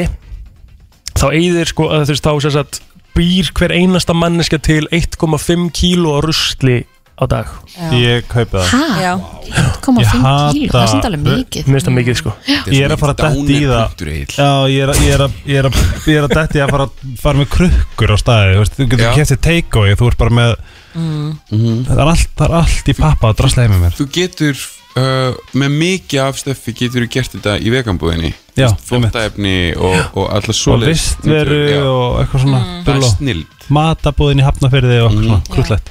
Speaker 1: þá eyðir sko að þú veist þá sér satt býr hver einasta manneska til 1,5 kíló rusli á dag
Speaker 4: Ég kaupi það
Speaker 2: Hæ?
Speaker 5: já
Speaker 2: 1,5
Speaker 4: Ég
Speaker 2: kíl, það er
Speaker 4: hata-
Speaker 2: samt alveg mikið
Speaker 1: Mér finnst það mikið sko
Speaker 7: Þetta
Speaker 4: Ég er
Speaker 7: svona
Speaker 4: að fara að detta í það.
Speaker 7: dánarpunktur, Egill.
Speaker 4: Já, ég er að- ég er að- ég er að ég er að detti að fara, fara með krukkur á staði Þú, veist, þú
Speaker 7: Já.
Speaker 4: getur kæftið take-away Þú ert bara með
Speaker 5: Mm.
Speaker 4: það, er allt, það er allt í pappa að drasla heim með mér
Speaker 7: Þú getur uh, með mikið af stöffi getur þú gert þetta í veganbúðinni
Speaker 4: Já,
Speaker 7: Þvóttaefni og, og allar
Speaker 4: Og
Speaker 7: svoleiðis
Speaker 4: vistveru
Speaker 7: Já.
Speaker 4: og eitthvað svona
Speaker 7: Það er
Speaker 4: mm.
Speaker 7: snild
Speaker 4: Matabúðin í hafnafyrði og eitthvað
Speaker 5: Mm.
Speaker 4: svona Krúllett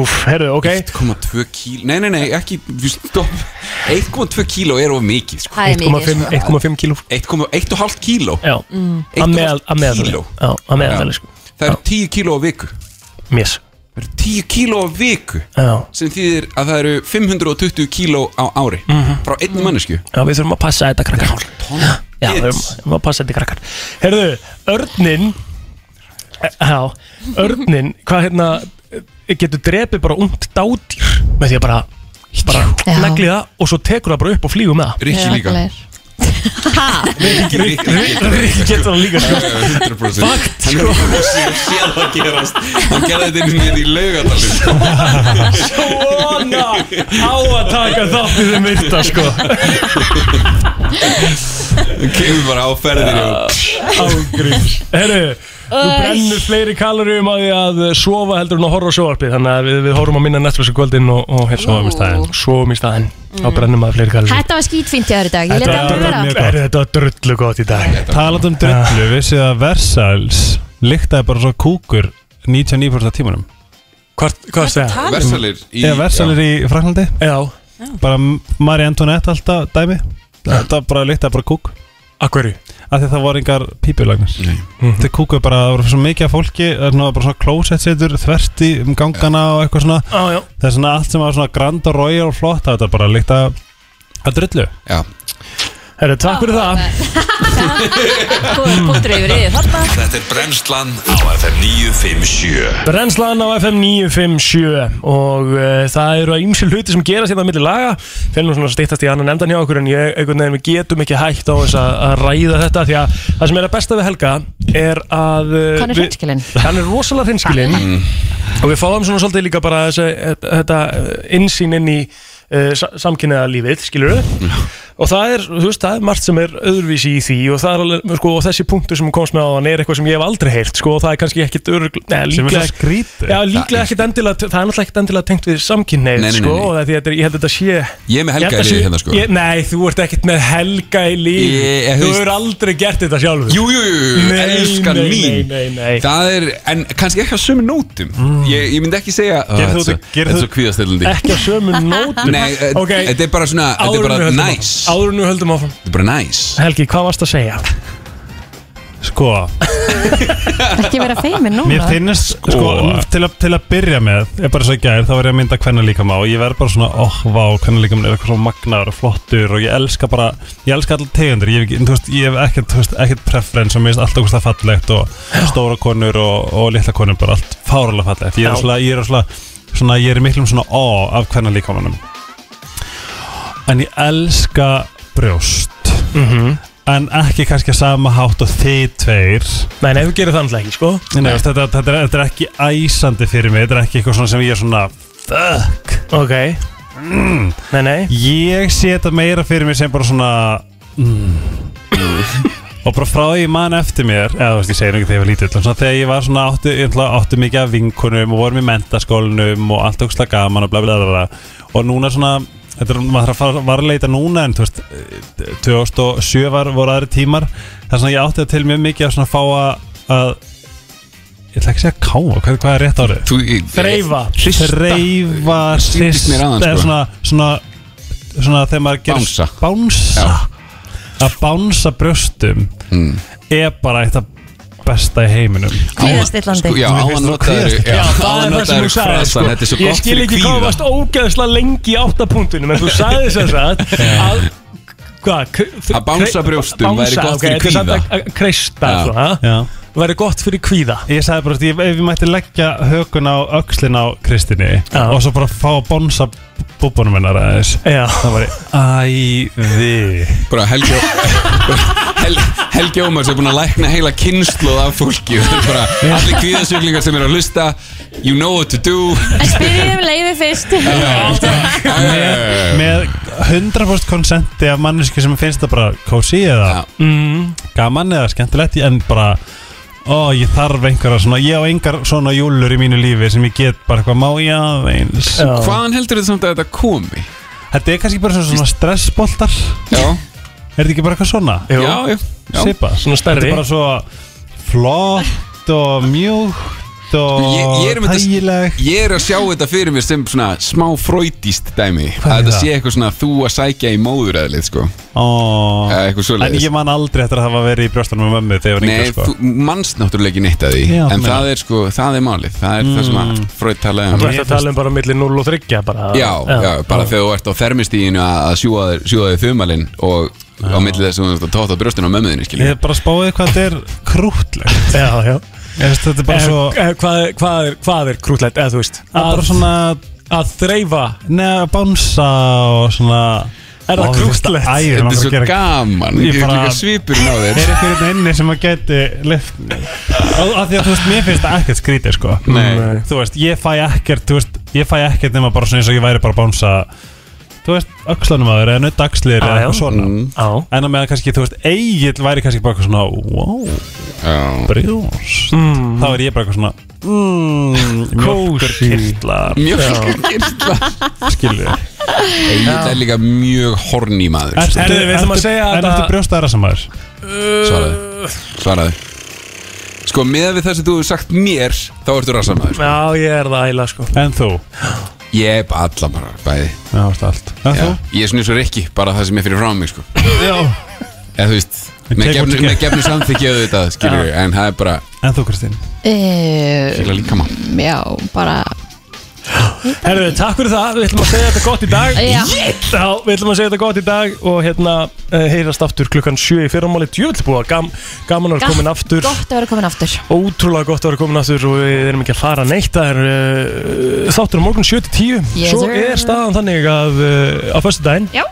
Speaker 1: Úf, herðu, ok
Speaker 7: 1,2 kíl, nei nei nei, ekki þú- stopp, 1,2 kíló er of mikið sko.
Speaker 5: Það er mikið
Speaker 1: 1,5 1,5 kíló
Speaker 7: 1,5 kíló
Speaker 1: Já, að meðal- að meðaltali
Speaker 7: kíló.
Speaker 1: Já, að meðaltali sko
Speaker 7: það eru 10 kíló á viku
Speaker 1: Mér,
Speaker 7: það eru 10 kíló á viku
Speaker 1: já
Speaker 7: sem þýðir að það eru 520 kíló á ári
Speaker 4: Mhm.
Speaker 7: frá einn mannesku
Speaker 1: Já, við þurfum að passa þetta krakkar Já, við
Speaker 7: It's-
Speaker 1: þurfum að passa þetta í krakkar Herðu, örninn eh, Já, örninn Hvað hérna eh, getur drepið bara ungt dádýr með því að bara bara
Speaker 2: Já.
Speaker 1: negli það og svo tekur það bara upp og flýgur með
Speaker 7: Rikki líka Rikki Rikki getur
Speaker 1: það Rikki getur það líka sko.
Speaker 7: 100% Hann er bara sér sér að gerast Hann gerði þetta einu sinni hérna í laugadalum
Speaker 1: Svona á að taka þátt í þeim virta sko
Speaker 7: Hann kemur bara á ferðinu og
Speaker 1: Ágríms Herru, þú brennur fleiri kaloríum á því að sofa heldur en að horfa á sjóarpið Þannig að við, við horfum að minna Netflix í kvöldin og, og hér
Speaker 2: Sofum í staðinn.
Speaker 1: Sofum í staðinn, þá brennum maður fleiri kaloríum
Speaker 2: Þetta var skítfínt í öðru dag, ég leta
Speaker 4: Þetta-
Speaker 2: aldrei vera
Speaker 4: mjög gott.
Speaker 1: Er þetta drullu gott í dag?
Speaker 4: Talat um drullu, vissið að Versals lyktaði bara svo kúkur 99% af tímanum
Speaker 1: Hvort, hvað segja?
Speaker 7: Versalir í
Speaker 4: Eða Versalir í Franklandi
Speaker 1: Já,
Speaker 4: bara Marie Antoinette alltaf dæmi Þetta bara lyktaði bara kúk
Speaker 1: akkurri
Speaker 4: af því að það voru engar pípulagnar
Speaker 7: Nei.
Speaker 4: Þau kúkuðu bara, það voru svo mikið af fólki það var bara svona closet setur, þverti um gangana og eitthvað svona
Speaker 1: Já, já
Speaker 4: það er svona allt sem var svona grand og royal og flott þetta bara líkt að að drullu
Speaker 7: Já,
Speaker 1: Herru, takk fyrir það
Speaker 5: Góður punktur yfir yfir þarna
Speaker 3: Þetta er brennslan á FM 957
Speaker 1: Brennslan á FM 957 og uh, það eru að ýmsi hluti sem gerast hérna á milli laga fyrir nú svona að styttast í annan endan hjá okkur en ég, einhvern veginn við getum ekki hægt á þess að, að ræða þetta því að það sem er að besta við Helga er að uh,
Speaker 2: Hann er
Speaker 1: við-
Speaker 2: hreinskilinn.
Speaker 1: Hann er rosalega hreinskilinn
Speaker 7: Mm.
Speaker 1: og við fáum svona svolítið líka bara þessi, þetta eh, innsýn inn í uh, samkynniða lífið, skilur og það er, þú veist, það er margt sem er öðruvísi í því og, það er alveg, sko, og þessi punktu sem hún komst með á hann er eitthvað sem ég hef aldrei heyrt sko, og það er kannski ekkit örugl, neða,
Speaker 4: sem er
Speaker 1: líklega
Speaker 4: svo skrítið
Speaker 1: Já, líklega ekkit endilega, það er náttúrulega ekkit endilega tengt við samkynneið,
Speaker 7: Nei, nei, nei,
Speaker 1: sko,
Speaker 7: nei.
Speaker 1: og það er því að þetta er- ég held að þetta sé
Speaker 7: ég er með
Speaker 1: Ég held
Speaker 7: helga
Speaker 1: að
Speaker 7: í
Speaker 1: sé-
Speaker 7: liði hérna sko
Speaker 1: ég, Nei, þú ert ekkit með helga í lífi
Speaker 7: Ég- ég-
Speaker 1: Þú
Speaker 7: veist-
Speaker 1: hefur aldrei gert þetta sjálfur
Speaker 7: Jú, jú, jú, jú,
Speaker 1: Nei,
Speaker 7: elskan
Speaker 1: nei,
Speaker 7: mín
Speaker 1: nei, nei, Mm. nei.
Speaker 7: Það er, en kannski ekki á sömu nótum ég, ég myndi ekki segja "Ó, þetta er
Speaker 4: Gerðu þú-
Speaker 7: svo- Þetta
Speaker 4: gerðu
Speaker 7: er
Speaker 4: þú-
Speaker 7: svo kvíðastillandi
Speaker 1: Ekki að sömu nótum
Speaker 7: Nei, eh,
Speaker 1: Eh, Ok.
Speaker 7: þetta er bara svona Þetta er
Speaker 1: Áður en
Speaker 7: bara
Speaker 1: við höldum
Speaker 7: nice
Speaker 1: áfram. Áður en við höldum áfram
Speaker 7: Þetta er bara nice
Speaker 1: Helgi, hvað varst að segja?
Speaker 4: sko,
Speaker 2: Ekki vera feimin núna
Speaker 4: mér finnst sko, til, að, til að byrja með, ég bara svo gær þá var ég að mynda hvernig líka má og ég verð bara svona oh, vá, hvernig líka er eitthvað svo magnaður og flottur og ég elska bara, ég elska allar tegundir ég hef, ekki- þú veist, ég hef ekkert, þú veist, ekkert preference og mér finnst alltaf okkur það fallegt og stóra konur og, og litla konur bara allt fáralega fallegt, ég er
Speaker 1: Já.
Speaker 4: svona, ég er svona, svona ég er í miklum svona ó af hvernig líka en ég elska brjóst en ekki kannski að sama hátt og þið tveir
Speaker 1: Nei, nei, þú gerir það náttúrulega ekki, sko
Speaker 4: Nei, veist, þetta, þetta, er, þetta er ekki æsandi fyrir mig Þetta er ekki eitthvað svona sem ég er svona Fuck
Speaker 1: Ok Nei, nei
Speaker 4: Ég sé þetta meira fyrir mig sem bara svona mm. Og bara frá því ég man eftir mér Eða þú veist, ég segi nú ekki þegar ég var lítill en svona, Þegar ég var svona áttu, ég ætla, áttu mikið af vinkunum Og vorum í mentaskólanum Og allt okkur slag gaman og bla bla bla bla Og núna svona Þetta er, maður þarf að fara varleita núna en þú veist, eh, 2007 var, voru aðri tímar þar sem ég átti það til mjög mikið að svona fá að- að ég ætla ekki að segja káfa, hvað, hvað er rétt árið?
Speaker 7: Þú, ég-
Speaker 1: Þreifa
Speaker 7: Hrista.
Speaker 4: Þreifa,
Speaker 7: Sýndist
Speaker 4: sýst,
Speaker 7: mér aðeins,
Speaker 4: eða
Speaker 7: sko.
Speaker 4: svona, svona, svona þegar maður gerir
Speaker 7: Bánsa.
Speaker 4: Bánsa
Speaker 7: Já.
Speaker 4: Að bánsa brjóstum
Speaker 7: Mm.
Speaker 4: er bara eitt af besta í heiminum
Speaker 7: Sko,
Speaker 10: Kvíðastillandi
Speaker 7: Já, á að nota þér
Speaker 1: Já, það er það sem þú sagði sko.
Speaker 7: Þetta er svo
Speaker 1: Ég
Speaker 7: gott
Speaker 1: skil
Speaker 7: fyrir
Speaker 1: ekki hvað
Speaker 7: kvíða
Speaker 1: varst ógeðslega lengi í áttapunktunum En þú sagði þess að að Hvað? k-
Speaker 7: Að bánsa brjóstum
Speaker 1: bánsa,
Speaker 7: væri gott
Speaker 1: ok,
Speaker 7: fyrir
Speaker 1: þetta er samt
Speaker 7: kvíða.
Speaker 1: að- að Kreista
Speaker 7: Já.
Speaker 1: svona
Speaker 4: Já
Speaker 1: Væri gott fyrir kvíða
Speaker 4: Ég sagði bara, ég, ef ég mætti leggja hökun á öxlin á Kristinni
Speaker 1: Já.
Speaker 4: og svo bara fá að bónsa búbunum hennar aðeins
Speaker 1: Já
Speaker 4: það var æði
Speaker 7: Bara Helgi Hel, Helgi Ómars er búin að lækna heila kynnslóð af fólki Þetta er bara Allir kvíðasuglingar sem eru að hlusta You know what to do
Speaker 10: Spyrjum um leiði fyrst
Speaker 7: Með
Speaker 4: með 100% konsenti af manneski sem finnst það bara kósi eða
Speaker 7: Já.
Speaker 4: gaman eða skemmtilegt en bara ó ég þarf einhverja svona ég á engar svona júlur í mínu lífi sem ég get bara eitthvað má ég aðeins
Speaker 7: Hvaðan heldur þetta samt að þetta komi?
Speaker 4: þetta er kannski bara svona- svona stressboltar
Speaker 7: Já,
Speaker 4: er þetta ekki bara eitthvað svona
Speaker 1: Jú.
Speaker 7: já, já, já.
Speaker 4: Sipa
Speaker 1: Svona
Speaker 4: Þetta
Speaker 1: stærri
Speaker 4: er bara svo flott og mjúkt og
Speaker 7: Sko, Ég, ég, er með
Speaker 4: þægileg
Speaker 7: þess, ég er að sjá þetta fyrir mér sem svona smá fröytíst dæmi
Speaker 4: Hvað
Speaker 7: að
Speaker 4: er
Speaker 7: þetta
Speaker 4: það?
Speaker 7: sé eitthvað svona þú að sækja í móðuræðlið sko.
Speaker 4: Ó.
Speaker 7: Eða eitthvað svoleiðis.
Speaker 4: En ég man aldrei eftir að hafa verið í brjóstunum með mömmu þegar ég var
Speaker 7: Nei,
Speaker 4: yngri sko.
Speaker 7: þú manst náttúrulega ekki neitt að því
Speaker 4: Já, Mm.
Speaker 7: en
Speaker 4: þú
Speaker 7: það
Speaker 4: meinar.
Speaker 7: er sko, það er málið það er það sem að fröyt talaði um
Speaker 1: Þú ert að tala um bara millir 0 og 3 bara
Speaker 7: já, já, bara þegar þú ert á þermistíginu að að sjúga þér- sjúga þig þumalinn og á milli þess að þú ert að tóta brjóstinu á mömmuðinu
Speaker 4: Ég
Speaker 7: skilja
Speaker 4: hef bara spáðið hvað þetta er krútlegt
Speaker 1: Já, já
Speaker 4: Ég veist, Þetta er bara
Speaker 1: En,
Speaker 4: svo
Speaker 1: eh, Hvað er- hvað er- hvað er krútlegt, eða þú veist
Speaker 4: að
Speaker 1: Að,
Speaker 4: bara svona
Speaker 1: að þreifa
Speaker 4: neða bánsa og svona
Speaker 1: Er það
Speaker 4: Ó,
Speaker 1: krúttlegt?
Speaker 4: þetta er æði,
Speaker 7: þetta er
Speaker 4: maður bara
Speaker 7: svo
Speaker 4: gerir-
Speaker 7: gaman
Speaker 4: Ég
Speaker 7: ég
Speaker 4: bara-
Speaker 7: bara svipurinn á
Speaker 4: Er
Speaker 7: þér
Speaker 4: eitthvað hérna inni sem að geti lift Af því að þú veist, mér finnst það ekkert skrítið sko
Speaker 7: Nei.
Speaker 4: Þú veist, ég fæ ekkert, þú veist, ég fæ ekkert nema bara svona eins og ég væri bara að bánsa Þú veist, öxlunum að þér eða nutt axlir eða
Speaker 1: Já, já.
Speaker 4: eitthvað svona
Speaker 7: Mm.
Speaker 1: Á
Speaker 4: En að meðan kannski, þú veist, eigill væri kannski bara eitthvað svona Wow,
Speaker 7: Já.
Speaker 4: brjóst Þá er ég bara eitthvað svona mm, Mjölkurkirtlar
Speaker 7: mjög kirtla
Speaker 4: Skilju
Speaker 7: þetta er líka mjög horni maður sko.
Speaker 1: Herðu, við ætlum að segja að
Speaker 4: En
Speaker 1: það-
Speaker 4: eftir brjóst aðra samaður
Speaker 7: svaraði svaraði sko, meðan við það sem þú hefur sagt mér þá ertu rassamaður
Speaker 1: Já, ég er það ægilega sko
Speaker 4: En þú,
Speaker 7: ég er bara allan bara, bæði
Speaker 4: já, veist allt En
Speaker 7: Já,
Speaker 4: þú,
Speaker 7: ég er svona eins og Rikki, bara það sem er fyrir frá mig sko. eða þú veist
Speaker 4: Ég
Speaker 7: með
Speaker 4: tek
Speaker 7: gefnu,
Speaker 4: what you
Speaker 7: með
Speaker 4: get.
Speaker 7: gefnu samþykja auðvitað skilur við, en það er bara
Speaker 4: en þú Kristín
Speaker 2: Eh,
Speaker 7: fíla líka mann
Speaker 2: Já, bara
Speaker 1: Herðu, takk fyrir það, við ætlum að segja þetta gott í dag
Speaker 2: Já.
Speaker 1: Já, við ætlum að segja þetta gott í dag og hérna eh, heyrast aftur klukkan 7 í fyrramáli djöðlbúa, Gam, gaman að vera komin aftur
Speaker 2: Gott að vera komin aftur
Speaker 1: Ótrúlega gott að vera komin aftur og við erum ekki að fara neitt Það er uh, þáttur á morgun 7-10
Speaker 2: Yes,
Speaker 1: Svo
Speaker 2: sir.
Speaker 1: er staðan þannig að uh, á föstu daginn
Speaker 2: Já.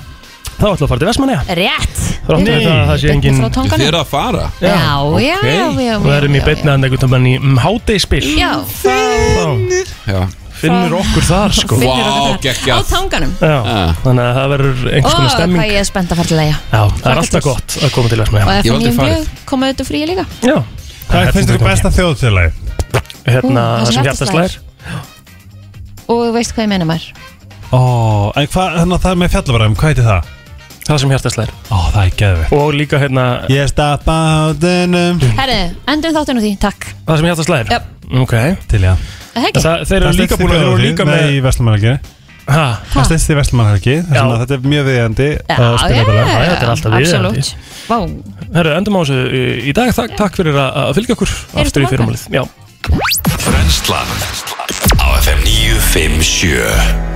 Speaker 1: Þá ætlum við að fara til Vestmanneja
Speaker 2: Rétt
Speaker 1: Þráttur
Speaker 4: Nei.
Speaker 1: þetta að það sé engin
Speaker 2: Frá
Speaker 7: Þið
Speaker 2: tónganum
Speaker 7: er að fara
Speaker 2: Já, já,
Speaker 7: ok.
Speaker 2: já, já
Speaker 1: Við erum í
Speaker 2: já,
Speaker 1: beinni að einhvern veginn í um, hádegispil
Speaker 2: Já,
Speaker 1: Þá
Speaker 7: Já.
Speaker 1: finnur okkur þar sko
Speaker 7: Vá,
Speaker 2: Finnur okkur
Speaker 7: geggjað.
Speaker 2: á tanganum
Speaker 1: Já,
Speaker 7: Ah.
Speaker 1: þannig að það verður
Speaker 2: Ó,
Speaker 1: einhvers konar
Speaker 2: hvað
Speaker 1: stemming
Speaker 2: ég er spennt að fara til leiða
Speaker 1: Já, það er alltaf gott að koma til Vestmanneja
Speaker 2: Og
Speaker 7: Ég
Speaker 2: ef
Speaker 7: hef
Speaker 2: ég
Speaker 7: aldrei
Speaker 2: er
Speaker 7: farið.
Speaker 2: blöð, koma auðvitað frí líka
Speaker 1: Já
Speaker 4: Hvað finnst ykkur besta þjóðtélagi?
Speaker 1: Hérna,
Speaker 2: Ú,
Speaker 1: það sem
Speaker 2: hjartað
Speaker 1: hjartast lær
Speaker 2: Og þú veist hvað ég meina maður
Speaker 4: Ó, en hvað, þannig að það með fjallabræðum, hvað heitir það?
Speaker 1: Það sem hjartast lær
Speaker 4: Ó, það er geðvitt
Speaker 1: Og líka hérna,
Speaker 4: Ég stapp á dönum
Speaker 2: Herri, endum þáttun á því, takk
Speaker 1: það sem hjartast lær
Speaker 2: Jöp.
Speaker 1: Ok
Speaker 4: Til já
Speaker 2: Það ekki?
Speaker 1: Það, þeir eru
Speaker 4: Það
Speaker 1: líka
Speaker 4: styttist í
Speaker 1: búin að vera
Speaker 4: Veðurhorfið
Speaker 1: líka með
Speaker 4: Nei, í Vestlumannhelgi
Speaker 1: Ha,
Speaker 4: Það stendst í Vestlumannhelgi
Speaker 1: Já.
Speaker 4: Þetta er mjög viðjandi að
Speaker 2: já,
Speaker 4: spila þetta lag
Speaker 1: já, þetta er alltaf viðeigandi.
Speaker 2: Absolutt Vá,
Speaker 1: herru, endum á þessu í- í dag Takk, takk fyrir að að fylgja okkur Aftur í
Speaker 2: morgun?
Speaker 1: fyrirmálið Já
Speaker 3: Brennslan á FM 957